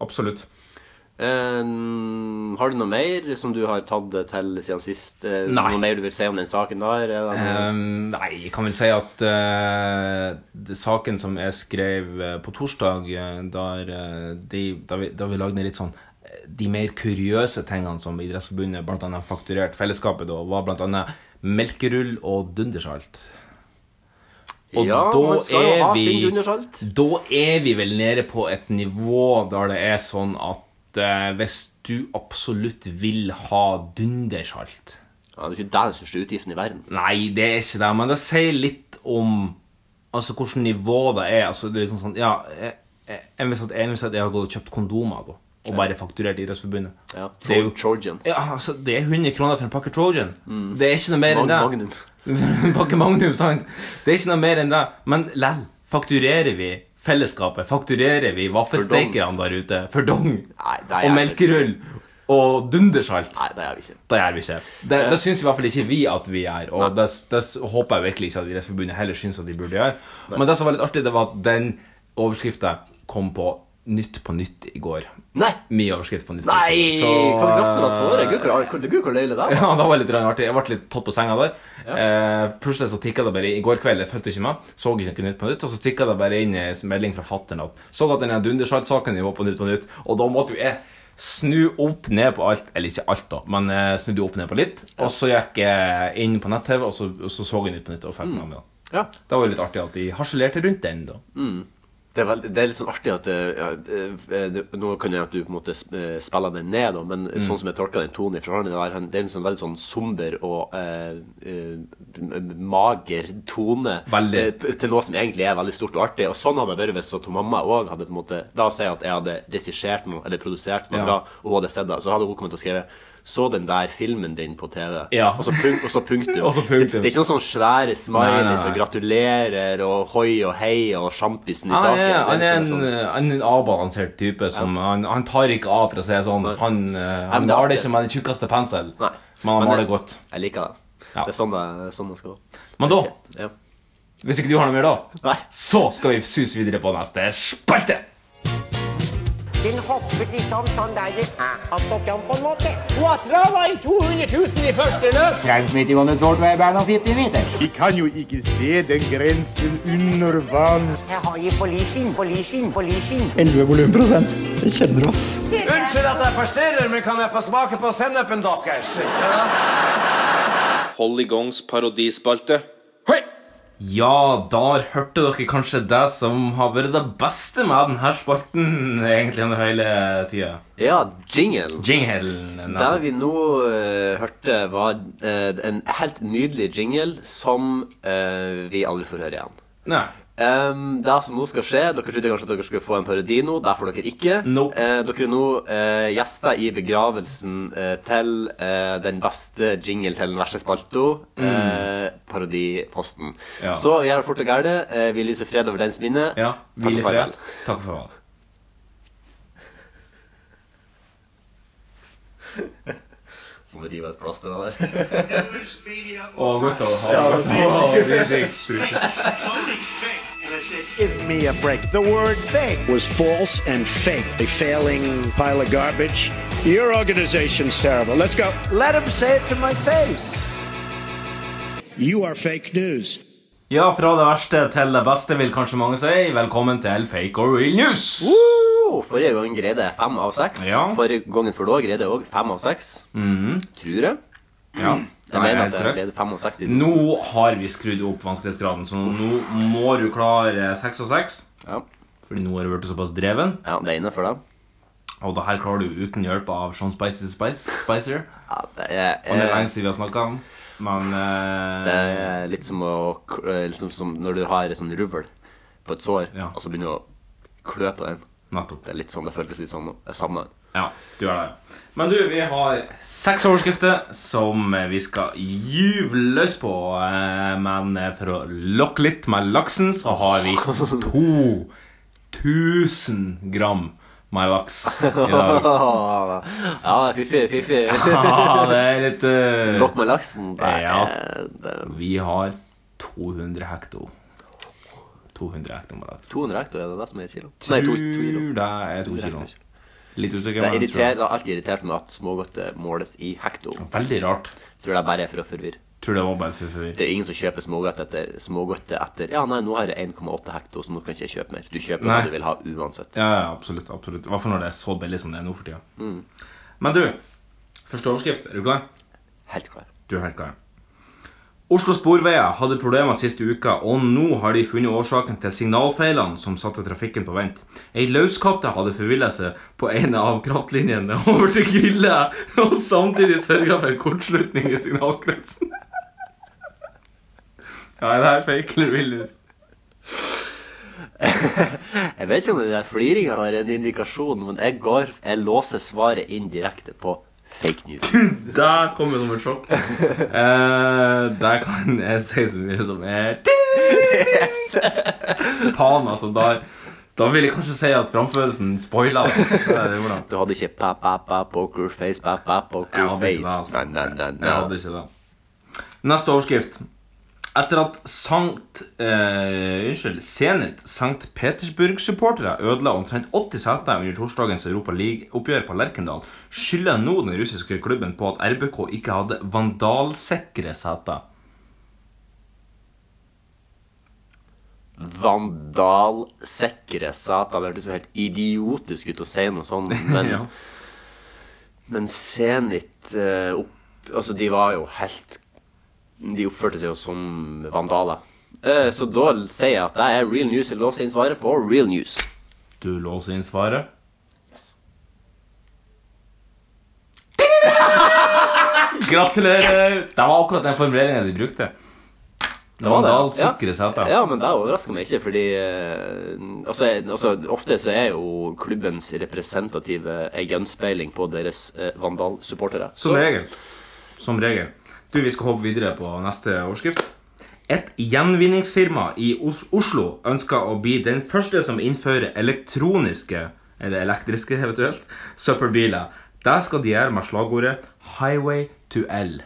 Speaker 4: Absolutt.
Speaker 3: Eh, har du noe mer som du har tatt det til siden sist? Eh,
Speaker 4: Nei.
Speaker 3: Noe mer du vil si om den saken der? Er det noe-
Speaker 4: Ehm, nei, jeg kan vel si at eh, det- saken som jeg skrev eh, på torsdag, eh, der, eh, de, da, vi, da vi lagde litt sånn eh, de mer kuriøse tingene som Idrettsforbundet bl.a. fakturerte fellesskapet, da, var bl.a. melkerull og dundersalt. Og
Speaker 3: Ja,
Speaker 4: da
Speaker 3: man skal jo
Speaker 4: er
Speaker 3: ha
Speaker 4: vi-
Speaker 3: sin dundersalt.
Speaker 4: Da er vi vel nede på et nivå der det er sånn at eh, hvis du absolutt vil ha dundersalt
Speaker 3: Ja, det er ikke det den største utgiften i verden.
Speaker 4: Nei, det er ikke det, men det sier litt om Altså hvilket nivå det er. Altså det er liksom sånn, ja, jeg- jeg- jeg vil si at jeg vil si at jeg har gått og kjøpt kondomer da, og bare fakturert Idrettsforbundet.
Speaker 3: Ja,
Speaker 4: Det er jo-
Speaker 3: Trojan.
Speaker 4: Ja, altså Det er 100 kroner for en pakke Trojan. Det er ikke noe mer enn det.
Speaker 3: Mag- Mm. Magnum.
Speaker 4: En pakke Magnum, sant? Det er ikke noe mer enn det. Men lell, fakturerer vi fellesskapet? Fakturerer vi vaffelstekerne der ute? For dong?
Speaker 3: Nei, det er
Speaker 4: Og
Speaker 3: jeg ikke.
Speaker 4: melkerull? Og dundersalt?
Speaker 3: Nei, det er vi ikke.
Speaker 4: Det gjør vi ikke. Det, det syns i hvert fall ikke vi at vi gjør. Og det, det håper jeg virkelig ikke at Idrettsforbundet heller syns at de burde gjøre. Men det som var litt artig, det var at den overskrifta kom på Nytt på Nytt i går.
Speaker 3: Nei!
Speaker 4: Min overskrift på Nytt på
Speaker 3: Nei!
Speaker 4: Nytt. Så,
Speaker 3: Kan du gratulere? Gud, hvor- hvor- Gud, hvor løyelig det er.
Speaker 4: ja, det var litt rann artig. Jeg ble litt tatt på senga der. Eh, plutselig så tikka det bare inn. I går kveld jeg fulgte ikke med, så ikke noe Nytt på Nytt, og så tikka det bare inn en melding fra fatter'n at så at den Dunderside-saken var på Nytt på Nytt, og da måtte jo jeg snu opp ned på alt Eller ikke alt, da, men eh, snudde opp ned på litt. Og så gikk jeg inn på nett-TV, og så og så, så jeg Nytt på Nytt og fulgte med. meg da.
Speaker 3: Ja.
Speaker 4: Det var jo litt artig at de harselerte rundt den, da.
Speaker 3: Det er, veld, det er litt sånn artig at eh, ja, eh, det- Nå kan jeg at du på en måte sp- eh, spiller den ned, da, men
Speaker 4: Mm.
Speaker 3: sånn som jeg tolker den tonen fra han der, han- det er en sånn veldig sånn somber og eh, eh, m- mager tone
Speaker 4: Veldig.
Speaker 3: eh, p- til noe som egentlig er veldig stort og artig. Og sånn hadde det vært hvis at hun mamma òg hadde på en måte La oss si at jeg hadde regissert noe eller produsert noe
Speaker 4: Ja.
Speaker 3: bra, og hun hadde sett det, så hadde hun kommet til å skrive så den der filmen din på TV.
Speaker 4: Ja.
Speaker 3: Og så punk- og så punktum.
Speaker 4: Og så punktum.
Speaker 3: Det, det er ikke noen sånn
Speaker 4: Nei,
Speaker 3: svære
Speaker 4: nei,
Speaker 3: smileys
Speaker 4: nei.
Speaker 3: og gratulerer og hoi og hei og sjampisen i
Speaker 4: Han
Speaker 3: taket.
Speaker 4: er, han
Speaker 3: Det
Speaker 4: er
Speaker 3: er
Speaker 4: en, eh,
Speaker 3: liksom sånn-
Speaker 4: han er en avbalansert type. Som, han, han tar ikke av, for å si det sånn. Han, eh, han
Speaker 3: men det er
Speaker 4: maler
Speaker 3: artig.
Speaker 4: ikke med den tjukkeste pensel,
Speaker 3: Nei.
Speaker 4: men han
Speaker 3: Men
Speaker 4: maler
Speaker 3: det-
Speaker 4: godt.
Speaker 3: Jeg liker det.
Speaker 4: Ja.
Speaker 3: Det er sånn det, sånn det skal gå.
Speaker 4: Men da,
Speaker 3: Ja.
Speaker 4: hvis ikke du har noe mer da,
Speaker 3: Nei.
Speaker 4: så skal vi sus videre på neste spalte.
Speaker 7: Den hopper liksom sånn der i at og fram på en måte. Watra var i 200 000 i første løp. Transmitting on the sword way back on 50 meter.
Speaker 8: Vi kan jo ikke se den grensen under vann.
Speaker 7: Jeg har i polising, polising, polising.
Speaker 9: Unnskyld at jeg forstyrrer, men kan jeg få smake på sennepen deres?
Speaker 10: Holligongs parodispalte. Hei!
Speaker 4: Ja, der hørte dere kanskje det som har vært det beste med denne spalten egentlig under hele tida.
Speaker 3: ja, jingle.
Speaker 4: Jingelen.
Speaker 3: Det vi nå eh, hørte, var eh, en helt nydelig jingle som eh, vi aldri får høre igjen.
Speaker 4: Nei.
Speaker 3: Em, det som nå skal skje Dere trodde kanskje at dere skulle få en parodi nå. Det får dere ikke.
Speaker 4: Nope.
Speaker 3: Eh, dere er nå eh, gjester i begravelsen eh, til eh, den beste jingle til den verste spalto, eh, parodiposten.
Speaker 4: Mm. Ja.
Speaker 3: Så vi gjør fort og gærent. Eh, vi lyser fred over dens minne.
Speaker 4: Ja,
Speaker 3: Takk
Speaker 4: hvil i
Speaker 3: og farvel.
Speaker 4: fred. Takk for farvel.
Speaker 3: Så må rive et plaster av det.
Speaker 4: Å, godt å ha deg.
Speaker 8: Give me a break. The word fake was false and fake. A failing pile of garbage. Your organization's terrible. Let's go. Let him say it to my face. You are fake news.
Speaker 4: Ja, fra det verste til det beste vil kanskje mange si. Velkommen til Fake or real news.
Speaker 3: Oh, forrige gang greide jeg fem av seks.
Speaker 4: Ja. Mhm.
Speaker 3: Forrige gangen før da greide jeg òg fem av seks. Tror jeg.
Speaker 4: Ja,
Speaker 3: Jeg
Speaker 4: det er
Speaker 3: mener
Speaker 4: helt
Speaker 3: at jeg
Speaker 4: korrekt.
Speaker 3: greide fem av seks. i
Speaker 4: Nå har vi skrudd opp vanskelighetsgraden, så nå må du klare 6 av 6.
Speaker 3: Ja.
Speaker 4: Fordi nå har du vært såpass dreven.
Speaker 3: ja, det er innenfor, det.
Speaker 4: Og det her klarer du uten hjelp av Sean Spicy Spice, Spicer.
Speaker 3: Ja, det er,
Speaker 4: Og det er
Speaker 3: eh,
Speaker 4: lenge siden vi har snakka om, men eh,
Speaker 3: Det er litt som, å, k- eh, liksom, som når du har sånn ruvel på et sår,
Speaker 4: Ja.
Speaker 3: og så begynner du å klø på den.
Speaker 4: Nettopp.
Speaker 3: Det er litt sånn, det føltes litt sånn. nå. Jeg savner den.
Speaker 4: Ja, du er det. Men du, vi har seks overskrifter som vi skal gyve løs på. eh, Men for å lokke litt med laksen, så har vi 2000 gram med laks i dag.
Speaker 3: Ja, fiffig, fiffig.
Speaker 4: Ja, det er litt eh,
Speaker 3: Lokk med laksen. Det er,
Speaker 4: Ja.
Speaker 3: det er
Speaker 4: Vi har 200 hekto. 200 hekto med laks.
Speaker 3: 200 hekto, er det det som er kilo? Nei, to, to kilo.
Speaker 4: Tror Det er to kilo. Litt usikker,
Speaker 3: Det
Speaker 4: men
Speaker 3: er
Speaker 4: jeg tror
Speaker 3: irriter- det har alltid irritert meg at smågodtet måles i hekto.
Speaker 4: Veldig rart.
Speaker 3: Tror det er bare for å forvirre.
Speaker 4: Tror det var bare for forvirre.
Speaker 3: Det er ingen som kjøper smågodt etter smågodtet etter Ja, nei, nå har jeg 1,8 hekto, så nå kan ikke jeg kjøpe mer. Du kjøper
Speaker 4: Nei.
Speaker 3: hva du vil ha uansett.
Speaker 4: Ja, ja, absolutt. absolutt. I hvert fall når det er så billig som det er nå for tida.
Speaker 3: Mm.
Speaker 4: Men du, første overskrift. Er du klar?
Speaker 3: Helt klar.
Speaker 4: Du er helt klar. Oslo Sporveier hadde problemer siste uka, og nå har de funnet årsaken til signalfeilene som satte trafikken på vent. Ei løskatte hadde forvilla seg på en av kraftlinjene over til Grille, og samtidig sørga for kortslutning i signalkretsen. Ja, er det her fake eller villus?
Speaker 3: Jeg vet ikke om den der fliringa er en indikasjon, men jeg går Jeg låser svaret inn direkte på fake news.
Speaker 4: Der kom det som et sjokk. Eh, der kan jeg si så mye som er Faen, altså. Da, da vil jeg kanskje si at framførelsen spoila.
Speaker 3: Du hadde ikke pa-pa-pa-pokerface,
Speaker 4: Jeg hadde
Speaker 3: pa-pa-pokerface
Speaker 4: ikke det, altså.
Speaker 3: Nei, nei, nei, nei.
Speaker 4: Jeg hadde ikke det. Neste overskrift. Etter at Sankt eh, Unnskyld, Zenit Sankt Petersburg-supportere ødela omtrent 80 seter under torsdagens Europa League-oppgjør på Lerkendal, skylder nå den russiske klubben på at RBK ikke hadde vandalsikre seter.
Speaker 3: Vandalsekre satan. Det hørtes jo helt idiotisk ut å si noe sånt, men
Speaker 4: Ja.
Speaker 3: Men Zenit eh, opp, Altså, de var jo helt De oppførte seg jo som vandaler. Eh, så da sier jeg at det er real news. Jeg låser inn svaret på real news.
Speaker 4: Du låser inn svaret? Gratulerer! Det var akkurat den formuleringen de brukte.
Speaker 3: Det var det, ja.
Speaker 4: Vandalsikre seter.
Speaker 3: Ja, men det overrasker meg ikke, fordi eh, altså, jeg- altså, Ofte så er jo klubbens representative ei gjenspeiling på deres eh, vandalsupportere.
Speaker 4: Som
Speaker 3: Så-
Speaker 4: regel. Som regel. Du, vi skal hoppe videre på neste overskrift. Et gjenvinningsfirma i Os Oslo ønsker å bli den første som innfører elektroniske, eller elektriske eventuelt, søppelbiler. Det skal de gjøre med slagordet 'Highway to L'.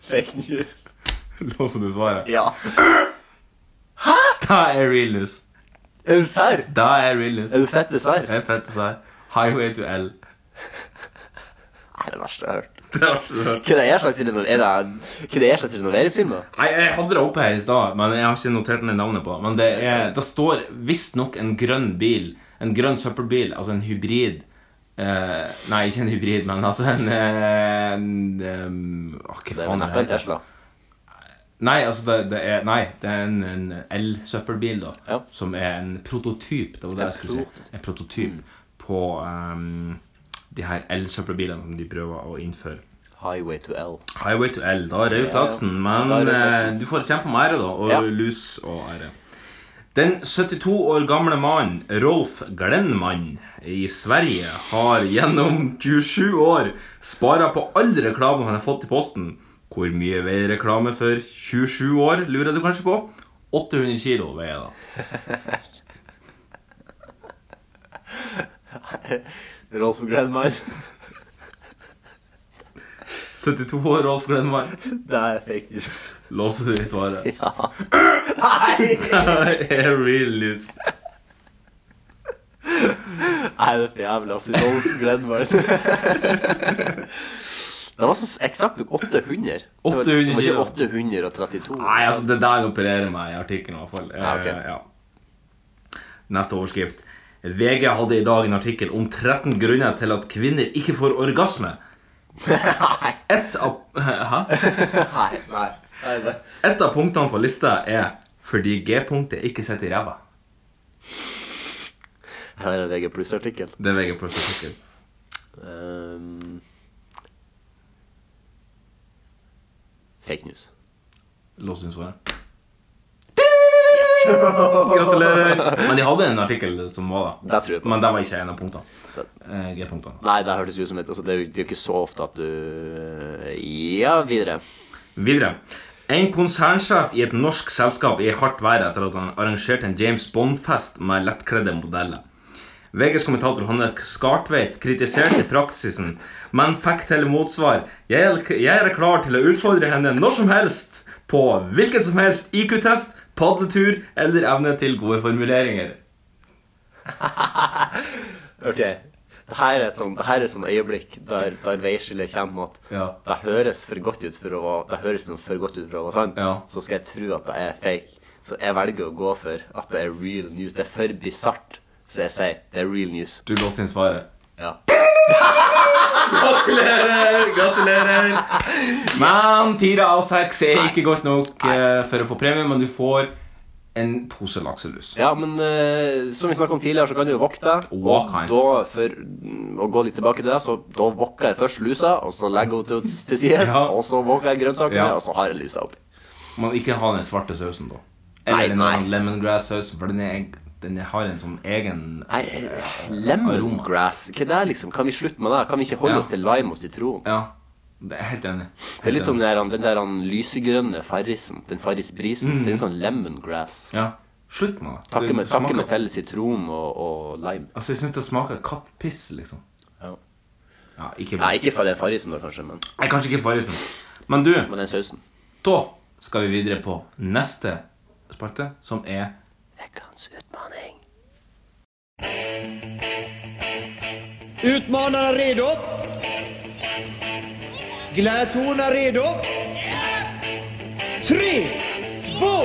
Speaker 3: Fake news.
Speaker 4: Låser du svaret?
Speaker 3: Ja.
Speaker 4: Det er real news.
Speaker 3: Er du serr?
Speaker 4: Det er real news. Er
Speaker 3: du fette serr?
Speaker 4: Jeg er fette serr. Highway to L.
Speaker 3: Det er det verste jeg har hørt.
Speaker 4: Det er verste jeg har hørt.
Speaker 3: Hva er det slags, reno- er det, hva er det slags renoveringsfirma?
Speaker 4: Nei, jeg hadde det oppe her i stad, men jeg har ikke notert ned navnet på det. Men det, er, det står visstnok en grønn bil. En grønn søppelbil, altså en hybrid. Eh, nei, ikke en hybrid, men altså en, eh, en em, åh, Hva
Speaker 3: er vel
Speaker 4: faen
Speaker 3: neppe en Tesla.
Speaker 4: Nei, altså det, det er, nei, det er en, en elsøppelbil, da. Som er en prototyp. Det var det
Speaker 3: En
Speaker 4: jeg skulle si. En prototyp på em, de her elsøppelbilene som de prøver å innføre.
Speaker 3: Highway to L.
Speaker 4: Highway to L. Da er
Speaker 3: Ja,
Speaker 4: Raut
Speaker 3: ja.
Speaker 4: Laksen. Men
Speaker 3: Da er Raut
Speaker 4: eh,
Speaker 3: Laksen.
Speaker 4: du får kjempe om ære, da. Og
Speaker 3: Ja.
Speaker 4: lus og ære. Den 72 år gamle mannen Rolf Glenmann i Sverige har gjennom 27 år spara på all reklame han har fått i posten. Hvor mye veier reklame for 27 år, lurer du kanskje på? 800 kilo veier da.
Speaker 3: Rolf Glenmar.
Speaker 4: 72 år Rolf Glenmann.
Speaker 3: Det er fake news.
Speaker 4: Låser du i svaret?
Speaker 3: Ja.
Speaker 4: Det er real news.
Speaker 3: Nei, det er for jævlig, altså. Rolf Glenmar. Det var så eksakt nok 800. Det var, det var
Speaker 4: 800 kilo.
Speaker 3: ikke 832.
Speaker 4: Nei, altså det der opererer meg i artikkelen i hvert fall. Eh,
Speaker 3: Ja, ok.
Speaker 4: ja. Neste overskrift. VG hadde i dag en artikkel om 13 grunner til at kvinner ikke får orgasme. Et av, hæ?
Speaker 3: Nei, nei. nei det.
Speaker 4: Et av punktene på lista er fordi G-punktet ikke sitter i ræva.
Speaker 3: Her er en VG pluss-artikkel.
Speaker 4: Det er VG pluss-artikkel.
Speaker 3: Ehm, fake news.
Speaker 4: Lås inn svaret. Gratulerer. Men de hadde en artikkel som var da.
Speaker 3: Det tror jeg på.
Speaker 4: Men det var ikke en av punktene. Eh, G-punktene.
Speaker 3: Nei, det hørtes ut som et altså, Det er jo det er jo ikke så ofte at du Ja, videre.
Speaker 4: Videre. En konsernsjef i et norsk selskap er i hardt vær etter at han arrangerte en James Bond-fest med lettkledde modeller. VGs kommentator Hanne Skartveit kritiserte praksisen, men fikk til motsvar jeg er, jeg er klar til å utfordre henne når som helst på hvilken som helst IQ-test, padletur eller evne til gode formuleringer.
Speaker 3: OK. Det her er et sånn, det her er et sånn øyeblikk der, der veiskillet kommer mot
Speaker 4: Ja.
Speaker 3: Det høres for godt ut for å være Det høres sånn for godt ut for å være sant, så skal jeg tro at det er fake. Så jeg velger å gå for at det er real news. Det er for bisart, så jeg sier det er real news.
Speaker 4: Du låste inn svaret?
Speaker 3: Ja.
Speaker 4: Gratulerer! Gratulerer! Men fire av seks er ikke godt nok eh, for å få premie, men du får en pose lakselus.
Speaker 3: Ja, men eh, som vi snakket om tidligere, så kan du jo vokte deg. Og
Speaker 4: Walk high.
Speaker 3: da, for mm, å gå litt tilbake til det, så da vokker jeg først lusa, og så legger hun til, til sides,
Speaker 4: Ja.
Speaker 3: og så vokker jeg grønnsakene,
Speaker 4: Ja.
Speaker 3: og så har jeg lusa oppi.
Speaker 4: Man ikke ha den svarte sausen, da. Eller den andre lemongrass-sausen, for den, er, den har en sånn egen
Speaker 3: Nei, lemongrass Hva er det liksom? Kan vi slutte med det? Kan vi ikke holde
Speaker 4: Ja.
Speaker 3: oss til lime og sitron?
Speaker 4: Ja, det er jeg helt enig.
Speaker 3: Det er litt sånn- som den der, den der han lysegrønne farrisen, den farrisbrisen.
Speaker 4: Mm.
Speaker 3: Det er en sånn lemongrass.
Speaker 4: Ja, slutt med det.
Speaker 3: Takke
Speaker 4: Det
Speaker 3: med, takke
Speaker 4: smaker-
Speaker 3: med til sitron og, og lime.
Speaker 4: Altså, jeg syns det smaker kattpiss, liksom.
Speaker 3: Ja.
Speaker 4: ikke
Speaker 3: Nei, ikke for den farrisen da, kanskje, men
Speaker 4: Nei, kanskje ikke farrisen. Men du,
Speaker 3: med den sausen.
Speaker 4: da skal vi videre på neste spalte, som er
Speaker 3: Vekkans utmaning.
Speaker 9: Utmanarna redo? Gladiatorerna redo? Tre, två,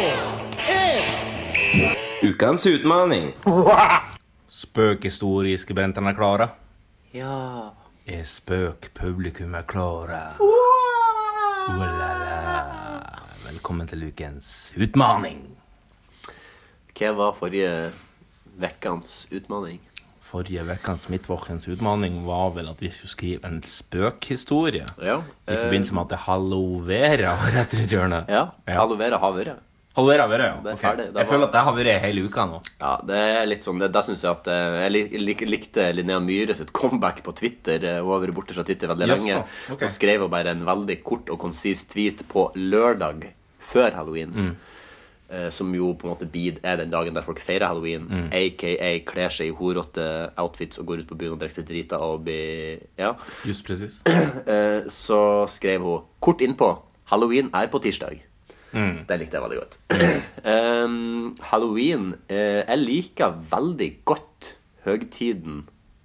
Speaker 9: ett!
Speaker 2: Ukens utmaning.
Speaker 4: Spøkhistoriske brentene er klare.
Speaker 3: Ja.
Speaker 4: Er spøk publikum er klare? Olala. Velkommen til ukens utmaning.
Speaker 3: Hva var forrige vekkans utmaning?
Speaker 4: Forrige ukens midtvåkens utmaning var vel at vi skulle skrive en spøkhistorie.
Speaker 3: Ja. eh,
Speaker 4: I forbindelse med at det er hallovera rett rundt hjørnet.
Speaker 3: Ja. Aloe vera har vært.
Speaker 4: Hallovera vera, ja.
Speaker 3: Det er
Speaker 4: Ok.
Speaker 3: ferdig. Det
Speaker 4: Jeg
Speaker 3: var-
Speaker 4: føler at det har vært hele uka nå.
Speaker 3: Ja, det er litt sånn, det, der synes jeg at eh, Jeg lik, lik, likte Linnea Myhre sitt comeback på Twitter. eh, Hun har vært borte fra Twitter veldig
Speaker 4: Jaså,
Speaker 3: lenge.
Speaker 4: ok.
Speaker 3: Så skrev hun bare en veldig kort og konsis tweet på lørdag før halloween.
Speaker 4: Mm.
Speaker 3: eh, Som jo på en måte blir- er den dagen der folk feirer halloween.
Speaker 4: Mm.
Speaker 3: Aka kler seg i horete outfits og går ut på byen og drikker seg drita og blir Ja.
Speaker 4: Just presis.
Speaker 3: Eh, Så skrev hun kort innpå Halloween er på tirsdag.
Speaker 4: Mm.
Speaker 3: Den likte jeg veldig godt. um, halloween eh, Jeg liker veldig godt høgtiden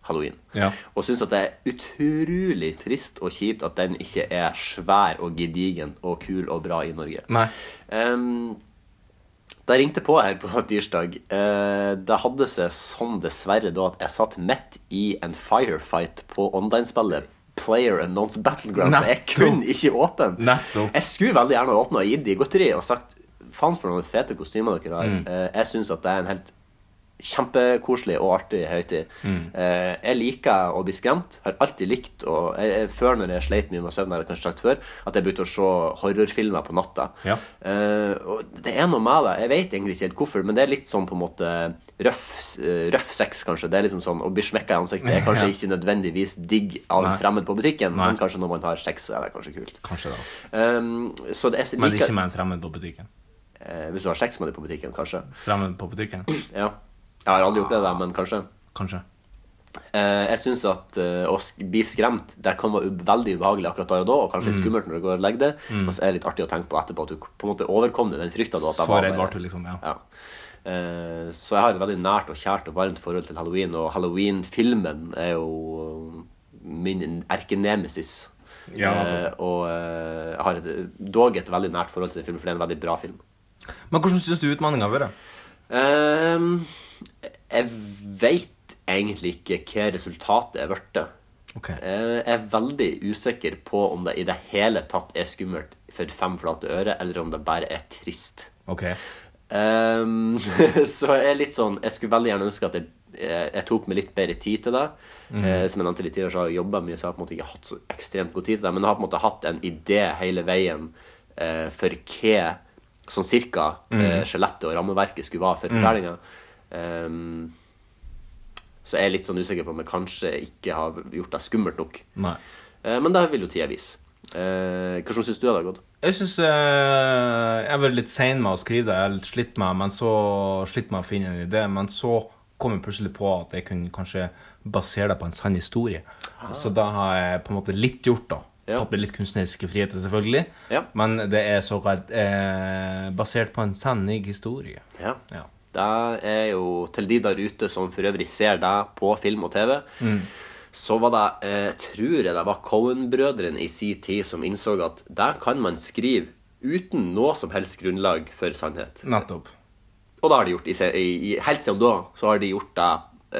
Speaker 3: halloween.
Speaker 4: Ja.
Speaker 3: Og syns at det er utrolig trist og kjipt at den ikke er svær og gedigen og kul og bra i Norge.
Speaker 4: Nei.
Speaker 3: Um, da jeg ringte på her på tirsdag, eh, det hadde seg sånn dessverre da at jeg satt midt i en firefight på online-spillet Player Unknowns Battleground, så jeg kunne ikke åpne. Jeg skulle veldig gjerne åpna og gitt de godteri og sagt faen for noen fete kostymer dere har.
Speaker 4: Mm.
Speaker 3: Eh, jeg syns at det er en helt kjempekoselig og artig høytid.
Speaker 4: Mm.
Speaker 3: Eh, jeg liker å bli skremt. Har alltid likt og jeg, jeg, Før når jeg sleit mye med søvn, har jeg kanskje sagt før, at jeg begynte å se horrorfilmer på natta.
Speaker 4: Ja.
Speaker 3: Eh, og det er noe med det. Jeg vet egentlig ikke helt hvorfor, men det er litt sånn på en måte røff, eh, røff sex, kanskje. Det er liksom sånn, Å bli smekka i ansiktet er kanskje
Speaker 4: Ja.
Speaker 3: ikke nødvendigvis digg av en
Speaker 4: Nei.
Speaker 3: fremmed på butikken,
Speaker 4: Nei.
Speaker 3: men kanskje når man har sex, så er det kanskje kult.
Speaker 4: Kanskje da.
Speaker 3: Um, så det, jeg
Speaker 4: Men
Speaker 3: liker-
Speaker 4: ikke med en fremmed på butikken.
Speaker 3: Eh, hvis du har sex med dem på butikken, kanskje.
Speaker 4: Fremmed på butikken?
Speaker 3: Ja. Jeg har aldri opplevd det, men kanskje.
Speaker 4: Kanskje.
Speaker 3: Eh, jeg syns at eh, å sk bli skremt Det kan være ube- veldig ubehagelig akkurat der og da, og kanskje litt
Speaker 4: Mm.
Speaker 3: skummelt når du går og legger deg,
Speaker 4: Mm.
Speaker 3: men så er det litt artig å tenke på etterpå at du på en måte overkom det, den frykta du at det
Speaker 4: Så redd ble du, liksom. Ja.
Speaker 3: Ja. Eh, så jeg har et veldig nært og kjært og varmt forhold til halloween, og halloween-filmen er jo eh, min erkenemesis.
Speaker 4: Ja,
Speaker 3: Eh, og eh, jeg har et, dog et veldig nært forhold til den filmen, for det er en veldig bra film.
Speaker 4: Men hvordan syns du utmaninga har vært?
Speaker 3: Ehm, jeg veit egentlig ikke hva resultatet er blitt.
Speaker 4: Ok.
Speaker 3: Eh, Jeg er veldig usikker på om det i det hele tatt er skummelt for fem flate øre, eller om det bare er trist.
Speaker 4: Ok.
Speaker 3: Ehm, så jeg er litt sånn Jeg skulle veldig gjerne ønske at jeg, eh, jeg jeg tok meg litt bedre tid til det.
Speaker 4: Mhm.
Speaker 3: Eh, som jeg nevnte litt tidligere, så har jeg jobba mye, så jeg har på en måte ikke hatt så ekstremt god tid til det. Men jeg har på en måte hatt en idé hele veien eh, for hva sånn cirka eh,
Speaker 4: Mhm.
Speaker 3: skjelettet og rammeverket skulle være for
Speaker 4: Mhm.
Speaker 3: fortellinga. Ehm, så jeg er litt sånn usikker på om jeg kanskje ikke har gjort det skummelt nok.
Speaker 4: Nei.
Speaker 3: Eh, men det vil jo tida vise. Eh, hvordan syns du det har gått?
Speaker 4: Jeg syns jeg har vært litt sein med å skrive det. Jeg har litt slitt med, men så slitt med å finne en idé. Men så kom jeg plutselig på at jeg kunne kanskje basere det på en sann historie. Så da har jeg på en måte litt gjort, da. Tatt med litt kunstneriske friheter, selvfølgelig. Men det er såkalt eh, basert på en sann historie.
Speaker 3: Ja.
Speaker 4: Ja.
Speaker 3: Det er jo til de der ute som for øvrig ser deg på film og TV.
Speaker 9: Mm.
Speaker 3: Så var det, eh, tror jeg det var Cohen-brødrene i sin tid som innså at det kan man skrive uten noe som helst grunnlag for sannhet.
Speaker 4: Nettopp.
Speaker 3: Og det har de gjort i, se- i, i, Helt siden da så har de gjort det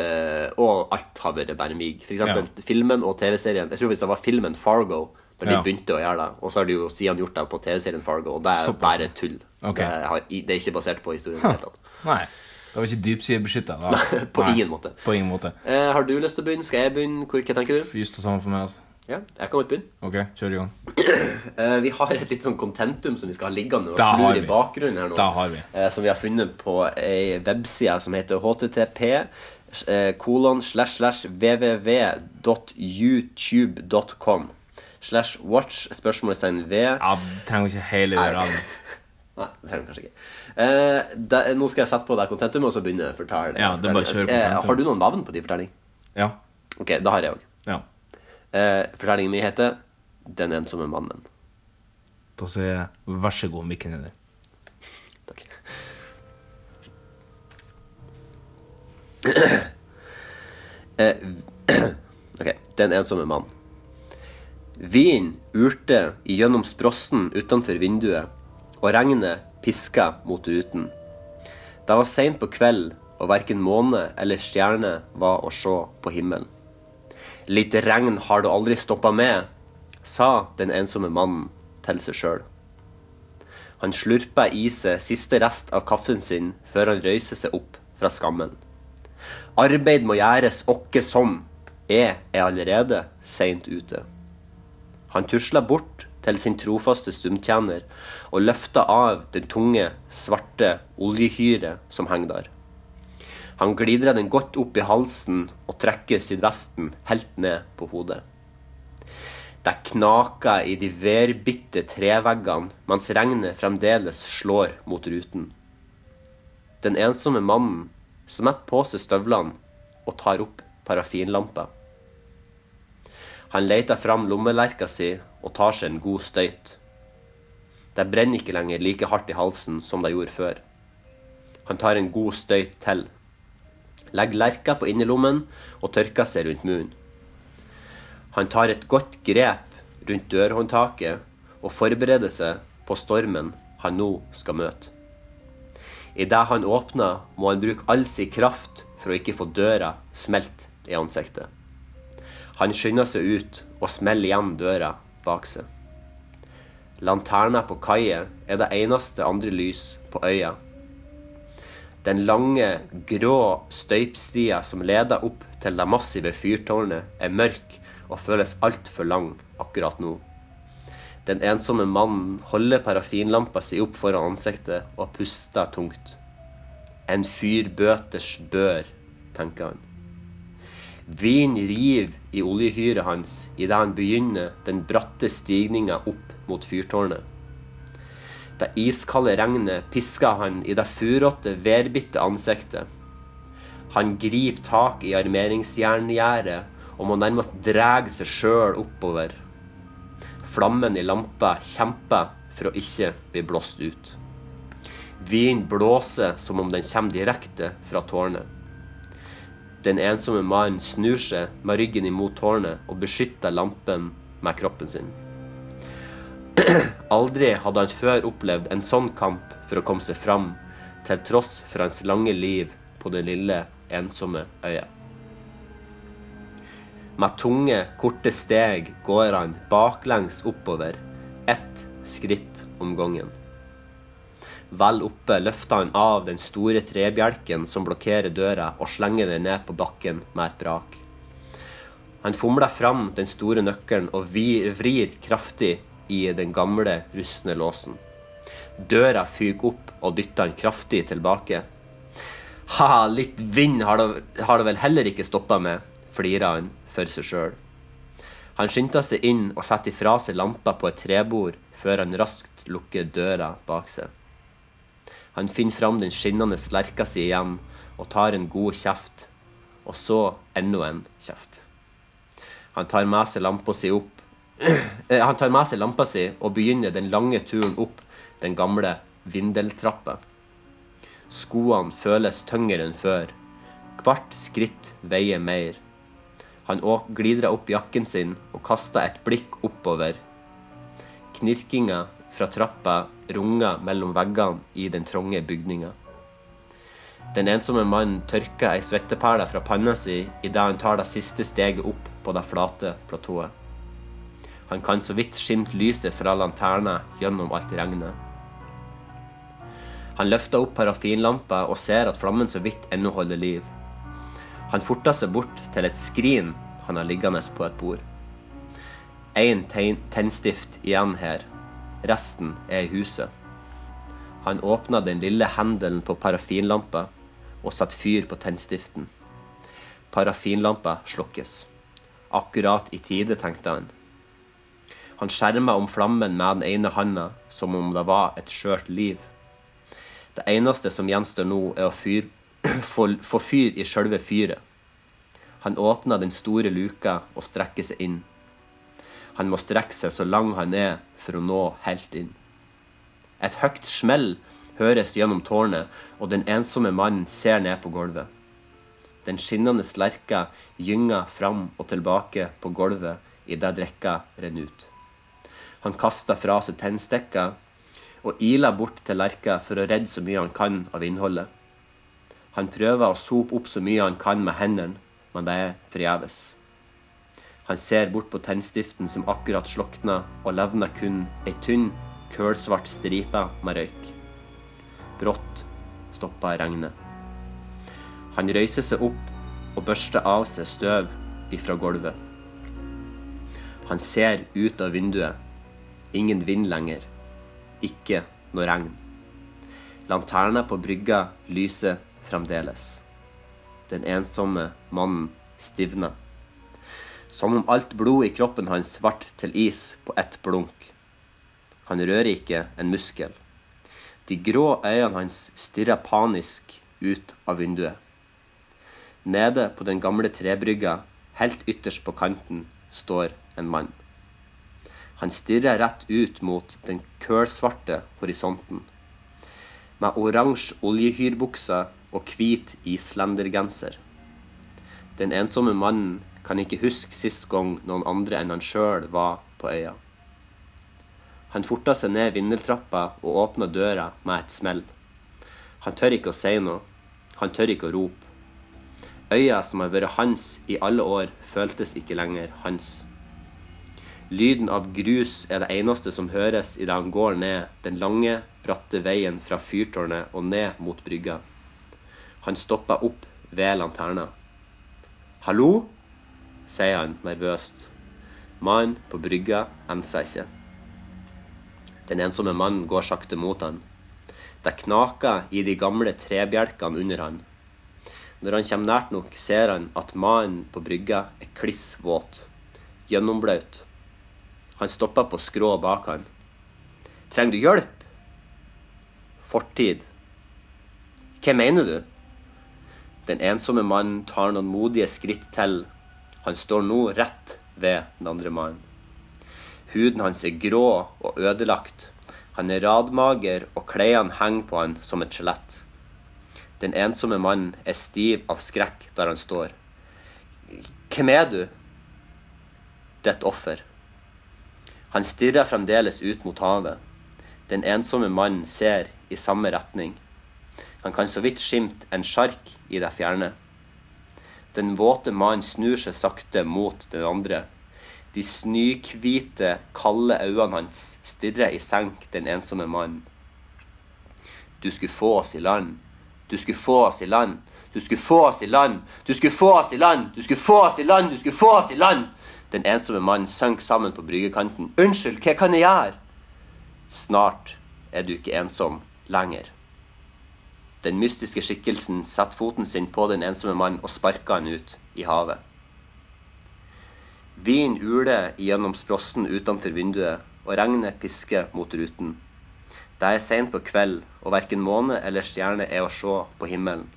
Speaker 3: eh, Og alt har vært bare mig For eksempel filmen og tv-serien Jeg tror hvis det var filmen Fargo Da de
Speaker 4: Ja.
Speaker 3: begynte å gjøre det Og så har de jo siden gjort det på tv-serien Fargo Og det er
Speaker 4: Såpass,
Speaker 3: bare tull
Speaker 4: Ok.
Speaker 3: det, har, i- det er ikke basert på historien i
Speaker 4: Huh.
Speaker 3: det hele tatt.
Speaker 4: Nei. Det var ikke dypsidebeskytta. da.
Speaker 3: Nei, på
Speaker 4: Nei,
Speaker 3: ingen måte.
Speaker 4: På ingen måte.
Speaker 3: eh, Har du lyst til å begynne? Skal jeg begynne? Hvor, hva tenker du?
Speaker 4: Just det samme for meg. altså.
Speaker 3: Ja, jeg kan godt begynne
Speaker 4: Ok, kjør i gang.
Speaker 3: Eh, Vi har et litt sånn kontentum som vi skal ha liggende og
Speaker 4: Da har
Speaker 3: slure
Speaker 4: vi.
Speaker 3: i bakgrunnen her nå.
Speaker 4: Da har vi.
Speaker 3: eh, som vi har funnet på ei webside som heter http eh, kolon slash slash www.youtube.com slash watch spørsmålstegn v Ja,
Speaker 4: trenger ikke hele
Speaker 3: øret. Nei, det trenger vi kanskje ikke. Eh, da, nå skal jeg sette på deg kontentum, og så begynne å fortelle.
Speaker 4: Ja, det er bare å kjøre
Speaker 3: Eh,
Speaker 4: kontentum.
Speaker 3: Har du noen navn på de fortellingene?
Speaker 4: Ja.
Speaker 3: Ok, det har jeg òg.
Speaker 4: Ja.
Speaker 3: Eh, fortellingen min heter 'Den ensomme mannen'.
Speaker 4: Da sier jeg vær så god, mikken din.
Speaker 3: Eh, ok, den ensomme mann. Vinen urte gjennom sprossen utenfor vinduet, og regnet piska mot ruten. Det var seint på kveld, og verken måne eller stjerne var å se på himmelen. Litt regn har du aldri stoppa med, sa den ensomme mannen til seg sjøl. Han slurpa i seg siste rest av kaffen sin før han røyser seg opp fra skammen. Arbeid må gjøres åkke som. Jeg er allerede seint ute. Han tusla bort til sin trofaste stumtjener og løfta av den tunge, svarte oljehyret som henger der. Han glidra den godt opp i halsen og trekker sydvesten helt ned på hodet. Det knaker i de værbitte treveggene mens regnet fremdeles slår mot ruten. Den ensomme mannen smetter på seg støvlene og tar opp parafinlampa. Han leter fram lommelerka si og tar seg en god støyt. Det brenner ikke lenger like hardt i halsen som det gjorde før. Han tar en god støyt til. Legger lerka på innerlommen og tørker seg rundt munnen. Han tar et godt grep rundt dørhåndtaket og forbereder seg på stormen han nå skal møte. Idet han åpner, må han bruke all sin kraft for å ikke få døra smelt i ansiktet. Han skynder seg ut og smeller igjen døra bak seg. Lanterna på kaia er det eneste andre lys på øya. Den lange, grå støypstia som leder opp til det massive fyrtårnet, er mørk og føles altfor lang akkurat nå. Den ensomme mannen holder parafinlampa si opp foran ansiktet og puster tungt. En fyr bøters bør, tenker han. Vin river i oljehyret hans idet han begynner den bratte stigninga opp mot fyrtårnet. Det iskalde regnet pisker han i det furåtte, værbitte ansiktet. Han griper tak i armeringsjerngjerdet og må nærmest dra seg sjøl oppover. Flammen i lampa kjemper for å ikke bli blåst ut. Vinen blåser som om den kommer direkte fra tårnet. Den ensomme mannen snur seg med ryggen imot tårnet og beskytter lampen med kroppen sin. Aldri hadde han før opplevd en sånn kamp for å komme seg fram, til tross for hans lange liv på den lille, ensomme øya. Med tunge, korte steg går han baklengs oppover, ett skritt om gangen. Vel oppe løfter han av den store trebjelken som blokkerer døra, og slenger den ned på bakken med et brak. Han fomler fram den store nøkkelen og vir, vrir kraftig i den gamle, rustne låsen. Døra fyker opp og dytter han kraftig tilbake. Ha, litt vind har det, har det vel heller ikke stoppa med, flirer han for seg sjøl. Han skynder seg inn og setter ifra seg lampa på et trebord før han raskt lukker døra bak seg. Han finner fram den skinnende lerka si igjen og tar en god kjeft, og så enda en kjeft. Han tar med seg lampa si opp Eh, Han tar med seg lampa si og begynner den lange turen opp den gamle vindeltrappa. Skoene føles tyngre enn før. Hvert skritt veier mer. Han å- glidrer opp jakken sin og kaster et blikk oppover. Knirkinga fra trappa runger mellom veggene i den trange bygninga. Den ensomme mannen tørker ei svetteperle fra panna si idet han tar det siste steget opp på det flate platået. Han kan så vidt skimte lyset fra lanterna gjennom alt regnet. Han løfter opp parafinlampa og ser at flammen så vidt ennå holder liv. Han forter seg bort til et skrin han har liggende på et bord. Én tegn- tennstift igjen her. Resten er i huset. Han åpner den lille hendelen på parafinlampa og setter fyr på tennstiften. Parafinlampa slukkes. Akkurat i tide, tenkte han. Han skjermer om flammen med den ene handa, som om det var et skjørt liv. Det eneste som gjenstår nå, er å fyr, få, få fyr i sjølve fyret. Han åpner den store luka og strekker seg inn. Han må strekke seg så lang han er for å nå helt inn. Et høyt smell høres gjennom tårnet, og den ensomme mannen ser ned på gulvet. Den skinnende lerka gynger fram og tilbake på gulvet idet drikka renner ut. Han kaster fra seg tennstikka og iler bort til lerka for å redde så mye han kan av innholdet. Han prøver å sope opp så mye han kan med hendene, men det er forgjeves. Han ser bort på tennstiften som akkurat slokna, og levner kun ei tynn, kølsvart stripe med røyk. Brått stoppa regnet. Han røyser seg opp og børster av seg støv ifra gulvet. Han ser ut av vinduet. Ingen vind lenger. Ikke noe regn. Lanterna på brygga lyser fremdeles. Den ensomme mannen stivner som om alt blod i kroppen hans ble til is på ett blunk. Han rører ikke en muskel. De grå øynene hans stirrer panisk ut av vinduet. Nede på den gamle trebrygga, helt ytterst på kanten, står en mann. Han stirrer rett ut mot den kølsvarte horisonten. Med oransje oljehyrbukser og hvit islendergenser. Den ensomme mannen kan ikke huske sist gang noen andre enn han sjøl var på øya. Han forta seg ned vindeltrappa og åpna døra med et smell. Han tør ikke å si noe. Han tør ikke å rope. Øya som har vært hans i alle år, føltes ikke lenger hans. Lyden av grus er det eneste som høres idet han går ned den lange, bratte veien fra fyrtårnet og ned mot brygga. Han stopper opp ved lanterna. Hallo? sier han nervøst. Mannen på brygga enser ikke. Den ensomme mannen går sakte mot han. Det knaker i de gamle trebjelkene under han. Når han kommer nært nok, ser han at mannen på brygga er kliss våt. Gjennomblaut. Han stopper på skrå bak han. Trenger du hjelp? Fortid. Hva mener du? Den ensomme mannen tar noen modige skritt til. Han står nå rett ved den andre mannen. Huden hans er grå og ødelagt. Han er radmager, og klærne henger på han som et skjelett. Den ensomme mannen er stiv av skrekk der han står. Hvem er du? Det er et offer. Han stirrer fremdeles ut mot havet. Den ensomme mannen ser i samme retning. Han kan så vidt skimte en sjark i det fjerne. Den våte mannen snur seg sakte mot den andre. De snøhvite, kalde øynene hans stirrer i senk den ensomme mannen. Du skulle få oss i land. Du skulle få oss i land. Du skulle få oss i land. Du skulle få oss i land. Du skulle få oss i land. Du skulle få oss i land. Den ensomme mannen sank sammen på bryggekanten. Unnskyld, hva kan jeg gjøre? Snart er du ikke ensom lenger. Den mystiske skikkelsen setter foten sin på den ensomme mannen og sparker han ut i havet. Vin uler gjennom sprossen utenfor vinduet, og regnet pisker mot ruten. Det er seint på kveld, og verken måne eller stjerne er å se på himmelen.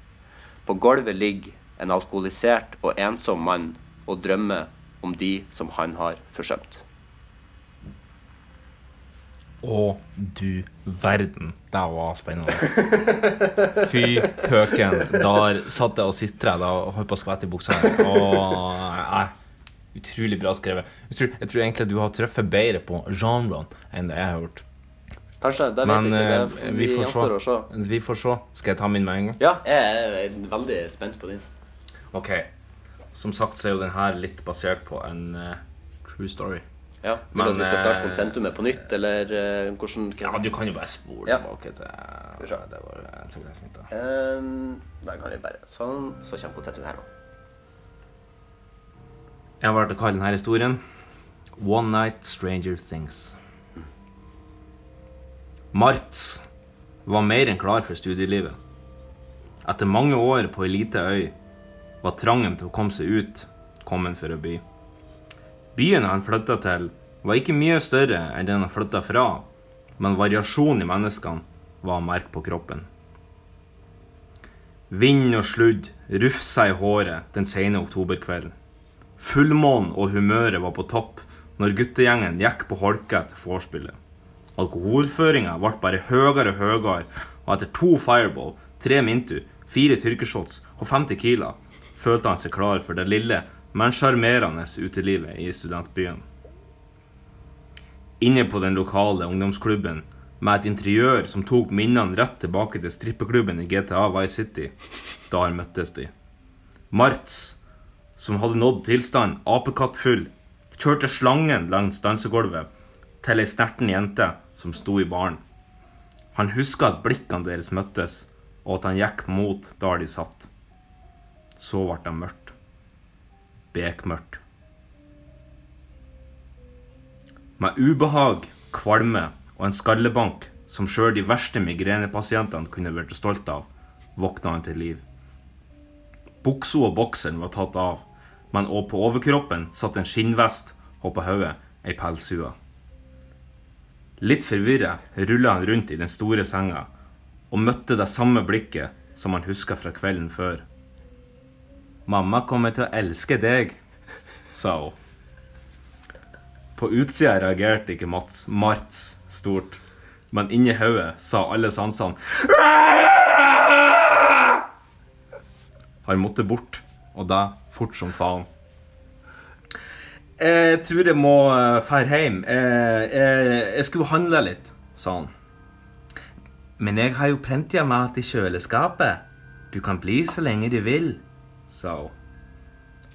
Speaker 3: På gulvet ligger en alkoholisert og ensom mann og drømmer om de som han har forsømt.
Speaker 4: Å, du verden. Det var spennende. Fy køken. Der satt jeg og sitrede og holdt på å skvette i buksa. Og, nei, utrolig bra skrevet. Jeg tror, jeg tror egentlig at du har truffet bedre på genren enn det jeg har gjort.
Speaker 3: Kanskje. Det vet jeg ikke. Det
Speaker 4: eh,
Speaker 3: er,
Speaker 4: vi, får
Speaker 3: gjenstår å se.
Speaker 4: se. vi får se. Skal jeg ta min med en gang?
Speaker 3: Ja, jeg er veldig spent på din.
Speaker 4: Ok. Som sagt så er jo den her litt basert på en eh, true story.
Speaker 3: Ja, Vil du at vi skal starte
Speaker 4: eh,
Speaker 3: kontentumet på nytt, eller eh, hvordan Ja,
Speaker 4: du kan jo bare spole tilbake til Skal vi se. Det var jeg tok det fint, da.
Speaker 3: Um, da kan vi bare Sånn. Så kommer kontentumet her nå.
Speaker 4: Jeg har valgt å kalle denne historien One Night Stranger Things. Martz var mer enn klar for studielivet. Etter mange år på ei lita øy var trangen til å komme seg ut kommet for å by. Byen han flytta til, var ikke mye større enn den han flytta fra, men variasjonen i menneskene var å merke på kroppen. Vind og sludd rufsa i håret den sene oktoberkvelden. Fullmånen og humøret var på topp når guttegjengen gikk på holke etter vorspielet. Alkoholføringa ble bare høyere og høyere, og etter to fireball, tre mintu, fire tyrkershots og fem tequila følte han seg klar for det lille, men sjarmerende utelivet i studentbyen. Inne på den lokale ungdomsklubben, med et interiør som tok minnene rett tilbake til strippeklubben i GTA Vice City, der møttes de. Martz som hadde nådd tilstand apekattfull, kjørte slangen langs dansegulvet til ei snerten jente som sto i baren. Han huska at blikkene deres møttes, og at han gikk mot der de satt. Så ble det mørkt. Bekmørkt. Med ubehag, kvalme og en skallebank som sjøl de verste migrenepasientene kunne vært stolt av, våkna han til liv. Buksa og bokseren var tatt av, men også på overkroppen satt en skinnvest og på hodet ei pelshue. Litt forvirra rulla han rundt i den store senga og møtte det samme blikket som han huska fra kvelden før. Mamma kommer til å elske deg, sa hun. På utsida reagerte ikke Mats Martz stort, men inni hodet sa alle sansene Han måtte bort, og det fort som faen. Jeg tror jeg må eh, fære hjem. Jeg, jeg, jeg skulle handle litt, sa han. Men jeg har jo plenty av mat i kjøleskapet. Du kan bli så lenge du vil, sa hun.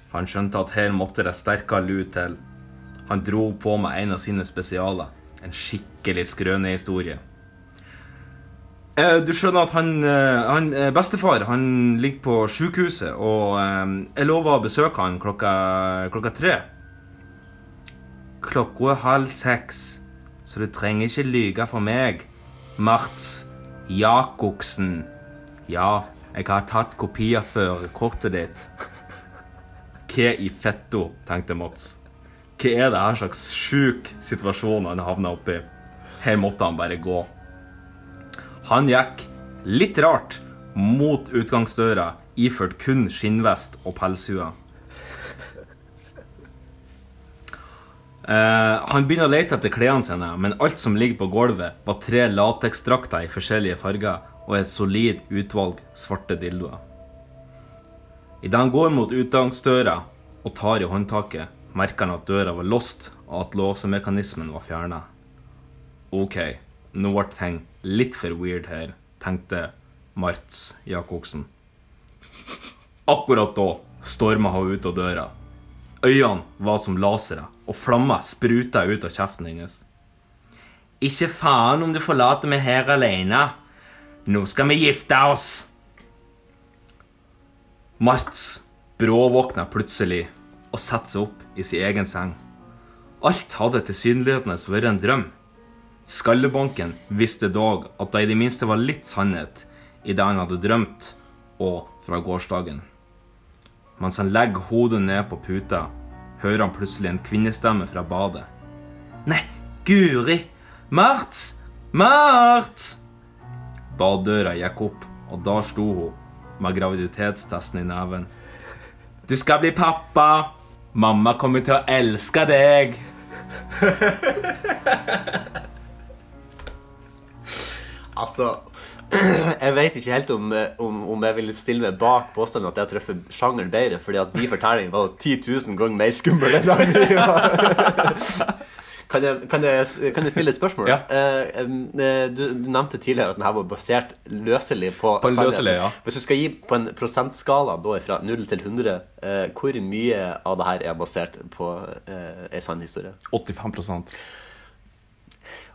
Speaker 4: Han skjønte at her måtte det sterkere lut til. Han dro på med en av sine spesialer. En skikkelig skrønehistorie. Eh, Du skjønner at han, eh, han eh, bestefar han ligger på sykehuset, og eh, jeg lover å besøke han klokka, klokka tre. Klokka er halv seks, så du trenger ikke lyge for meg. Marts Jakobsen. Ja, jeg har tatt kopi av førerkortet ditt. Hva i fetto, tenkte Mats. Hva er det her slags sjuk situasjon han havna oppi? Her måtte han bare gå. Han gikk, litt rart, mot utgangsdøra, iført kun skinnvest og pelshue. Eh, han begynner å lete etter klærne sine, men alt som ligger på gulvet, var tre lateksdrakter i forskjellige farger og et solid utvalg svarte dildoer. Idet han går mot utgangsdøra og tar i håndtaket, merker han at døra var låst, og at låsemekanismen var fjerna. OK, nå ble ting litt for weird her, tenkte Marts Jacobsen. Akkurat da storma hun ut av døra. Øynene var som lasere, og flammer spruta ut av kjeften hennes. Ikke faen om du forlater meg her alene. Nå skal vi gifte oss! Marts bråvåkna plutselig og satte seg opp i sin egen seng. Alt hadde tilsynelatende vært en drøm. Skallebanken visste dog at det i det minste var litt sannhet i det han hadde drømt og fra gårsdagen. Mens han legger hodet ned på puta, hører han plutselig en kvinnestemme fra badet. Nei, guri! Mart! Mart! Baddøra gikk opp, og da sto hun med graviditetstesten i neven. Du skal bli pappa! Mamma kommer til å elske deg!
Speaker 3: Altså Jeg vet ikke helt om, eh, om, om jeg vil stille meg bak påstanden at jeg har truffet sjangeren bedre, fordi at de fortellingene var jo 10 000 ganger mer skumle enn de Kan jeg, kan, jeg, kan jeg stille et spørsmål?
Speaker 9: Ja.
Speaker 3: Eh, eh, du, du nevnte tidligere at denne var basert løselig på,
Speaker 4: På en
Speaker 3: sannheten.
Speaker 4: løselig, ja.
Speaker 3: Hvis du skal gi på en prosentskala da, fra 0 til 100, eh, hvor mye av det her er basert på eh, en sann historie?
Speaker 4: 85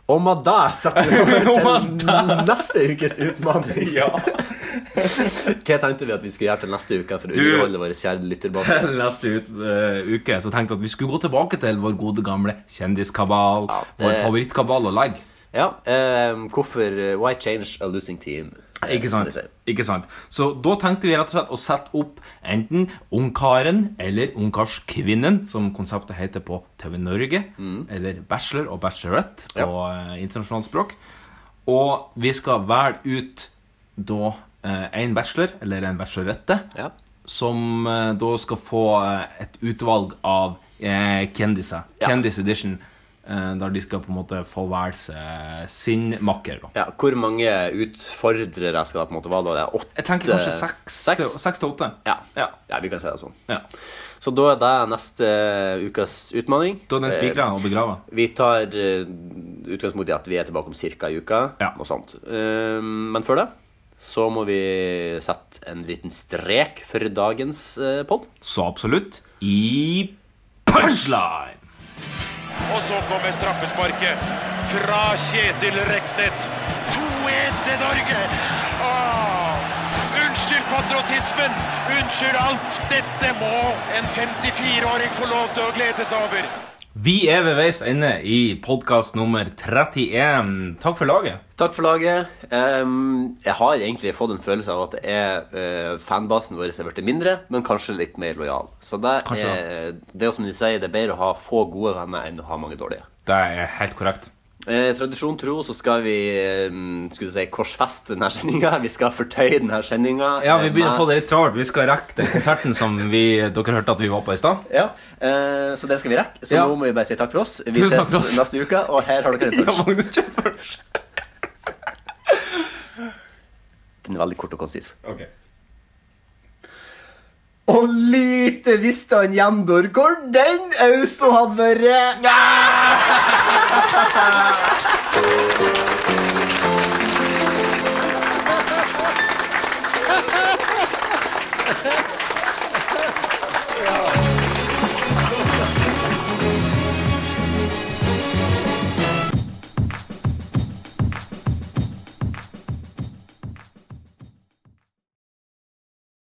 Speaker 3: Om man da setter vi over til neste ukes utfordring Hva tenkte vi at vi skulle gjøre til neste uke for å
Speaker 4: Du-
Speaker 3: underholde våre kjære lytterbase?
Speaker 4: Til neste ut, eh, uke så tenkte jeg at vi skulle gå tilbake til vår gode gamle kjendiskabal.
Speaker 3: det-
Speaker 4: Vår favorittkabal å legge.
Speaker 3: Ja, eh, hvorfor eh, Why change a losing team? Eh,
Speaker 4: Ikke
Speaker 3: som
Speaker 4: sant?
Speaker 3: de sier.
Speaker 4: Ikke sant? Så da tenkte vi rett og slett å sette opp enten Ungkaren eller Ungkarskvinnen, som konseptet heter på TV Norge, eller Bachelor og Bachelorette på eh, internasjonalt språk. Og vi skal velge ut da eh, en bachelor, eller en bachelorette, som eh, da skal få eh, et utvalg av eh, kjendiser. Kjendis edition. eh, der de skal på en måte få velge seg sin makker. da.
Speaker 3: Ja, hvor mange utfordrere skal det på en måte være da? Det er åtte
Speaker 4: Jeg tenker kanskje seks,
Speaker 3: Seks?
Speaker 4: til- seks til åtte.
Speaker 3: Ja. ja, vi kan si det sånn.
Speaker 4: Ja.
Speaker 3: Så da er det neste ukas Eh, utfordring.
Speaker 4: Da er den spikra og begrava.
Speaker 3: Vi tar eh, utgangspunkt i at vi er tilbake om ca. ei uke. Noe sånt. Eh, men før det så må vi sette en liten strek for dagens uh, pod.
Speaker 4: Så absolutt. I punchline!
Speaker 11: Og så kommer straffesparket fra Kjetil Reknet. 2-1 til Norge! Åh, unnskyld patriotismen! Unnskyld alt! Dette må en 54-åring få lov til å glede seg over.
Speaker 4: Vi er ved veis ende i podkast nummer 31. Takk for laget.
Speaker 3: Takk for laget. Ehm, jeg har egentlig fått en følelse av at det er eh, fanbasen vår er blitt mindre, men kanskje litt mer lojal. Så det
Speaker 4: Kanskje
Speaker 3: er, det er jo som de sier, det er bedre å ha få gode venner enn å ha mange dårlige.
Speaker 4: Det er helt korrekt.
Speaker 3: Eh, tradisjon tro så skal vi eh, skulle si, korsfeste denne sendinga. Vi skal fortøye denne sendinga.
Speaker 4: Ja, vi begynner å få det litt travelt. Vi skal rekke den konserten som vi, dere hørte at vi var på i stad.
Speaker 3: Ja, eh, Så det skal vi rekke. Så
Speaker 4: Ja.
Speaker 3: nå må vi bare si takk for oss. Vi
Speaker 4: Tusen takk
Speaker 3: ses
Speaker 4: for oss.
Speaker 3: neste uke, og her har dere en punch. Den er veldig kort og konsis. Og lite visste han Jandor hvor den Auso hadde vært!